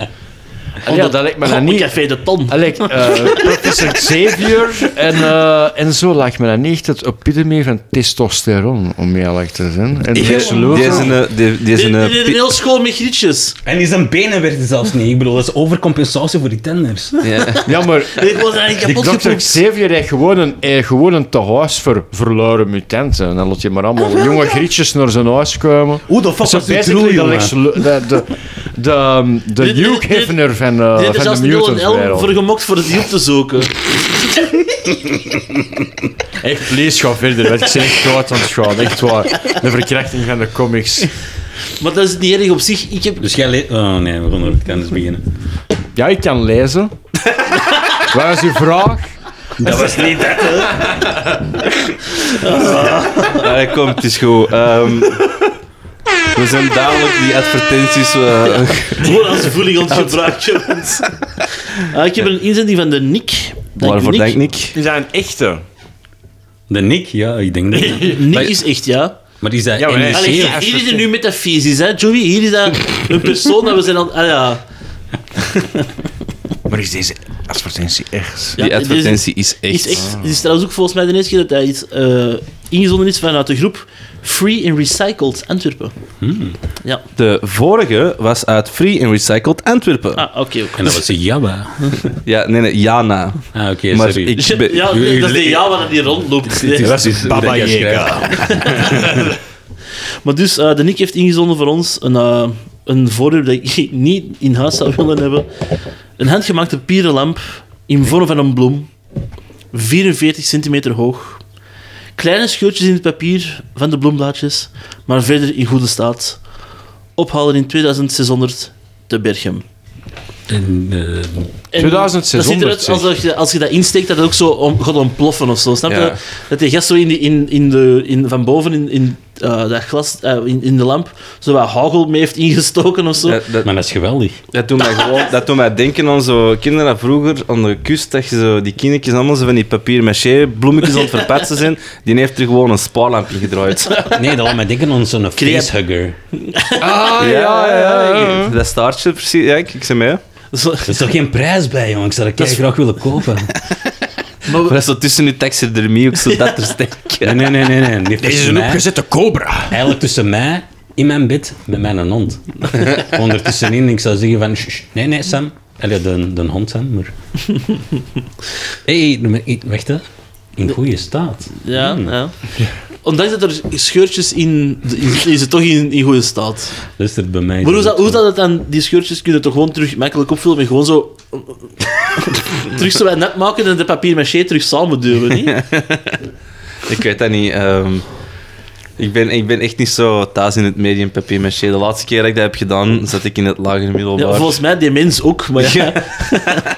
Speaker 3: Allee, ja, dat lijkt me
Speaker 4: Oh,
Speaker 3: dan niet.
Speaker 4: Café de Ton.
Speaker 3: Allee, eh, professor Xavier en, eh, en zo lijkt me dan niet echt het epitome van testosteron, om eerlijk te zijn. En
Speaker 2: Die is
Speaker 3: Dexloza-
Speaker 2: een... eh, Die die is een...
Speaker 4: Dit dit is een
Speaker 2: pi-
Speaker 4: heel school met grietjes.
Speaker 5: En die zijn benen werden zelfs niet. Ik bedoel, dat is overcompensatie voor die tenders.
Speaker 2: Ja.
Speaker 3: Ja, maar
Speaker 4: Ik word eigenlijk kapot
Speaker 3: Dr.
Speaker 4: gepoept.
Speaker 3: Xavier heeft gewoon een, heeft gewoon een tehuis voor verluide mutanten. En dan laat je maar
Speaker 4: Ah,
Speaker 3: allemaal jonge grietjes naar zijn huis komen.
Speaker 5: Hoe de fuck
Speaker 3: Zo
Speaker 5: was die
Speaker 3: basically
Speaker 5: troel,
Speaker 3: de,
Speaker 5: jongen?
Speaker 3: Lex Lu- de, de, de, ehm, de
Speaker 4: Dit- dit-
Speaker 3: Hugh
Speaker 4: dit-
Speaker 3: Hefner van, eh,
Speaker 4: Dit is
Speaker 3: van
Speaker 4: als
Speaker 3: de
Speaker 4: Dylan
Speaker 3: Mutants
Speaker 4: L voor
Speaker 3: wereld.
Speaker 4: gemokt voor het hiel te zoeken.
Speaker 3: Echt, lees gewoon verder, want ik ben echt kwaad aan het gaan. Echt waar. De verkrachting van de comics.
Speaker 4: Maar dat is niet erg op zich. Ik heb...
Speaker 5: Dus jij... le- Oh nee, we gaan over de tenders beginnen.
Speaker 3: Ja, ik kan lezen. Waar is uw vraag?
Speaker 5: Dat was niet dat, hè?
Speaker 2: Allee, kom, het is goed. Ehm, we zijn dadelijk die advertenties... eh,
Speaker 4: Gewoon als voeling ontgebruikt, jongens. Ah, ik heb een inzending van de Nick. Dank
Speaker 2: waarvoor
Speaker 4: Nick.
Speaker 2: denk ik?
Speaker 3: Die zijn echte.
Speaker 5: De Nick, ja, ik denk dat.
Speaker 4: Nick
Speaker 5: Maar-
Speaker 4: is echt, ja.
Speaker 5: Maar die zei
Speaker 3: Ja, maar hij-
Speaker 5: NEC.
Speaker 4: Allee, hier- hier is het nu metafysisch, hè, Joey. Hier is dat een persoon dat we zijn aan... Ah ja.
Speaker 3: Maar is deze advertentie echt?
Speaker 4: Ja,
Speaker 2: Die
Speaker 4: dit is-
Speaker 2: advertentie is echt...
Speaker 4: Is echt, het is trouwens ook volgens mij de eerste keer dat hij iets eh, ingezonden is vanuit de groep Free and Recycled Antwerpen. Ja,
Speaker 2: De vorige was uit Free and Recycled Antwerpen.
Speaker 4: ah, oké. ook.
Speaker 5: En dat was een Jabba.
Speaker 2: Ja, nee, nee, Jana.
Speaker 5: Ah, oké,
Speaker 2: maar
Speaker 5: sorry.
Speaker 2: ik ben...
Speaker 4: Ja,
Speaker 5: u- u-
Speaker 4: dat is de ja waar die rondloopt.
Speaker 5: Het
Speaker 4: Nee.
Speaker 5: het hoe dat jij schrijft.
Speaker 4: Maar dus, eh, de Nick heeft ingezonden voor ons een, eh een voorwerp dat ik niet in huis zou willen hebben. Een handgemaakte pierenlamp in vorm van een bloem. 44 centimeter hoog. Kleine scheurtjes in het papier van de bloemblaadjes, maar verder in goede staat. Ophalen in 2600 te Berchem.
Speaker 5: En, eh,
Speaker 4: En
Speaker 3: 2600,
Speaker 4: Dat ziet eruit als, dat je, als je dat insteekt, dat het ook zo om, gaat ontploffen of zo. Snap je?
Speaker 2: Ja.
Speaker 4: Dat die gast zo in, die, in, in de, in, van boven in, in, eh, dat glas, eh, in, in de lamp zo wat hagel mee heeft ingestoken of zo.
Speaker 2: Dat, dat,
Speaker 5: maar dat is geweldig.
Speaker 2: dat doet mij gewoon, dat doet mij denken aan zo kinderen dat vroeger aan de kust, dat je zo die kindertjes allemaal zo van die papier maché bloemetjes aan het verpetsen zijn, die heeft er gewoon een spaarlampje gedraaid.
Speaker 5: Nee, dat laat mij denken aan zo'n
Speaker 4: Creat-
Speaker 5: facehugger.
Speaker 3: Ah,
Speaker 2: ik- Dat staartje precies, ja, ik, ik zei mee.
Speaker 4: Zo-
Speaker 5: Er is toch geen prijs bij, jongen? Ik zou dat
Speaker 4: Dat is-
Speaker 5: graag willen kopen.
Speaker 2: Maar dat is zo tussen je taxidermie ook zo dat er steken.
Speaker 5: Nee, nee, nee, nee. nee. Die heeft
Speaker 3: Deze is
Speaker 5: tussen
Speaker 3: een
Speaker 5: mij-
Speaker 3: opgezette cobra.
Speaker 5: Eigenlijk tussen mij, in mijn bed, met mijn hond. Ondertussenin, ik zou zeggen van... "Ssh, ssh." nee, nee, Sam. Allee, de, de hond, Sam, maar... Hé, hey, wacht, hè. In goede staat.
Speaker 4: ja, Hmm. ja. Ondanks dat er scheurtjes in, is, is het toch in, in goede staat.
Speaker 5: Dus dat bij mij...
Speaker 4: Maar hoe, zou- hoe dat het dan, die scheurtjes kunnen toch gewoon terug makkelijk opvullen met gewoon zo. terug zo wat net maken en de papier maché terug samen duwen, niet?
Speaker 2: Ik weet dat niet. ehm, ik, ben, ik ben echt niet zo thuis in het medium papier maché. De laatste keer dat ik dat heb gedaan, zat ik in het lagere
Speaker 4: Ja,
Speaker 2: middelbaar.
Speaker 4: volgens mij die mens ook, maar ja.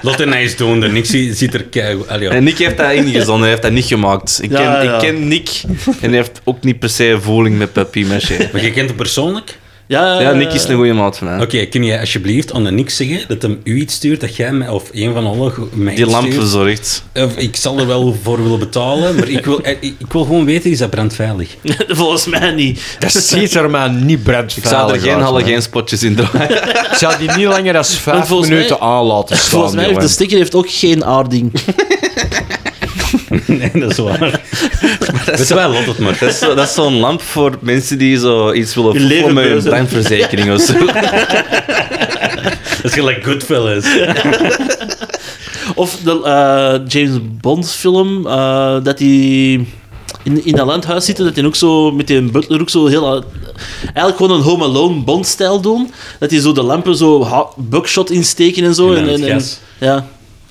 Speaker 5: Lot en hij is doende. Niks zie- ziet er kei... Allee, ja.
Speaker 2: En Nick heeft dat ingezonden, hij heeft dat niet gemaakt. Ik
Speaker 4: Ja,
Speaker 2: ken,
Speaker 4: ja.
Speaker 2: Ik ken Nick en hij heeft ook niet per se voeling met papier maché.
Speaker 5: Maar je kent hem persoonlijk?
Speaker 4: Ja,
Speaker 2: Ja, Nick is een goede maat van mij.
Speaker 5: Oké, kun jij alsjeblieft aan de Nick zeggen dat hem u iets stuurt, dat jij mij, of een van allen go- mij
Speaker 2: Die
Speaker 5: iets
Speaker 2: lamp
Speaker 5: stuurt?
Speaker 2: verzorgt.
Speaker 5: Of Ik zal er wel voor willen betalen, maar ik wil, eh, ik, ik wil gewoon weten, is dat brandveilig?
Speaker 4: Volgens mij niet.
Speaker 3: Dat ziet er maar niet brandveilig
Speaker 2: Ik zou er geen
Speaker 3: uit, man.
Speaker 2: halogeenspotjes in draaien.
Speaker 3: Ik zou die niet langer dan vijf
Speaker 4: Want volgens
Speaker 3: minuten
Speaker 4: mij-
Speaker 3: aan laten staan.
Speaker 4: Volgens mij heeft de
Speaker 3: jongen.
Speaker 4: sticker heeft ook geen aarding.
Speaker 5: Nee, dat is waar.
Speaker 2: Dat is
Speaker 5: Weet je
Speaker 2: zo-
Speaker 5: wel, lot het maar.
Speaker 2: dat is zo- dat is zo'n lamp voor mensen die zo iets willen
Speaker 4: Hun
Speaker 2: voelen
Speaker 4: leven
Speaker 2: met hun
Speaker 4: beuzen.
Speaker 2: brandverzekering of zo.
Speaker 5: Dat is gelijk Goodfellas.
Speaker 4: Of de eh, James Bond film, eh, dat hij in, in dat landhuis zit, en dat hij ook zo met die butler ook zo heel... eh, Eigenlijk gewoon een Home Alone Bond-stijl doen. Dat hij zo de lampen zo ha- buckshot insteken en zo.
Speaker 5: En dan
Speaker 4: en,
Speaker 5: het
Speaker 4: en-
Speaker 5: gas.
Speaker 4: ja,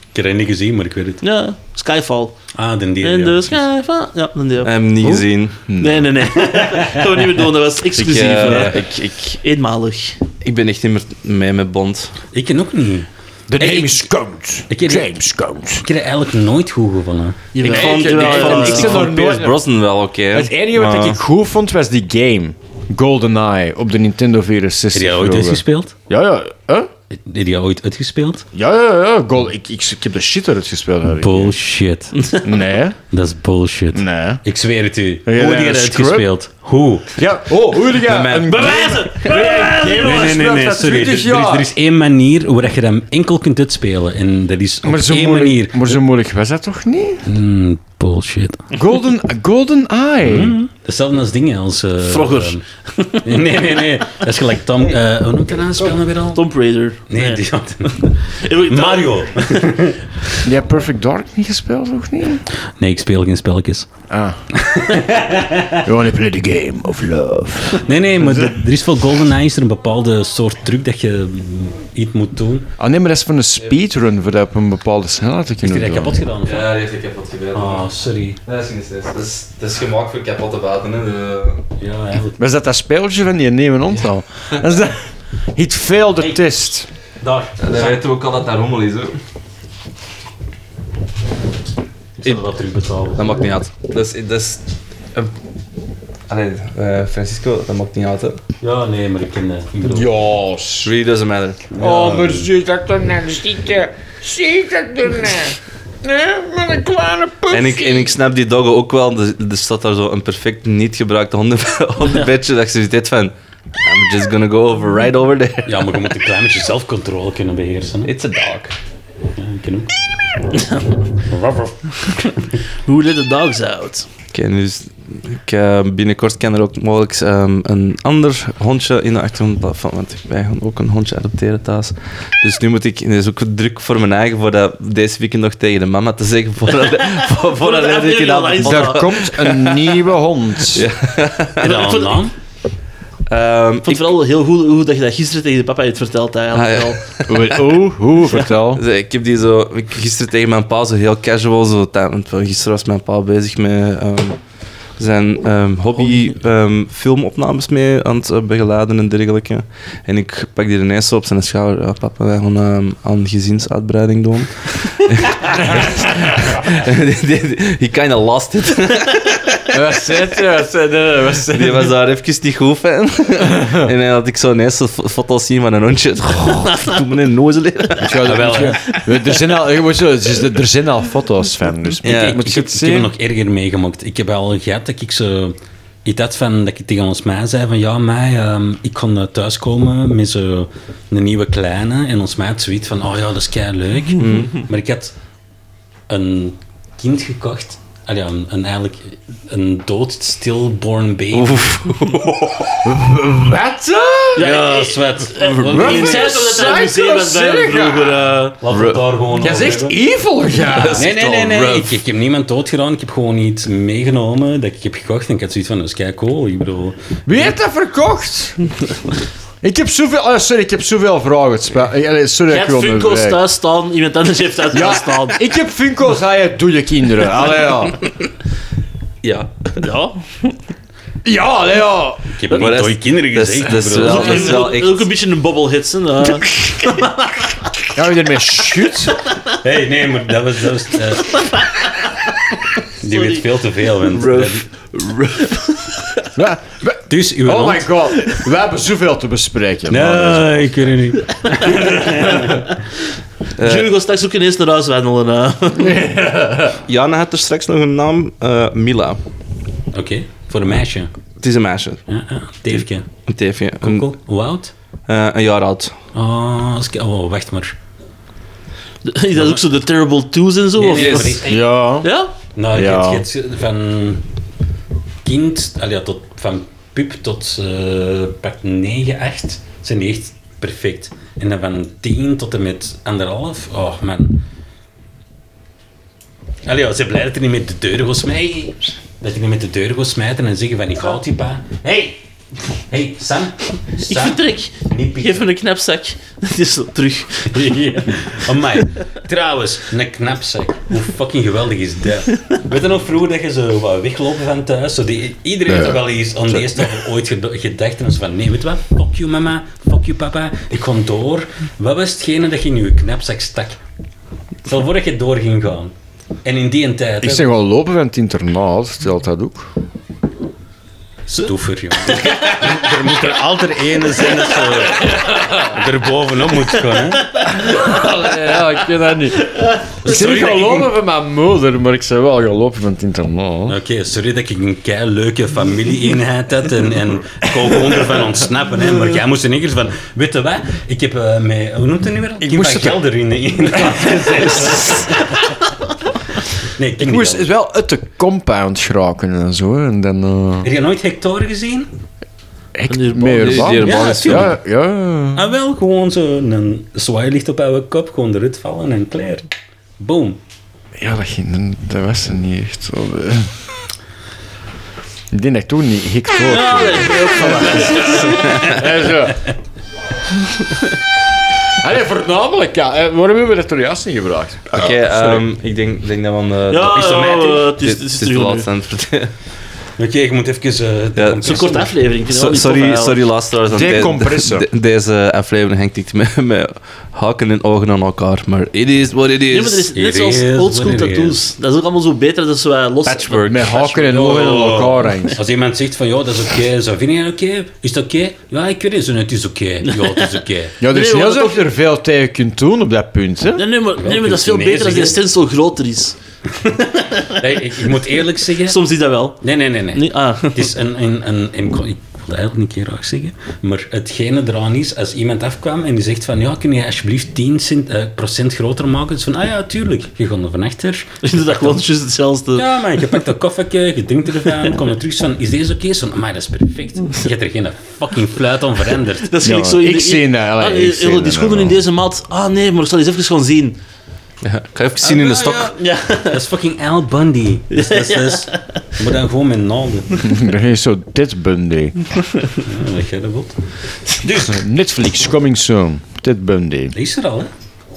Speaker 5: Ik heb het niet gezien, maar ik weet het.
Speaker 4: ja, Skyfall.
Speaker 5: Ah, den die.
Speaker 4: En dus?
Speaker 5: ja.
Speaker 4: de Skyfall... Ja, dan die.
Speaker 2: Ik heb hem niet gezien.
Speaker 4: Nee, nee, nee. Gaan we niet meer doen, dat was
Speaker 2: Ik,
Speaker 4: exclusief.
Speaker 2: eh,
Speaker 4: hè.
Speaker 2: ik, ik,
Speaker 4: Eenmalig.
Speaker 2: ik ben echt niet meer mee met Bond.
Speaker 5: Ik ken ook niet.
Speaker 3: De name
Speaker 5: ik-
Speaker 3: is Cones.
Speaker 5: Ik heb-
Speaker 3: James Cones.
Speaker 5: Ik heb het eigenlijk nooit goed gevonden.
Speaker 4: Jawel.
Speaker 2: Ik vond,
Speaker 4: Jawel,
Speaker 2: ik
Speaker 4: jawel,
Speaker 2: vond,
Speaker 4: jawel.
Speaker 2: ik
Speaker 3: Ik zou
Speaker 2: vond
Speaker 3: er
Speaker 2: Pierce
Speaker 3: nooit-
Speaker 2: Brosnan wel oké.
Speaker 3: Het enige wat
Speaker 2: maar-
Speaker 3: ik goed vond was die game. GoldenEye op de Nintendo
Speaker 5: Heb
Speaker 3: 64.
Speaker 5: jij ooit eens
Speaker 3: vroeger.
Speaker 5: gespeeld?
Speaker 3: Ja, ja. Huh?
Speaker 5: Heb je dat ooit uitgespeeld?
Speaker 3: Ja, ja, ja. Goal. Ik, ik, ik heb de shit eruit gespeeld. Harry.
Speaker 5: Bullshit.
Speaker 3: Nee,
Speaker 5: dat is bullshit.
Speaker 3: nee.
Speaker 5: Ik zweer het u. Hoe
Speaker 3: jij
Speaker 5: heb je
Speaker 3: een
Speaker 5: dat
Speaker 3: scrub?
Speaker 5: uitgespeeld? Hoe?
Speaker 3: Ja, oh, hoe jullie
Speaker 2: Bij mij.
Speaker 3: gaan.
Speaker 4: Bewijzen! Bewijzen!
Speaker 5: Nee, nee, nee, nee,
Speaker 3: dat dus
Speaker 5: sorry. Er,
Speaker 3: 20
Speaker 5: er is,
Speaker 3: jaar.
Speaker 5: er is één manier waar je hem enkel kunt uitspelen. En dat is op
Speaker 3: Maar zo,
Speaker 5: één
Speaker 3: moeilijk,
Speaker 5: manier.
Speaker 3: maar zo moeilijk was dat toch niet?
Speaker 5: Mm, bullshit.
Speaker 3: Golden, golden Eye.
Speaker 5: Hetzelfde als dingen als... eh,
Speaker 4: Frogger.
Speaker 5: eh, nee, nee, nee. Dat is gelijk Tom... eh, hoe noemt dat nou? Spel nou weer al?
Speaker 4: Tomb Raider.
Speaker 5: Nee, die
Speaker 4: Eh,
Speaker 5: Mario.
Speaker 3: Die hebt Perfect Dark niet gespeeld, nog niet?
Speaker 5: Nee, ik speel geen spelletjes.
Speaker 3: Ah. you wanna play the game of love.
Speaker 5: Nee, nee, maar er er is voor GoldenEye is er een bepaalde soort truc dat je mm, iets moet doen.
Speaker 3: Ah nee, maar dat is van een speedrun, voor dat op een bepaalde snelheid te
Speaker 5: Is
Speaker 3: kunnen
Speaker 5: die dat
Speaker 3: doen.
Speaker 5: kapot gedaan? of wat?
Speaker 7: Ja, die heeft ik kapot gebeten.
Speaker 5: Ah, sorry.
Speaker 7: Nee, dat is geen stress. Dat is, dat is gemaakt voor kapotte baten. Hè. De...
Speaker 5: Ja, eigenlijk.
Speaker 3: Was dat dat speeltje van die nemen hond al? Dat is dat... It failed the test.
Speaker 5: Daar.
Speaker 7: Dan weten we ook al dat dat rommel is. Hoor.
Speaker 5: Ik zal dat terugbetalen.
Speaker 7: Dat maakt niet uit. Dat is... Dat is een... Allee, eh, Francisco, dat maakt niet uit. Hè.
Speaker 5: Ja, nee, maar ik ken dat. Ik bedoel-
Speaker 3: Ja,
Speaker 2: Really doesn't matter.
Speaker 8: Oh, maar zie dat dan nou, zie dat, zie dat dan nou. Nee, met een kleine poepsie.
Speaker 2: En ik, en ik snap die doggen ook wel. Er, er staat daar zo een perfect niet gebruikte honden, hondenbedje. Dat ik zoiets deed van... I'm just gonna go over right over there.
Speaker 5: Ja, maar je moet een klein beetje zelfcontrole kunnen beheersen. hè.
Speaker 7: It's a dog.
Speaker 5: Ja, ik ken ook.
Speaker 4: Who let the dogs out?
Speaker 2: Oké, nu is- ik, eh, binnenkort kan er ook mogelijk ehm, een ander hondje in de achtergrond pla- van, want wij gaan ook een hondje adopteren thuis. Dus nu moet ik, en dat is ook druk voor mijn eigen, voor dat, deze weekend nog tegen de mama te zeggen, voordat voor, voordat
Speaker 4: de
Speaker 2: hij dit
Speaker 4: aflevering
Speaker 2: gedaan
Speaker 4: online
Speaker 2: heeft.
Speaker 4: staat.
Speaker 3: daar komt een nieuwe hond.
Speaker 5: Heb je
Speaker 4: Ik
Speaker 5: dat al
Speaker 4: vond-
Speaker 5: gedaan?
Speaker 2: Ehm,
Speaker 4: Ik vond het vooral heel goed hoe dat je dat gisteren tegen de papa hebt verteld. Eigenlijk.
Speaker 2: Ah, ja.
Speaker 3: Hoe,
Speaker 4: al.
Speaker 3: hoe, hoe, vertel.
Speaker 2: Dus ik heb die zo... Ik, gisteren tegen mijn pa zo heel casual... Zo, ta- want gisteren was mijn pa bezig met ehm, zijn ehm, hobby ehm, filmopnames mee aan het eh, begeleiden en dergelijke. En ik pak die ineens zo op zijn schouder. Ja, papa, wij gaan ehm, aan gezinsuitbreiding doen. He kinda lost it.
Speaker 3: Wat zit je? Wat zit je? Wat zit
Speaker 2: Die was daar even niet goed van. en dan had ik zo ineens zo fo- foto's zien van een hondje. Goh, doe me een nozel
Speaker 3: Ik zou dat Ah, wel, er, zijn al, je moet zo- er zijn- er zijn al foto's van, dus
Speaker 2: Ja,
Speaker 3: ik moet
Speaker 5: ik,
Speaker 3: je
Speaker 5: heb,
Speaker 3: het
Speaker 5: ik heb
Speaker 3: zien.
Speaker 5: het nog erger meegemaakt. Ik heb al gehad dat ik zo... Iets had van dat ik tegen ons mij zei van ja, mij, ehm, ik kon eh, thuiskomen met zo'n nieuwe kleine. En ons mij had zoiets van, oh ja, dat is kei leuk. Maar ik had een kind gekocht. Ah ja, een, een eigenlijk een dood stillborn baby.
Speaker 4: Ja,
Speaker 5: Ja,
Speaker 4: ik-
Speaker 5: zwet.
Speaker 4: Ik zei toch dat dat een museum was bij hem vroeger. eh.
Speaker 5: Laten we het daar gewoon over hebben.
Speaker 3: evil, ja.
Speaker 5: Nee, nee, nee,
Speaker 2: Rough.
Speaker 5: nee. Ik, ik heb niemand doodgedaan. Ik heb gewoon iets meegenomen dat ik heb gekocht. En ik had zoiets van, dat is kei cool. Ik bedoel...
Speaker 3: Wie heeft dat verkocht? ik heb zoveel... Oh, sorry, ik heb zoveel vragen. Het spijt- eh, allee, Sorry,
Speaker 4: Je
Speaker 3: dat ik
Speaker 4: hebt
Speaker 3: u
Speaker 4: Funko's
Speaker 3: onderbreek.
Speaker 4: thuis staan, iemand anders heeft dat thuis staan.
Speaker 3: Ja, ik heb Funko's aan je doe je kinderen. Allee, ja.
Speaker 2: Ja.
Speaker 4: Ja.
Speaker 3: Ja, allee, ja.
Speaker 5: Ik heb niet
Speaker 2: dat is-
Speaker 5: dode kinderen
Speaker 2: dat is-
Speaker 5: gezien.
Speaker 2: dat is
Speaker 5: bro.
Speaker 2: wel-
Speaker 4: Ook-
Speaker 2: dat is wel
Speaker 4: ook-
Speaker 2: echt-
Speaker 4: Ook een beetje een bobblehead. hè. Ja.
Speaker 3: Ja, we ermee shoot.
Speaker 5: Hey, nee, maar dat was... Dat was eh, Die weet veel te veel, man.
Speaker 3: Ja, we-
Speaker 5: Dus, uw
Speaker 3: Oh
Speaker 5: hand-
Speaker 3: my god, we hebben zoveel te bespreken.
Speaker 2: Oh,
Speaker 3: man.
Speaker 5: Nee, ik weet het niet.
Speaker 4: Jullie gaan straks ook ineens naar huis wandelen. hè.
Speaker 2: Jana had er straks nog een naam. eh, Mila.
Speaker 5: Oké, voor een meisje. Ah,
Speaker 2: Het is een meisje.
Speaker 5: Ja, ja. Teefje.
Speaker 2: Een teefje. Een,
Speaker 5: Cool. Hoe oud?
Speaker 2: eh, een jaar oud.
Speaker 5: Oh, als ik- oh, wacht maar.
Speaker 4: Is dat ook zo de Terrible Twos en zo?
Speaker 5: Nee,
Speaker 4: of-
Speaker 5: nee, maar die-
Speaker 3: Ja.
Speaker 4: Ja?
Speaker 5: Nou,
Speaker 3: Ja.
Speaker 5: je hebt- je hebt van kind, allee, ja, tot, van pup tot eh pak 9, 8 zijn die echt perfect. En dan van 10 tot en met anderhalf, oh man. Allee, ja, ze blij dat er niet met de deuren gaat smijten. Dat je niet met de deuren gaat smijten en zeggen van ik houd die pa. Hey! Hey, Sam!
Speaker 4: Ik
Speaker 5: Sam!
Speaker 4: vertrek.
Speaker 5: Niet pikken.
Speaker 4: Geef me een knapzak. Het is zo terug.
Speaker 5: Ja. Amai. Trouwens, een knapzak. Hoe fucking geweldig is dat? Weet je nog vroeger dat je zo wat weglopen van thuis? Zo die, iedereen heeft er wel eens aan deze tafel ooit ged- gedacht. En zo van, nee, weet je wat? Fuck you mama, fuck you papa. Ik kom door. Wat was hetgene dat je in je knapzak stak? Stel voor dat je door ging gaan. En in die tijd...
Speaker 3: Ik
Speaker 5: hè,
Speaker 3: zeg gewoon lopen van het internaat, stelt dat ook.
Speaker 5: Stoever, jongen.
Speaker 9: Er moet er altijd ene zijn dat zo er bovenop moet gaan. Hè?
Speaker 3: ja, ik weet dat niet. Ik ben niet gelopen van mijn moeder, maar ik ben wel gelopen van het internaat.
Speaker 5: Oké, sorry dat ik een kei leuke familie-eenheid had en, en ik kon gewoon ervan ontsnappen. Hè, maar jij moest in één keer van, weet je wat, ik heb eh mij, hoe noemt het nu weer? Ik
Speaker 3: moest
Speaker 5: van
Speaker 3: het-
Speaker 5: Gelder in de eenheid gezet. Nee, ik
Speaker 3: Ik moest wel uit de compound geraken en zo. hè, En dan... eh,
Speaker 5: Heb je nooit Hector gezien?
Speaker 3: Echt meer
Speaker 2: Die- die
Speaker 5: Ja,
Speaker 3: ja, ja,
Speaker 5: tuurlijk.
Speaker 3: ja.
Speaker 5: Ah wel, gewoon zo een zwaai ligt op oude kop, gewoon eruit vallen en klaar. Boom.
Speaker 3: Ja, dat, ging, dat was er niet echt zo. eh. Ik denk dat ik toen niet gek door. En zo. Allee, voornamelijk, ja. Eh, Waarom hebben we dat er juist niet gebruikt?
Speaker 2: Oké, ehm, ik denk, denk dat we aan de...
Speaker 4: Ja,
Speaker 2: is dat mij
Speaker 4: ja,
Speaker 2: toe?
Speaker 4: eh, het is-
Speaker 2: Dit-
Speaker 4: het is
Speaker 2: dit de
Speaker 4: terug nu.
Speaker 2: laatste aan het vertellen.
Speaker 5: Oké, ik moet even... eh, de
Speaker 2: Ja,
Speaker 4: Zo'n
Speaker 5: compressie-
Speaker 4: korte aflevering. Ik vind
Speaker 2: So-
Speaker 4: het wel niet tof,
Speaker 2: sorry,
Speaker 4: eigenlijk.
Speaker 2: sorry luisteraars. want de-
Speaker 3: Decompressen.
Speaker 2: de- deze aflevering hangt niet met, met haken en ogen aan elkaar, maar it is what it is.
Speaker 4: Nee, maar dat is net
Speaker 5: It
Speaker 4: zoals
Speaker 5: is
Speaker 4: oldschool
Speaker 5: what it
Speaker 4: tattoos. Dat is ook allemaal zo beter dat ze eh, los...
Speaker 2: Patchwork.
Speaker 3: Met haken en ogen aan
Speaker 5: Oh.
Speaker 3: elkaar hangt.
Speaker 5: Als iemand zegt van, ja, dat is oké, zo vind je dat oké? Is dat oké? Ja, ik weet het zo net, het is oké. Ja, het is oké.
Speaker 3: Ja,
Speaker 4: Nee,
Speaker 3: dus
Speaker 4: we
Speaker 3: heel
Speaker 4: hadden
Speaker 3: dat je er veel tegen kunt doen op dat punt, hè?
Speaker 4: Nee, nee, maar, nee, maar dat is veel
Speaker 5: Chinezen,
Speaker 4: beter als die
Speaker 5: hè?
Speaker 4: stencil groter is.
Speaker 5: Nee, ik, ik moet eerlijk zeggen...
Speaker 4: Soms is dat wel.
Speaker 5: Nee, nee, nee, nee.
Speaker 4: Nee, ah.
Speaker 5: Het is een... een, een, een- ik wil dat eigenlijk niet graag zeggen, maar hetgene eraan is, als iemand afkwam en die zegt van, ja, kun je alsjeblieft 10 cent, eh, procent groter maken? Het is van, ah ja, tuurlijk. Je gaat er van achter.
Speaker 4: Ik vind dat gewoon juist hetzelfde.
Speaker 5: Ja, man, je pakt dat koffietje, je drinkt ervan, kom er terug van, is deze oké? Zo, maar dat is perfect. Je hebt er geen fucking fluit aan veranderd.
Speaker 4: Dat is gelijk
Speaker 3: Ja,
Speaker 4: zo in
Speaker 3: ik
Speaker 4: de-
Speaker 3: zie dat, allee,
Speaker 4: Ah,
Speaker 3: ik zie
Speaker 4: die
Speaker 3: dat
Speaker 4: schoenen
Speaker 3: wel.
Speaker 4: in deze maat. Ah nee, maar ik zal eens even gaan zien.
Speaker 2: Ja, ik ga even zien in de stok.
Speaker 4: Ah, Ja.
Speaker 5: Dat is fucking Al Bundy. Dus dat is, dat is- je moet dan gewoon met naalden.
Speaker 3: Er is zo dit Bundy.
Speaker 5: Ja, wat jij dat wilt.
Speaker 3: Netflix, coming soon. Dit Bundy.
Speaker 5: Die is er al, hè?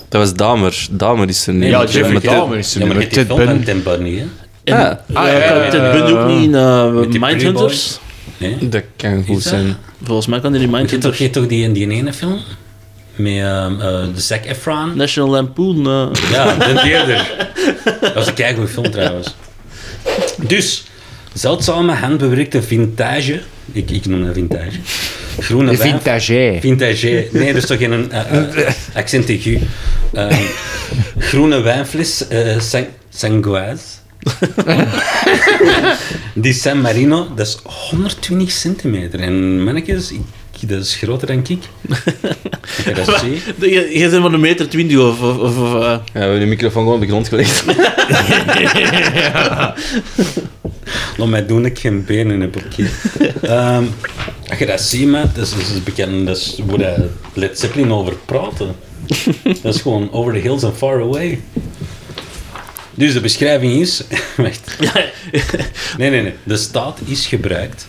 Speaker 2: Dat was Damer. Damer is er nu.
Speaker 5: Ja,
Speaker 3: Ja,
Speaker 5: maar
Speaker 3: Jeffrey
Speaker 5: Ted-
Speaker 3: Dahmer is
Speaker 5: eh, Ja,
Speaker 3: er
Speaker 5: maar
Speaker 3: nu.
Speaker 5: je
Speaker 3: met
Speaker 5: hebt die
Speaker 3: Ted
Speaker 5: film van
Speaker 3: Bundy.
Speaker 5: Ted Bundy, hè?
Speaker 4: En
Speaker 2: Ja,
Speaker 4: ah, ja, Ted Bundy ook niet in eh,
Speaker 5: die
Speaker 4: Mindhunters.
Speaker 5: Nee.
Speaker 2: dat kan goed
Speaker 5: Is dat?
Speaker 2: zijn.
Speaker 4: Volgens mij kan die in
Speaker 5: Je hebt toch,
Speaker 4: Mindhunters.
Speaker 5: je hebt toch die, die ene film? Met ehm eh, de Zac Efron?
Speaker 4: National Lampoon. eh.
Speaker 5: Ja, de eerder. Dat was een keigoed film trouwens. Dus, zeldzame handbewerkte vintage. Ik, ik noem dat vintage. Groene
Speaker 3: De
Speaker 5: wijn-
Speaker 3: vintage.
Speaker 5: Vintage. Nee, dat is toch geen eh, eh, accent aigu. Ehm, groene wijnfles eh sang Sangoise. Die San Marino, dat is 120 centimeter. En mannetjes, ik, dat is groter dan ik. Ik heb dat zie.
Speaker 4: Jij jij bent maar een meter twintig of... of, of of, eh.
Speaker 2: Ja, we hebben de microfoon gewoon op de grond gelegd.
Speaker 5: Laat mij doen dat ik geen benen heb op keer. Ehm, als je dat ziet, man, dat is, dat is bekend, dat is hoe dat Led Zeppelin over praten. Dat is gewoon over the hills and far away. Dus de beschrijving is... Wacht. Nee, nee, nee. De staat is gebruikt.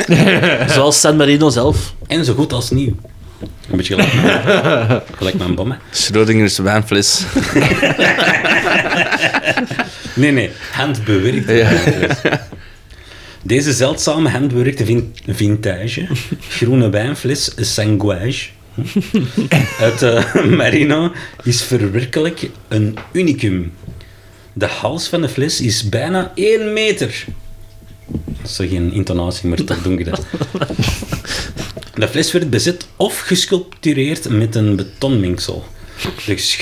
Speaker 4: Zoals San Marino zelf.
Speaker 5: En zo goed als nieuw. Een beetje gelijk mijn, gelijk mijn bom, hè.
Speaker 2: Schrodinger's wijnfles.
Speaker 5: Nee, nee, handbewerkte. wijnfles. Deze zeldzame handbewerkte vin- vintage, groene wijnfles Sanguage uit eh, Marino is verwerkelijk een unicum. De hals van de fles is bijna 1 meter. Dat is toch geen intonatie, maar toch doen je dat. De fles werd bezet of gesculptureerd met een betonmengsel. Dus-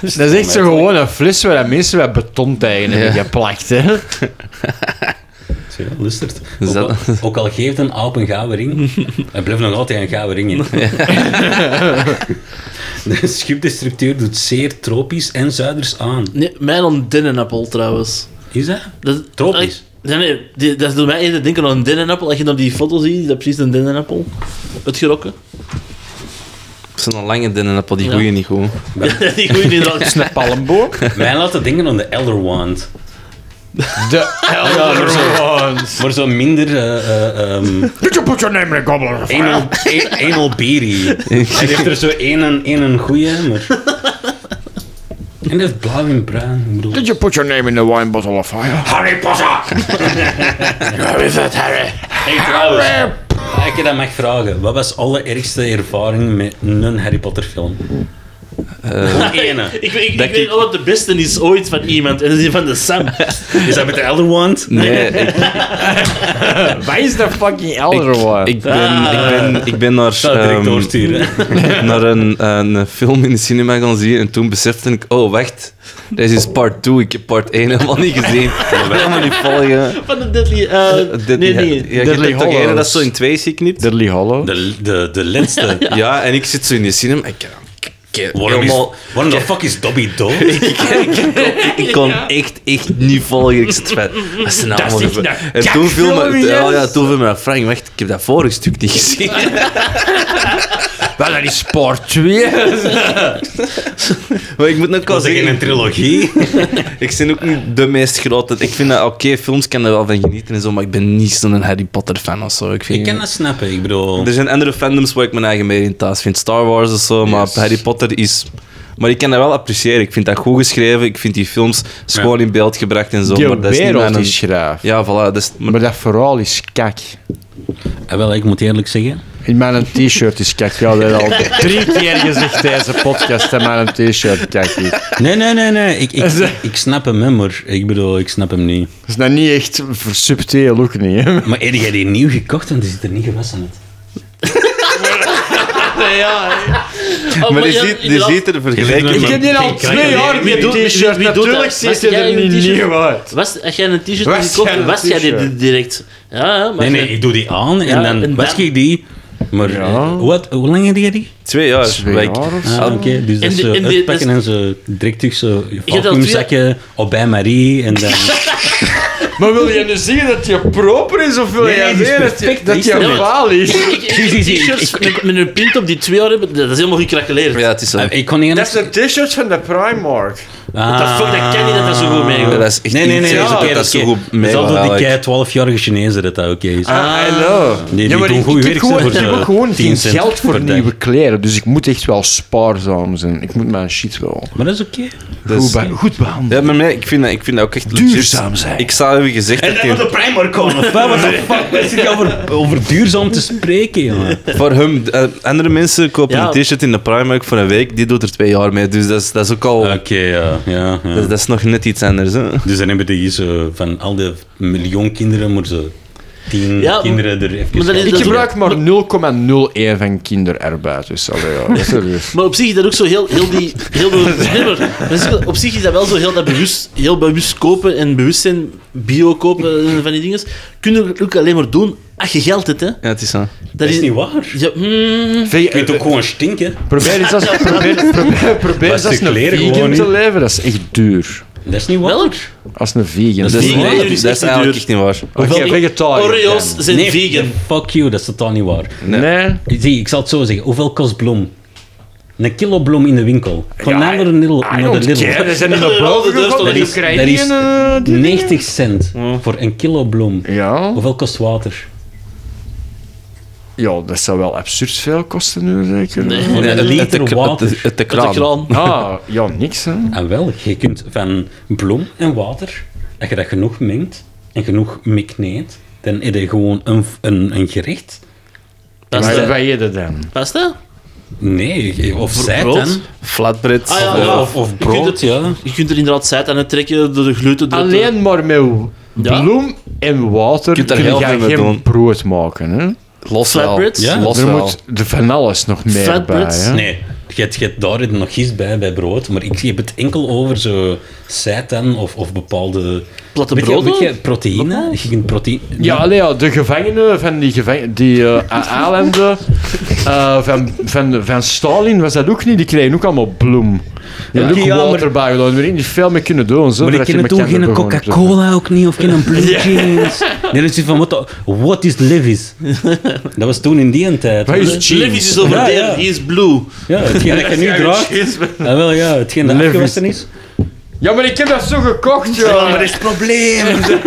Speaker 3: Dat is echt zo gewoon een fles waar dat mensen wat beton tegen hebben geplakt, hè?
Speaker 5: Zie je wel, Lustert.
Speaker 2: Dus
Speaker 5: Ook,
Speaker 2: dat-
Speaker 5: al, ook al geeft een aap een gouden ring, hij blijft nog altijd een gouden ring in. De schipdestructeur doet zeer tropisch en zuiders aan.
Speaker 4: Nee, mijn aan dennenappel trouwens.
Speaker 5: Is dat?
Speaker 4: Dat,
Speaker 5: Tropisch?
Speaker 4: Nee, nee, die- dat doet mij eerder denken aan een dennenappel. Als je dan die foto ziet, is dat precies een dennenappel. Het gerokken.
Speaker 2: Zo'n lange dennenappel, die goeie niet goed.
Speaker 4: die groeit inderdaad.
Speaker 3: Een palmboom.
Speaker 5: Mij laten denken aan de Elder Wand.
Speaker 3: De Elder Wands.
Speaker 5: Maar zo minder... eh eh ehm
Speaker 9: Did you put your name in a gobbler?
Speaker 5: anal- a- Anal Beery. Hij heeft er zo één en één een goeie, maar... En dat is blauw en bruin. Ik bedoel,
Speaker 9: Did you put your name in the wine bottle of fire?
Speaker 8: Harry Potter! Where is it, Harry?
Speaker 5: Hey, trouwens, als ik je dat mag vragen, wat was alle ergste ervaring met een Harry Potter film? Eén. Eh,
Speaker 4: Ik, weet- ik, ik weet al wat de beste is ooit van iemand. En dat is die van de Sam.
Speaker 5: Is dat met de Elder Wand?
Speaker 2: Nee, ik,
Speaker 3: Wij is de fucking elder one.
Speaker 2: ik, ben, ik, ben, ik ben naar,
Speaker 5: Dat direct
Speaker 2: ehm,
Speaker 5: doorsturen.
Speaker 2: naar een, een film in de cinema gaan zien en toen besefte ik, oh wacht, dit is part 2, ik heb part 1 helemaal niet gezien. Ik kan helemaal niet volgen.
Speaker 4: Van de Deadly... eh,
Speaker 2: Dit-
Speaker 4: nee,
Speaker 2: Ja,
Speaker 4: nee.
Speaker 2: ik heb
Speaker 3: Deadly
Speaker 2: er toch één
Speaker 3: Hollows.
Speaker 2: dat zo in twee zie ik niet.
Speaker 3: Deadly Hollow.
Speaker 5: De, de, de laatste.
Speaker 2: Ja. en ik zit zo in die cinema. Ik, ik- ik,
Speaker 5: Waarom, is,
Speaker 2: helemaal-
Speaker 5: waarom de fuck is Dobby dood?
Speaker 2: ik kon echt, echt niet volgen. Ik zat van, wat is er nou allemaal gebeurd? En toen viel me, ja, ja, toen viel me dat Frank, wacht, ik heb dat vorige stuk niet gezien.
Speaker 3: Wel, dat is part 2.
Speaker 2: Maar ik moet nog wel
Speaker 5: Was ik in
Speaker 2: zeggen,
Speaker 5: een trilogie?
Speaker 2: ik ben ook niet de meest grote. Ik vind dat oké, films kan er wel van genieten en zo, maar ik ben niet zo'n Harry Potter fan of zo. Ik, vind,
Speaker 5: Ik kan dat snappen, ik bedoel...
Speaker 2: Er zijn andere fandoms waar ik mijn eigen meer in thuis vind. Star Wars of zo, maar Harry Potter is. Maar ik kan dat wel appreciëren. Ik vind dat goed geschreven. Ik vind die films schoon in beeld gebracht en zo.
Speaker 3: Die
Speaker 2: maar dat is niet
Speaker 3: wereld
Speaker 2: mijn-
Speaker 3: is schraaf.
Speaker 2: Ja, voilà. Dat is, maar
Speaker 3: Maar dat vooral is kak.
Speaker 5: Ah, wel, ik moet eerlijk zeggen...
Speaker 3: In mijn t-shirt is kak. Ja, dat al drie keer gezegd deze podcast. En mijn t-shirt kak. Dat
Speaker 5: Nee, nee, nee, nee. Ik, ik, ik snap hem, hè, maar ik bedoel, ik snap hem niet.
Speaker 3: is nou niet echt voor subtiel ook niet. Hè.
Speaker 5: Maar heb jij die nieuw gekocht en die zit er niet gewassen uit?
Speaker 4: Oh,
Speaker 2: maar
Speaker 4: maar
Speaker 2: je
Speaker 4: ja,
Speaker 2: ziet, je
Speaker 4: inderdaad.
Speaker 2: ziet er vergelijking.
Speaker 5: Ik
Speaker 3: Ik
Speaker 5: heb
Speaker 3: heb
Speaker 5: hier
Speaker 3: hier
Speaker 5: al
Speaker 3: al
Speaker 5: twee
Speaker 3: twee
Speaker 5: Wie
Speaker 3: jaar
Speaker 5: jaar
Speaker 4: Wie doet, wie,
Speaker 3: t-shirt.
Speaker 4: wie doet
Speaker 3: Natuurlijk
Speaker 4: dat? Was
Speaker 3: ziet je
Speaker 4: jij
Speaker 3: er
Speaker 4: een
Speaker 3: niet
Speaker 4: t-shirt?
Speaker 3: nieuw uit.
Speaker 4: Was, als jij een t-shirt
Speaker 3: Was
Speaker 4: had gekocht,
Speaker 3: jij een
Speaker 4: was jij die
Speaker 3: t-shirt?
Speaker 4: direct. Ja, ja, maar
Speaker 5: Nee, nee,
Speaker 4: jij-
Speaker 5: ik doe die aan en
Speaker 4: Ja,
Speaker 5: dan
Speaker 4: en
Speaker 5: was
Speaker 4: dan-
Speaker 5: ik die. Maar eh, wat, hoe lang heb jij die?
Speaker 2: Twee jaar.
Speaker 3: Twee
Speaker 2: Like,
Speaker 3: jaar of
Speaker 5: Ah,
Speaker 2: al-
Speaker 5: oké. Dus dat
Speaker 4: En
Speaker 5: is
Speaker 4: de-
Speaker 5: zo
Speaker 4: en de-
Speaker 5: uitpakken
Speaker 4: dat
Speaker 5: en zo direct terug zo
Speaker 4: al
Speaker 5: vacuumzakken op bij Marie en dan...
Speaker 3: Maar wil je nu zien dat je proper is? Of wil
Speaker 5: Nee, nee,
Speaker 3: jij
Speaker 5: die is
Speaker 3: zien dat je,
Speaker 5: perfect.
Speaker 3: dat
Speaker 5: Die
Speaker 3: je
Speaker 5: is
Speaker 3: een
Speaker 5: perfect.
Speaker 3: baal is?
Speaker 4: Ik- ik- ik- T-shirts met, met een print op die twee jaar hebben, dat is helemaal gecrackeleerd.
Speaker 2: Ja, het is zo.
Speaker 5: Ah, Ik kon niet Ah,
Speaker 3: Dat is een t-shirt van de Primark.
Speaker 4: Dat fuck, dat kan niet dat dat zo goed meegaat.
Speaker 2: Dat is echt
Speaker 5: Nee, nee, nee,
Speaker 2: insane
Speaker 5: dat is oké.
Speaker 2: dat dat zo
Speaker 5: oké.
Speaker 2: goed
Speaker 5: Dat
Speaker 2: mee
Speaker 5: is altijd die
Speaker 2: eigenlijk.
Speaker 5: kei 12-jarige Chinezen dat dat oké is.
Speaker 3: Ah, I know.
Speaker 5: Nee, die
Speaker 3: ja, maar
Speaker 5: doen
Speaker 3: ik,
Speaker 5: goed
Speaker 3: ik
Speaker 5: werk,
Speaker 3: heb gewoon,
Speaker 5: hè,
Speaker 3: ik
Speaker 5: voor
Speaker 3: heb
Speaker 5: de
Speaker 3: ook gewoon
Speaker 5: 10
Speaker 3: geen
Speaker 5: cent
Speaker 3: geld voor
Speaker 5: per dag.
Speaker 3: nieuwe kleren, dus ik moet echt wel spaarzaam zijn. Ik moet mijn shit wel
Speaker 5: Maar dat is oké.
Speaker 2: Dat
Speaker 3: goed,
Speaker 2: is-
Speaker 3: be- goed behandelen.
Speaker 2: Ja, maar nee, ik vind dat, ik vind dat ook echt legit.
Speaker 3: Duurzaam zijn.
Speaker 2: Ik zou hebben gezegd dat die-
Speaker 5: Primark komen, of wat? What the fuck? Ben je over, over duurzaam te spreken, jongen?
Speaker 2: voor hem, eh, andere mensen kopen
Speaker 4: Ja.
Speaker 2: een t-shirt in de Primark voor een week, die doet er twee jaar mee. Dus dat is, dat is ook al.
Speaker 5: Oké, ja, ja, ja.
Speaker 2: dat, dat is nog net iets anders. Hè?
Speaker 5: Dus dan hebben die zo van al die miljoen kinderen, maar zo tien
Speaker 4: Ja,
Speaker 5: kinderen er even...
Speaker 4: maar dat is-
Speaker 5: gehad.
Speaker 3: Ik gebruik maar 0,01 van kinderarbeid, dus allee, ja, serieus.
Speaker 4: Maar op zich is dat ook zo heel, heel die... Heel de- nee, maar- maar dat is wel- op zich is dat wel zo heel dat bewust, heel bewust kopen en bewust zijn, bio kopen en van die dingen. Kun je ook alleen maar doen als je geld hebt, hè.
Speaker 2: Ja, het is zo.
Speaker 5: Dat is niet waar.
Speaker 4: Ja, mm,
Speaker 3: Vind je-
Speaker 5: Je kunt ook gewoon stinken.
Speaker 3: Probeer eens als, probeer, probeer, probeer eens
Speaker 5: Plastic
Speaker 3: als een
Speaker 5: kleren gewoon
Speaker 3: vegan
Speaker 5: niet.
Speaker 3: te leven, dat is echt duur.
Speaker 5: Dat is niet waar.
Speaker 4: welk?
Speaker 3: Als een vegan.
Speaker 2: Dus Dat is,
Speaker 4: vegan.
Speaker 2: nee,
Speaker 4: Nee,
Speaker 2: dat
Speaker 4: dat is
Speaker 2: is
Speaker 4: echt
Speaker 2: eigenlijk
Speaker 4: duur.
Speaker 2: echt niet waar.
Speaker 3: Oké, vegetariër.
Speaker 4: Oreos zijn
Speaker 5: Nee,
Speaker 4: vegan.
Speaker 5: Fuck you, dat is totaal niet waar.
Speaker 3: Nee.
Speaker 5: Zie, ik zal het zo zeggen. Hoeveel kost bloem? Een kilo bloem in de winkel. Gewoon naar de Lidl. Naar de Lidl.
Speaker 3: Ja, dat zijn niet naar
Speaker 4: Wel,
Speaker 3: boven
Speaker 4: de deur
Speaker 3: gegaan.
Speaker 4: stond
Speaker 5: Dat
Speaker 4: niet
Speaker 5: is,
Speaker 4: op.
Speaker 5: dat is
Speaker 3: eh,
Speaker 5: 90 cent voor een kilo bloem.
Speaker 3: Ja.
Speaker 5: Hoeveel kost water?
Speaker 3: ja, dat zou wel absurd veel kosten nu, zeker?
Speaker 5: Voor
Speaker 2: Nee,
Speaker 5: een
Speaker 2: het- het-
Speaker 5: liter
Speaker 2: het-
Speaker 5: water.
Speaker 2: het- het- de
Speaker 4: Uit de
Speaker 2: kraan.
Speaker 4: kraan.
Speaker 3: Ah, ja, niks hè.
Speaker 5: En wel, je kunt van bloem en water, als je dat genoeg mengt en genoeg mikneedt, dan heb je gewoon een, een, een gerecht.
Speaker 3: Maar
Speaker 4: Pasta?
Speaker 3: wat eet je dan?
Speaker 4: Pasta?
Speaker 5: Nee, je- of zij
Speaker 4: brood?
Speaker 5: dan.
Speaker 2: Flatbread.
Speaker 4: Ah, ja,
Speaker 2: eh,
Speaker 4: ja.
Speaker 5: Of, of
Speaker 4: Je kunt
Speaker 5: brood,
Speaker 4: het-
Speaker 5: ja.
Speaker 4: Je kunt er inderdaad zijt aan het trekken, door de gluten... door de-
Speaker 3: Alleen maar met bloem en water
Speaker 2: kunt daar
Speaker 3: kun
Speaker 2: heel
Speaker 3: je
Speaker 2: veel
Speaker 3: geen
Speaker 2: mee doen.
Speaker 3: brood maken. Hè?
Speaker 2: Los wel.
Speaker 4: Flatbreads?
Speaker 5: Ja.
Speaker 2: Los
Speaker 3: Er
Speaker 2: wel.
Speaker 3: moet de van alles nog meer
Speaker 4: Flatbreads?
Speaker 3: bij. Hè?
Speaker 5: Nee, je hebt, je hebt daar het nog gist bij, bij brood, maar ik heb het enkel over zo seitan of, of bepaalde...
Speaker 4: Platte
Speaker 5: Weet je-
Speaker 4: broden?
Speaker 5: Weet je, proteïne? Je kunt proteïne...
Speaker 3: Ja, allee, ja, de gevangenen van die, gevang die eh, AA-landen eh, van, van, van Stalin was dat ook niet. Die kregen ook allemaal bloem. Die hadden ook
Speaker 5: ja, maar-
Speaker 3: water bij gedaan. Daar niet veel mee kunnen doen. Zo,
Speaker 5: Maar ik
Speaker 3: voordat je
Speaker 5: ken
Speaker 3: met
Speaker 5: toen
Speaker 3: kinderen
Speaker 5: geen
Speaker 3: begon op te-
Speaker 5: Coca-Cola ook niet, of geen Blue Jeans. Nee, dat is van, what, the- what is Levi's? Dat was toen in die tijd.
Speaker 3: Wat is
Speaker 5: hoor.
Speaker 3: jeans?
Speaker 4: Levi's is over
Speaker 5: Ja,
Speaker 4: there,
Speaker 5: ja.
Speaker 4: he is blue.
Speaker 5: Ja, hetgeen dat je nu draagt. Ah, wel ja, hetgeen dat
Speaker 3: Levi's.
Speaker 5: afgewassen is.
Speaker 3: Ja, maar ik heb dat zo gekocht, joh.
Speaker 5: is het probleem.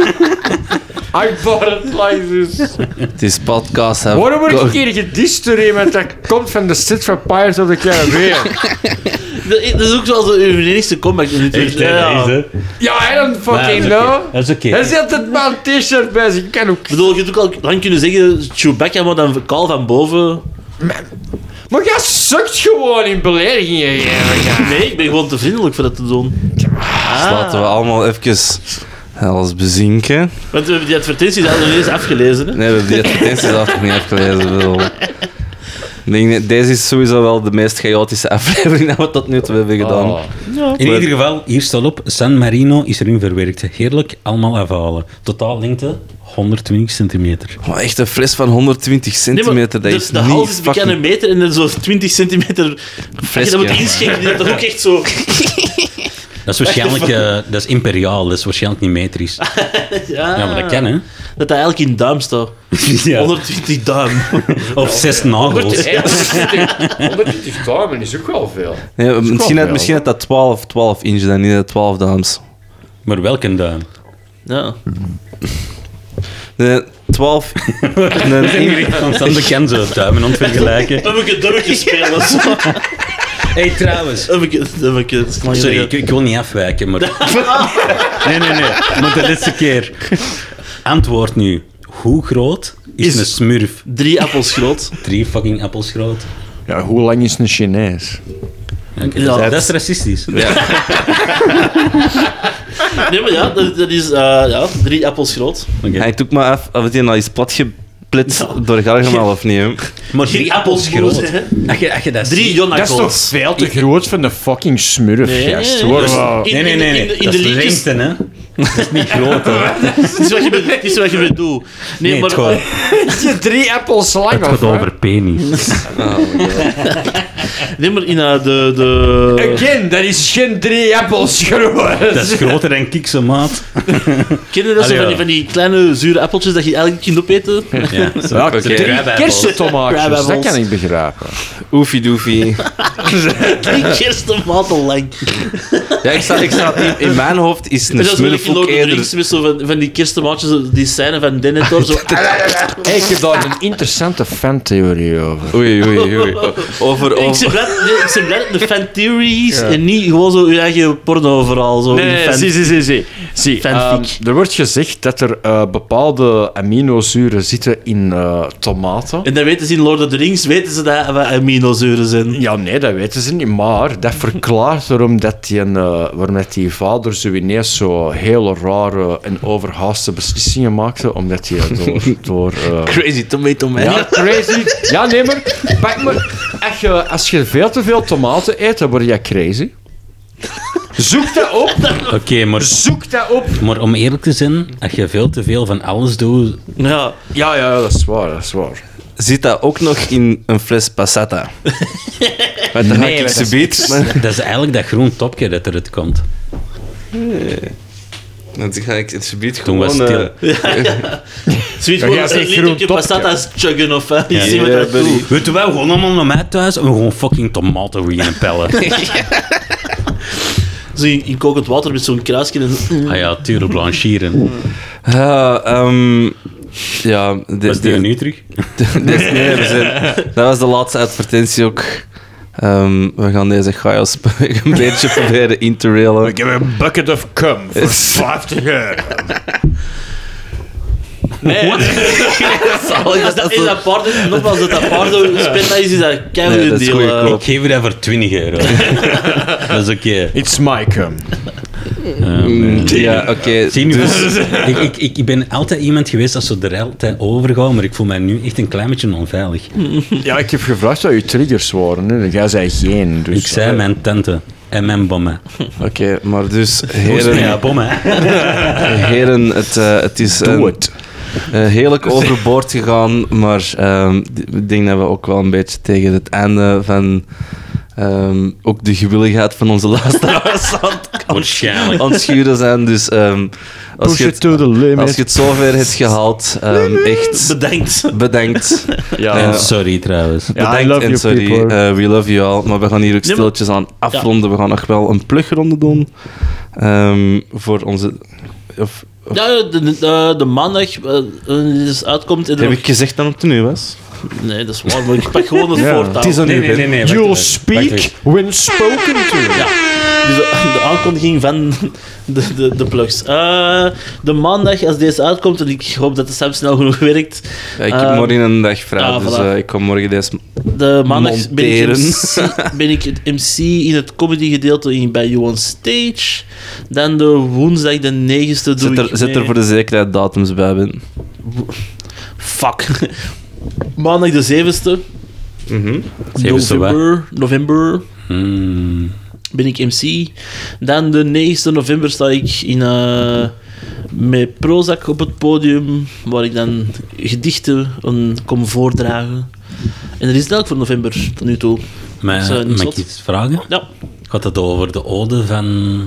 Speaker 3: I bought it like this.
Speaker 2: Het is podcast. hè.
Speaker 3: Waarom word ik hier gedist door iemand dat komt van de set van Pirates of the Caribbean?
Speaker 4: Dat eh, dat is ook wel zo uw enigste comeback in dit
Speaker 5: Echt, hè, dat is, hè.
Speaker 3: Ja, I don't fucking
Speaker 5: Maar
Speaker 3: know.
Speaker 5: Dat is oké.
Speaker 3: Hij zet het maar een t-shirt bij zich. Ik kan ook...
Speaker 4: Ik bedoel, je had ook al lang kunnen zeggen Chewbacca, maar dan kaal van boven.
Speaker 3: Maar jij sukt gewoon in beledigingen. geven, ja.
Speaker 4: Nee, ik ben gewoon te vriendelijk voor dat te doen.
Speaker 2: Dus Laten we allemaal even Alles bezinken.
Speaker 4: Want we hebben die advertenties hadden we nog niet eens afgelezen. Hè?
Speaker 2: Nee, we hebben die advertenties zelf nog niet afgelezen. ik bedoel. Ik denk, nee, deze is sowieso wel de meest chaotische aflevering dat we tot nu toe hebben gedaan.
Speaker 3: Oh.
Speaker 5: In ieder geval, hier staat op, San Marino is erin verwerkt. Heerlijk, allemaal afhalen. Totaal lengte 120 centimeter.
Speaker 2: Maar echt een fles van 120
Speaker 4: Nee, maar
Speaker 2: centimeter, dat
Speaker 4: de,
Speaker 2: is
Speaker 4: de
Speaker 2: niet
Speaker 4: hals is bekend
Speaker 2: fucking-
Speaker 4: een meter en dan zo'n 20 centimeter. Als je dat moet
Speaker 2: Flesje.
Speaker 4: inschenken, die dat toch ook echt zo.
Speaker 5: Dat is waarschijnlijk eh, dat is imperiaal, dat is waarschijnlijk niet metrisch.
Speaker 4: Ja,
Speaker 5: Ja, maar dat kan, hè?
Speaker 4: Dat dat eigenlijk in duim staat.
Speaker 5: Ja.
Speaker 4: 120 duim.
Speaker 5: Of zes nagels.
Speaker 4: Ja.
Speaker 3: 120 duimen is ook wel veel.
Speaker 2: Ja, misschien,
Speaker 3: wel
Speaker 2: dat, misschien dat dat 12, 12 inch dan, niet dat 12 dames.
Speaker 5: Maar welke duim?
Speaker 4: Ja.
Speaker 2: De 12... een inch-
Speaker 5: Constant bekend zo duimen aan het vergelijken.
Speaker 4: Heb ik het dummetje spelen? Zo.
Speaker 5: Hé, hey, trouwens.
Speaker 4: Heb ik het dummetje spelen?
Speaker 5: Oh, Sorry, ik, ik wil niet afwijken, maar... Nee, nee, nee. Maar de laatste keer. Antwoord nu. Hoe groot is,
Speaker 4: Is-
Speaker 5: een smurf?
Speaker 4: Drie appels groot.
Speaker 5: Drie fucking appels groot.
Speaker 3: Ja, hoe lang is een Chinees?
Speaker 5: Oké,
Speaker 4: Ja.
Speaker 5: dat, dat is racistisch.
Speaker 4: Nee, maar ja, dat, dat is eh, ja, drie appels groot.
Speaker 5: Oké.
Speaker 2: Hij nou doet maar af of die al is platgeplitst door Gargamel of niet. hè.
Speaker 5: Maar
Speaker 4: Drie
Speaker 5: drie
Speaker 4: appels
Speaker 5: appels
Speaker 4: groot.
Speaker 5: groot. Als je, als je dat
Speaker 4: Drie
Speaker 5: ziet-
Speaker 3: Dat is toch
Speaker 4: jonakels.
Speaker 3: veel te groot voor een fucking smurf, gast. Hoor. Wow.
Speaker 5: Nee, nee, nee. nee.
Speaker 4: In de, in
Speaker 5: dat
Speaker 4: de
Speaker 5: is de
Speaker 4: liedjes.
Speaker 5: lengte, hè. Dat is niet groot, hè.
Speaker 4: Het is wat je bedoelt. Het is wat je bedoelt. Nee,
Speaker 5: Nee,
Speaker 4: maar
Speaker 5: het gewoon-
Speaker 3: Drie appels lang,
Speaker 5: Het
Speaker 3: of
Speaker 5: gaat over penis.
Speaker 4: Nee, maar in eh, de... de...
Speaker 3: Again, dat is geen drie appels groot.
Speaker 5: Dat is groter dan kikse maat.
Speaker 4: Ken je dat zo
Speaker 5: Allee,
Speaker 4: van die,
Speaker 5: ja.
Speaker 4: van die kleine zure appeltjes dat je eigenlijk kunt opeten?
Speaker 5: Ja,
Speaker 3: Ja,
Speaker 5: zo-
Speaker 3: drie kersentomaatjes, dat
Speaker 4: Crabappels.
Speaker 3: kan ik begrijpen.
Speaker 2: Oefie doefie.
Speaker 4: Drie kerstenmaten lang.
Speaker 2: Ja, ik sta, ik sta, in, in mijn hoofd is een
Speaker 4: En dat is wel
Speaker 2: smurf
Speaker 4: in
Speaker 2: ook
Speaker 4: Lord of the
Speaker 2: eerder...
Speaker 4: Rings, met zo van, van die kerstenmaatjes, zo- die scène van Denethor. Zo.
Speaker 3: Hey, ik heb daar een interessante fantheorie over.
Speaker 2: Oei, oei, oei. Over,
Speaker 4: Ik
Speaker 2: over...
Speaker 4: ben blij, nee, ik ben blij dat het de fan theories en niet gewoon zo je eigen porno vooral. Zo in de fan,
Speaker 3: zie, zie, zie. zie
Speaker 4: fanfic.
Speaker 3: ehm, er wordt gezegd dat er eh, bepaalde aminozuren zitten in eh, tomaten.
Speaker 4: En dan weten ze in Lord of the Rings, weten ze dat we aminozuren zijn.
Speaker 3: Ja, nee, dat weten ze niet. Maar dat verklaart waarom, dat die, een, eh, waarom dat die vader zo ineens zo hele rare en overhaaste beslissingen maakte. Omdat hij door... door eh,
Speaker 2: Crazy tomato man.
Speaker 3: ja, crazy. Ja, nee, maar... Pak maar als, je, als je veel te veel tomaten eet, dan word je crazy. Zoek dat op.
Speaker 5: Oké, maar,
Speaker 3: Zoek dat op.
Speaker 5: maar om eerlijk te zijn, als je veel te veel van alles doet...
Speaker 4: Ja.
Speaker 3: Ja, ja, dat is waar, dat is waar.
Speaker 2: Zit dat ook nog in een fles passata? Want dan ga ik ze beet. maar-
Speaker 5: Dat is eigenlijk dat groen topje dat eruit komt.
Speaker 2: Dan ga ik het gebied
Speaker 5: Toen
Speaker 2: gewoon...
Speaker 5: was het stil.
Speaker 2: eh,
Speaker 4: Zoiets
Speaker 3: jij
Speaker 4: gewoon
Speaker 3: zegt
Speaker 4: een
Speaker 3: groen
Speaker 4: literje
Speaker 3: topje.
Speaker 4: pastatas chuggen of hè. Je ziet wat
Speaker 2: ja,
Speaker 4: dat
Speaker 2: buddy.
Speaker 4: doet.
Speaker 5: Weet je wel, gewoon allemaal naar mij thuis en gewoon fucking tomaten voor je pellen.
Speaker 4: Zo in, in kokend water met zo'n kruisje. En,
Speaker 5: ah ja, tuurlijk, blanchieren.
Speaker 2: ah, ehm, ja, de-
Speaker 5: Dat is die
Speaker 2: de-
Speaker 5: nu terug.
Speaker 2: Dus, nee, we zijn- dat was de laatste advertentie ook. Ehm, we gaan deze chaos een beetje proberen in te railen.
Speaker 6: Give him a bucket of cum for 50 euro.
Speaker 4: oh, is dat, is dat paarden, nogmaals, dat dat paarden spit is, is dat een
Speaker 2: Nee,
Speaker 4: keiharde
Speaker 2: dat is
Speaker 4: deal.
Speaker 2: goeie
Speaker 4: eh.
Speaker 2: koop.
Speaker 5: Ik geef je dat voor 20 euro. dat is oké. Ehm,
Speaker 3: It's my cum.
Speaker 2: Ja, oké.
Speaker 5: Zie nu, Dus ik, ik, ik ik ben altijd iemand geweest dat zo er altijd overgaat, maar ik voel mij nu echt een klein beetje onveilig.
Speaker 4: Mm.
Speaker 3: Ja, ik heb gevraagd wat je triggers waren. Hè. Jij zei geen. Dus,
Speaker 5: Ik zei mijn tenten en mijn bommen.
Speaker 2: Oké, maar dus,
Speaker 5: Heren, ja,
Speaker 2: heren,
Speaker 5: bommen. hè.
Speaker 2: heren het, eh, het is
Speaker 3: Doe
Speaker 2: een,
Speaker 3: het.
Speaker 2: eh, heerlijk overboord gegaan, maar ehm, ik denk dat we ook wel een beetje tegen het einde van ehm, ook de gewilligheid van onze luisteraars aan het-
Speaker 5: Waarschijnlijk.
Speaker 2: aan het schuren zijn. Dus ehm, als,
Speaker 3: Push
Speaker 2: je
Speaker 3: it
Speaker 2: het,
Speaker 3: to the limit.
Speaker 2: als je het zover hebt gehaald, ehm,
Speaker 4: eh,
Speaker 2: echt
Speaker 4: Bedankt.
Speaker 2: bedankt. Eh,
Speaker 3: ja,
Speaker 5: En sorry trouwens.
Speaker 3: Ja, I
Speaker 2: Bedankt
Speaker 3: love
Speaker 2: en
Speaker 3: you
Speaker 2: sorry,
Speaker 3: people.
Speaker 2: eh, we love you all. Maar we gaan hier ook
Speaker 4: maar-
Speaker 2: stiltjes aan afronden. We gaan nog wel een plugronde doen. Ehm, voor onze... Of,
Speaker 4: Ja, de, de, de maandag eh, eh, die dus uitkomt. En
Speaker 2: heb ik gezegd dat het nu was?
Speaker 4: Nee, dat is waar, maar ik pak gewoon het voortouw.
Speaker 2: Het is aan
Speaker 9: Nee,
Speaker 2: u,
Speaker 9: nee,
Speaker 2: Ben.
Speaker 9: nee. nee wacht
Speaker 3: You'll
Speaker 9: even, wacht
Speaker 3: speak
Speaker 9: even.
Speaker 3: when spoken to.
Speaker 4: Ja. Dus de, de aankondiging van de, de, de plugs. Eh, de maandag, als deze uitkomt, en ik hoop dat de Sam snel genoeg werkt.
Speaker 2: Ja, ik heb
Speaker 4: eh,
Speaker 2: morgen een dag vrij,
Speaker 4: ah,
Speaker 2: dus
Speaker 4: voilà.
Speaker 2: eh, ik kom morgen deze...
Speaker 4: De maandag ben ik,
Speaker 2: Monteren.
Speaker 4: MC, ben ik het MC in het comedy gedeelte in, bij You on Stage. Dan de woensdag, de 9e, doe
Speaker 2: Zet
Speaker 4: ik
Speaker 2: er, zet er
Speaker 4: mee.
Speaker 2: voor de zekerheid datums bij, Ben.
Speaker 4: Fuck. Maandag de 7e.
Speaker 2: Mhm.
Speaker 5: Zevende wat?
Speaker 4: november, november
Speaker 5: Hmm.
Speaker 4: ben ik MC. Dan de 9e november sta ik in, eh, met Prozac op het podium, waar ik dan gedichten aan kom voordragen. En er is elk voor november tot nu toe.
Speaker 5: Maar,
Speaker 4: Zo, niet
Speaker 5: mag ik
Speaker 4: zot.
Speaker 5: iets vragen?
Speaker 4: Ja,
Speaker 5: Gaat het over de ode van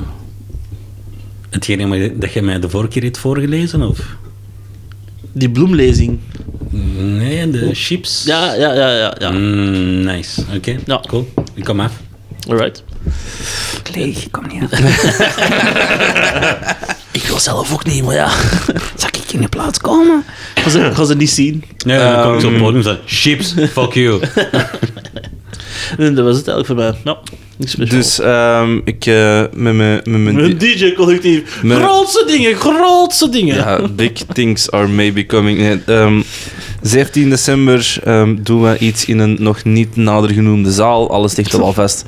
Speaker 5: hetgene dat je mij de vorige keer hebt voorgelezen? Of?
Speaker 4: die bloemlezing.
Speaker 5: Nee, de chips.
Speaker 4: Ja, ja, ja, ja. ja.
Speaker 5: Mm, nice. Oké,
Speaker 4: Ja.
Speaker 5: cool. Ik kom af.
Speaker 4: Alright. ik kom niet aan. ik wil zelf ook niet, maar ja. Zal ik in de plaats komen? Gaan ze, gaan ze niet zien.
Speaker 5: Nee, dan Eh, kom ik zo op het
Speaker 9: ehm,
Speaker 5: podium en zeg, chips, fuck you.
Speaker 4: Nee, dat was het eigenlijk voor mij. Ja, niks speciaal.
Speaker 2: Dus ehm, ik eh, met mijn... Met mijn
Speaker 4: Een DJ-collectief.
Speaker 2: Met-
Speaker 4: Grootse dingen, grootse dingen.
Speaker 2: ja, big things are maybe coming. Nee, ehm, 17 december ehm, doen we iets in een nog niet nader genoemde zaal. Alles ligt al vast.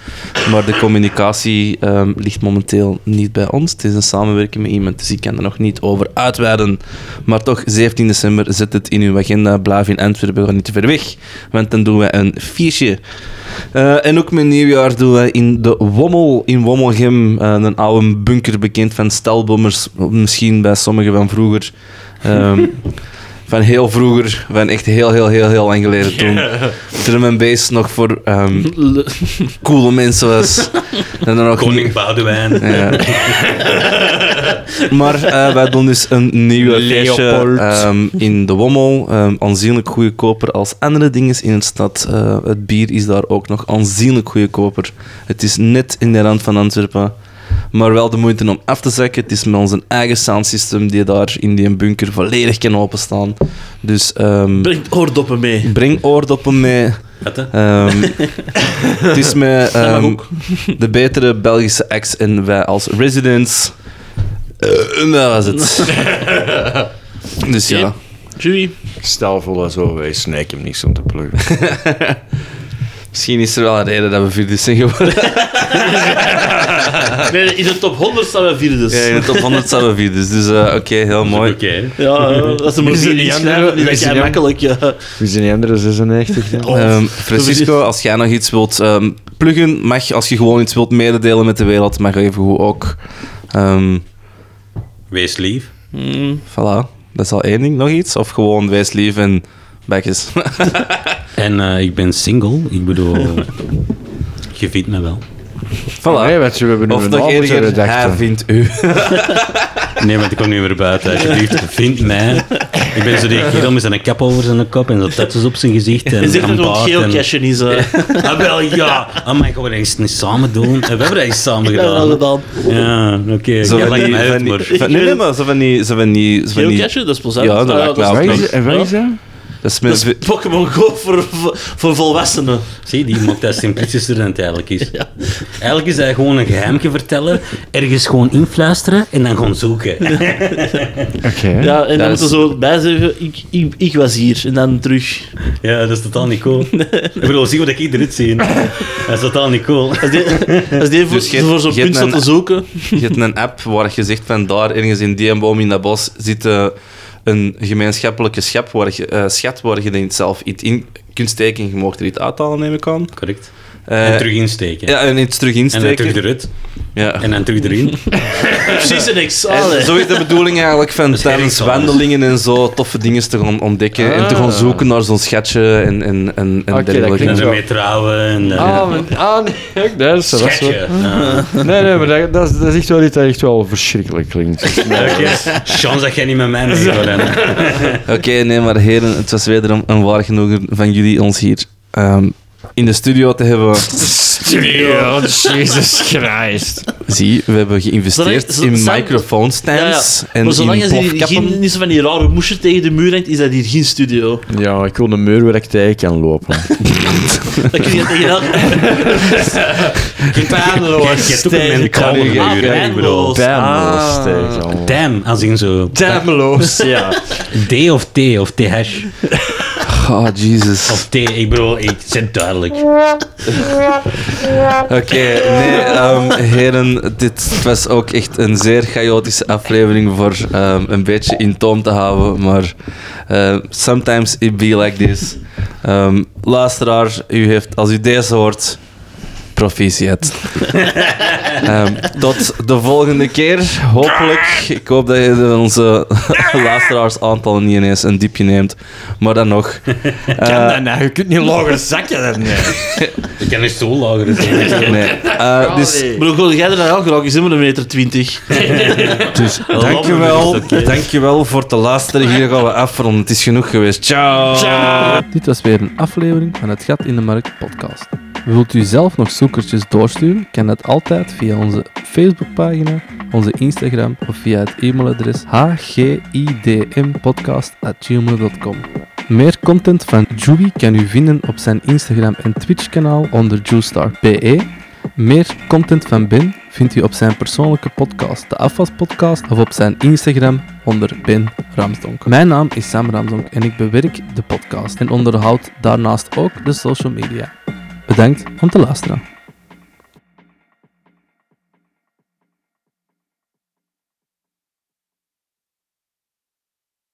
Speaker 2: Maar de communicatie ehm, ligt momenteel niet bij ons. Het is een samenwerking met iemand, dus ik kan er nog niet over uitweiden. Maar toch, 17 december, zet het in uw agenda. Blijf in Antwerpen, we gaan niet te ver weg. Want dan doen we een fiche. Eh, en ook met nieuwjaar doen we in de Wommel, in Wommelgem, eh, een oude bunker bekend van stelbommers, misschien bij sommigen van vroeger. Ehm, van heel vroeger, van echt heel, heel, heel, heel lang geleden toen. Drum en bass nog voor ehm,
Speaker 4: Le-
Speaker 2: coole mensen was. en dan nog
Speaker 5: Koning Boudewijn.
Speaker 2: ja. maar eh, wij doen dus een nieuwe feestje ehm, in de Wommel. ehm, aanzienlijk goedkoper als andere dingen in de stad. Eh, het bier is daar ook nog aanzienlijk goedkoper. Het is net in de rand van Antwerpen. Maar wel de moeite om af te zakken. Het is met onze eigen soundsystem die daar in die bunker volledig kan openstaan. Dus ehm,
Speaker 4: Brengt oordoppen mee.
Speaker 2: breng oordoppen mee.
Speaker 5: Wat, hè?
Speaker 2: Ehm, het is met
Speaker 4: mag
Speaker 2: ehm, de betere Belgische acts en wij als residents. Eh, en dat was het. dus ja.
Speaker 4: Jury.
Speaker 3: Stel voor dat zo, wij snijken hem niks om te pluggen.
Speaker 2: Misschien is er wel een reden dat we vierde zijn geworden.
Speaker 4: Ah. Nee, in de top 100 staan we vierde dus.
Speaker 2: Ja, in de top 100 staan we vierdes. Dus eh, oké, heel mooi.
Speaker 5: Oké. hè.
Speaker 4: Ja, eh, dat is een
Speaker 3: Is er
Speaker 4: manier
Speaker 3: niet
Speaker 4: in
Speaker 3: andere-
Speaker 4: schrijven, die dat
Speaker 3: is er
Speaker 4: jij
Speaker 3: niet-
Speaker 4: makkelijk... eh,
Speaker 3: Wie zijn die andere 96? dan?
Speaker 2: Ehm, Francisco, als jij nog iets wilt ehm, pluggen, mag. Als je gewoon iets wilt mededelen met de wereld, mag even goed ook. Ehm,
Speaker 5: Wees lief.
Speaker 2: voilà, dat is al één ding. Nog iets? Of gewoon wees lief en bekjes.
Speaker 5: En eh, ik ben single. Ik bedoel, je vindt me wel.
Speaker 2: voilà.
Speaker 3: Nee, want we hebben nu
Speaker 2: Of
Speaker 3: een
Speaker 2: nog
Speaker 3: avond
Speaker 2: eerder, hij
Speaker 3: redacten.
Speaker 2: vindt u.
Speaker 5: Nee, want ik kom nu weer buiten. Alsjeblieft, vind mij. Ik ben zo die kerel met zijn kap over zijn kop en zo tattoos op zijn gezicht. En
Speaker 4: Je zegt
Speaker 5: een
Speaker 4: dat het
Speaker 5: baard en-
Speaker 4: geocaching is. eh.
Speaker 5: Ah, wel, ja. Oh my god, we gaan iets niet samen doen. En we hebben dat eens samen
Speaker 4: Ik heb dat al
Speaker 5: gedaan.
Speaker 4: gedaan.
Speaker 5: Ja, oké.
Speaker 2: Zo
Speaker 5: ja,
Speaker 2: van
Speaker 5: lijkt
Speaker 2: die,
Speaker 5: mij
Speaker 2: van
Speaker 5: uit,
Speaker 2: die,
Speaker 5: maar...
Speaker 2: van- nee, nee, maar zo van die, zo van die, zo van die,
Speaker 4: Geocaching, dat is plezant.
Speaker 2: ja, dat
Speaker 4: Ah,
Speaker 2: lijkt mij ook
Speaker 3: Waar
Speaker 4: is
Speaker 2: nog.
Speaker 3: is- En waar is dat?
Speaker 2: Dat is met,
Speaker 4: Dat is Pokémon Go voor, voor, voor volwassenen.
Speaker 5: Zie, die maakt dat simplistischer dan het eigenlijk is. Eigenlijk is hij gewoon een geheimje vertellen, ergens gewoon influisteren en dan gewoon zoeken.
Speaker 3: Oké.
Speaker 4: Ja,
Speaker 2: Dat
Speaker 4: en dan moeten
Speaker 2: is-
Speaker 4: zo bij zeggen, ik, ik, ik was hier. En dan terug.
Speaker 5: Ja, dat is totaal niet cool. Ik bedoel, zie wat ik eruit zie. Dat is totaal niet cool.
Speaker 4: Als die, als die voor,
Speaker 2: Dus je hebt-
Speaker 4: voor zo'n
Speaker 2: je hebt
Speaker 4: punt staat
Speaker 2: een-
Speaker 4: te zoeken.
Speaker 2: je hebt een app waar je zegt van daar ergens in die boom in dat bos zit eh, een gemeenschappelijke schap waar je, eh, schat waar je denkt zelf iets in kunt steken en je mag er iets uithalen, neem ik aan.
Speaker 5: Correct.
Speaker 2: Eh,
Speaker 5: En terug insteken.
Speaker 2: Ja, en iets terug
Speaker 5: En dan terug
Speaker 2: insteken.
Speaker 5: eruit.
Speaker 2: ja.
Speaker 5: En dan terug erin.
Speaker 4: Precies een
Speaker 2: En
Speaker 4: examen.
Speaker 2: zo is de bedoeling eigenlijk van
Speaker 5: is
Speaker 2: tijdens
Speaker 5: ergens anders. Ah.
Speaker 2: wandelingen en zo toffe dingen te gaan ontdekken en te gaan zoeken naar zo'n schatje en, en, en, en
Speaker 3: dat
Speaker 2: dergelijke.
Speaker 5: En
Speaker 3: klinkt
Speaker 5: dan
Speaker 3: Zo.
Speaker 5: ermee trouwen. En dan...
Speaker 3: Ah, maar- ah, nee, nee, dat is, dat is wel-
Speaker 5: Schatje. Ah,
Speaker 3: Nee, nee, maar dat, dat, is, dat is echt wel iets dat echt wel verschrikkelijk klinkt.
Speaker 5: Oké. Chance dat jij niet met mij mee wil rennen.
Speaker 2: Oké, nee, maar heren, het was wederom een waar genoegen van jullie ons hier ehm, in de studio te hebben.
Speaker 3: Studio, Jesus Christ.
Speaker 2: Zie, we hebben
Speaker 4: Zolang-
Speaker 2: geïnvesteerd
Speaker 4: zo-
Speaker 2: in
Speaker 4: Sam-
Speaker 2: microphone
Speaker 4: Ja, ja.
Speaker 2: stands en
Speaker 4: Maar zolang
Speaker 2: in
Speaker 4: je hier
Speaker 2: plofkappen.
Speaker 4: geen, niet zo van die rare moesje tegen de muur hangt, is dat hier geen studio.
Speaker 3: Ja, ik wil een muur waar ik tegen kan lopen.
Speaker 4: Dan kun je tegen elke
Speaker 9: Je hebt ook een mentale
Speaker 3: tegen-
Speaker 9: muur, hè, ik bedoel.
Speaker 4: pijnloos. Ah.
Speaker 3: Damnloos tegen.
Speaker 5: Damn, als in zo.
Speaker 3: Damnloos, ja.
Speaker 5: D of T of T-hash.
Speaker 2: Oh, Jesus.
Speaker 5: Of T, ik bedoel, ik het is duidelijk.
Speaker 2: Oké, nee, ehm, heren, dit was ook echt een zeer chaotische aflevering voor ehm, een beetje in toom te houden, maar eh, sometimes it be like this. Ehm luisteraar, u heeft, als u deze hoort, proficiat. Ehm, tot de volgende keer, hopelijk. Ik hoop dat je de- onze luisteraarsaantal niet ineens een diepje neemt, maar dan nog.
Speaker 3: Kan dat nou? Je kunt niet lager zakken dan nee.
Speaker 5: Ik kan een stoel lager dus zijn.
Speaker 2: Nee. Eh, dus
Speaker 4: Maar hoe wil jij er nou aan geraken? Is helemaal een meter twintig.
Speaker 2: Dus dankjewel, dankjewel voor het luisteren. Hier gaan we afronden. Het is genoeg geweest. Ciao. Dit was weer een aflevering van het Gat in de Markt podcast. Wilt u zelf nog zoekertjes doorsturen? Kan dat altijd via onze Facebookpagina, onze Instagram of via het e-mailadres hgidmpodcast.gmail.com. Meer content van Juby kan u vinden op zijn Instagram en Twitch-kanaal onder juestar.be meer content van Ben vindt u op zijn persoonlijke podcast, de Afwaspodcast, of op zijn Instagram onder Ben Ramsdonk. Mijn naam is Sam Ramsdonk en ik bewerk de podcast en onderhoud daarnaast ook de social media. Bedankt om te luisteren.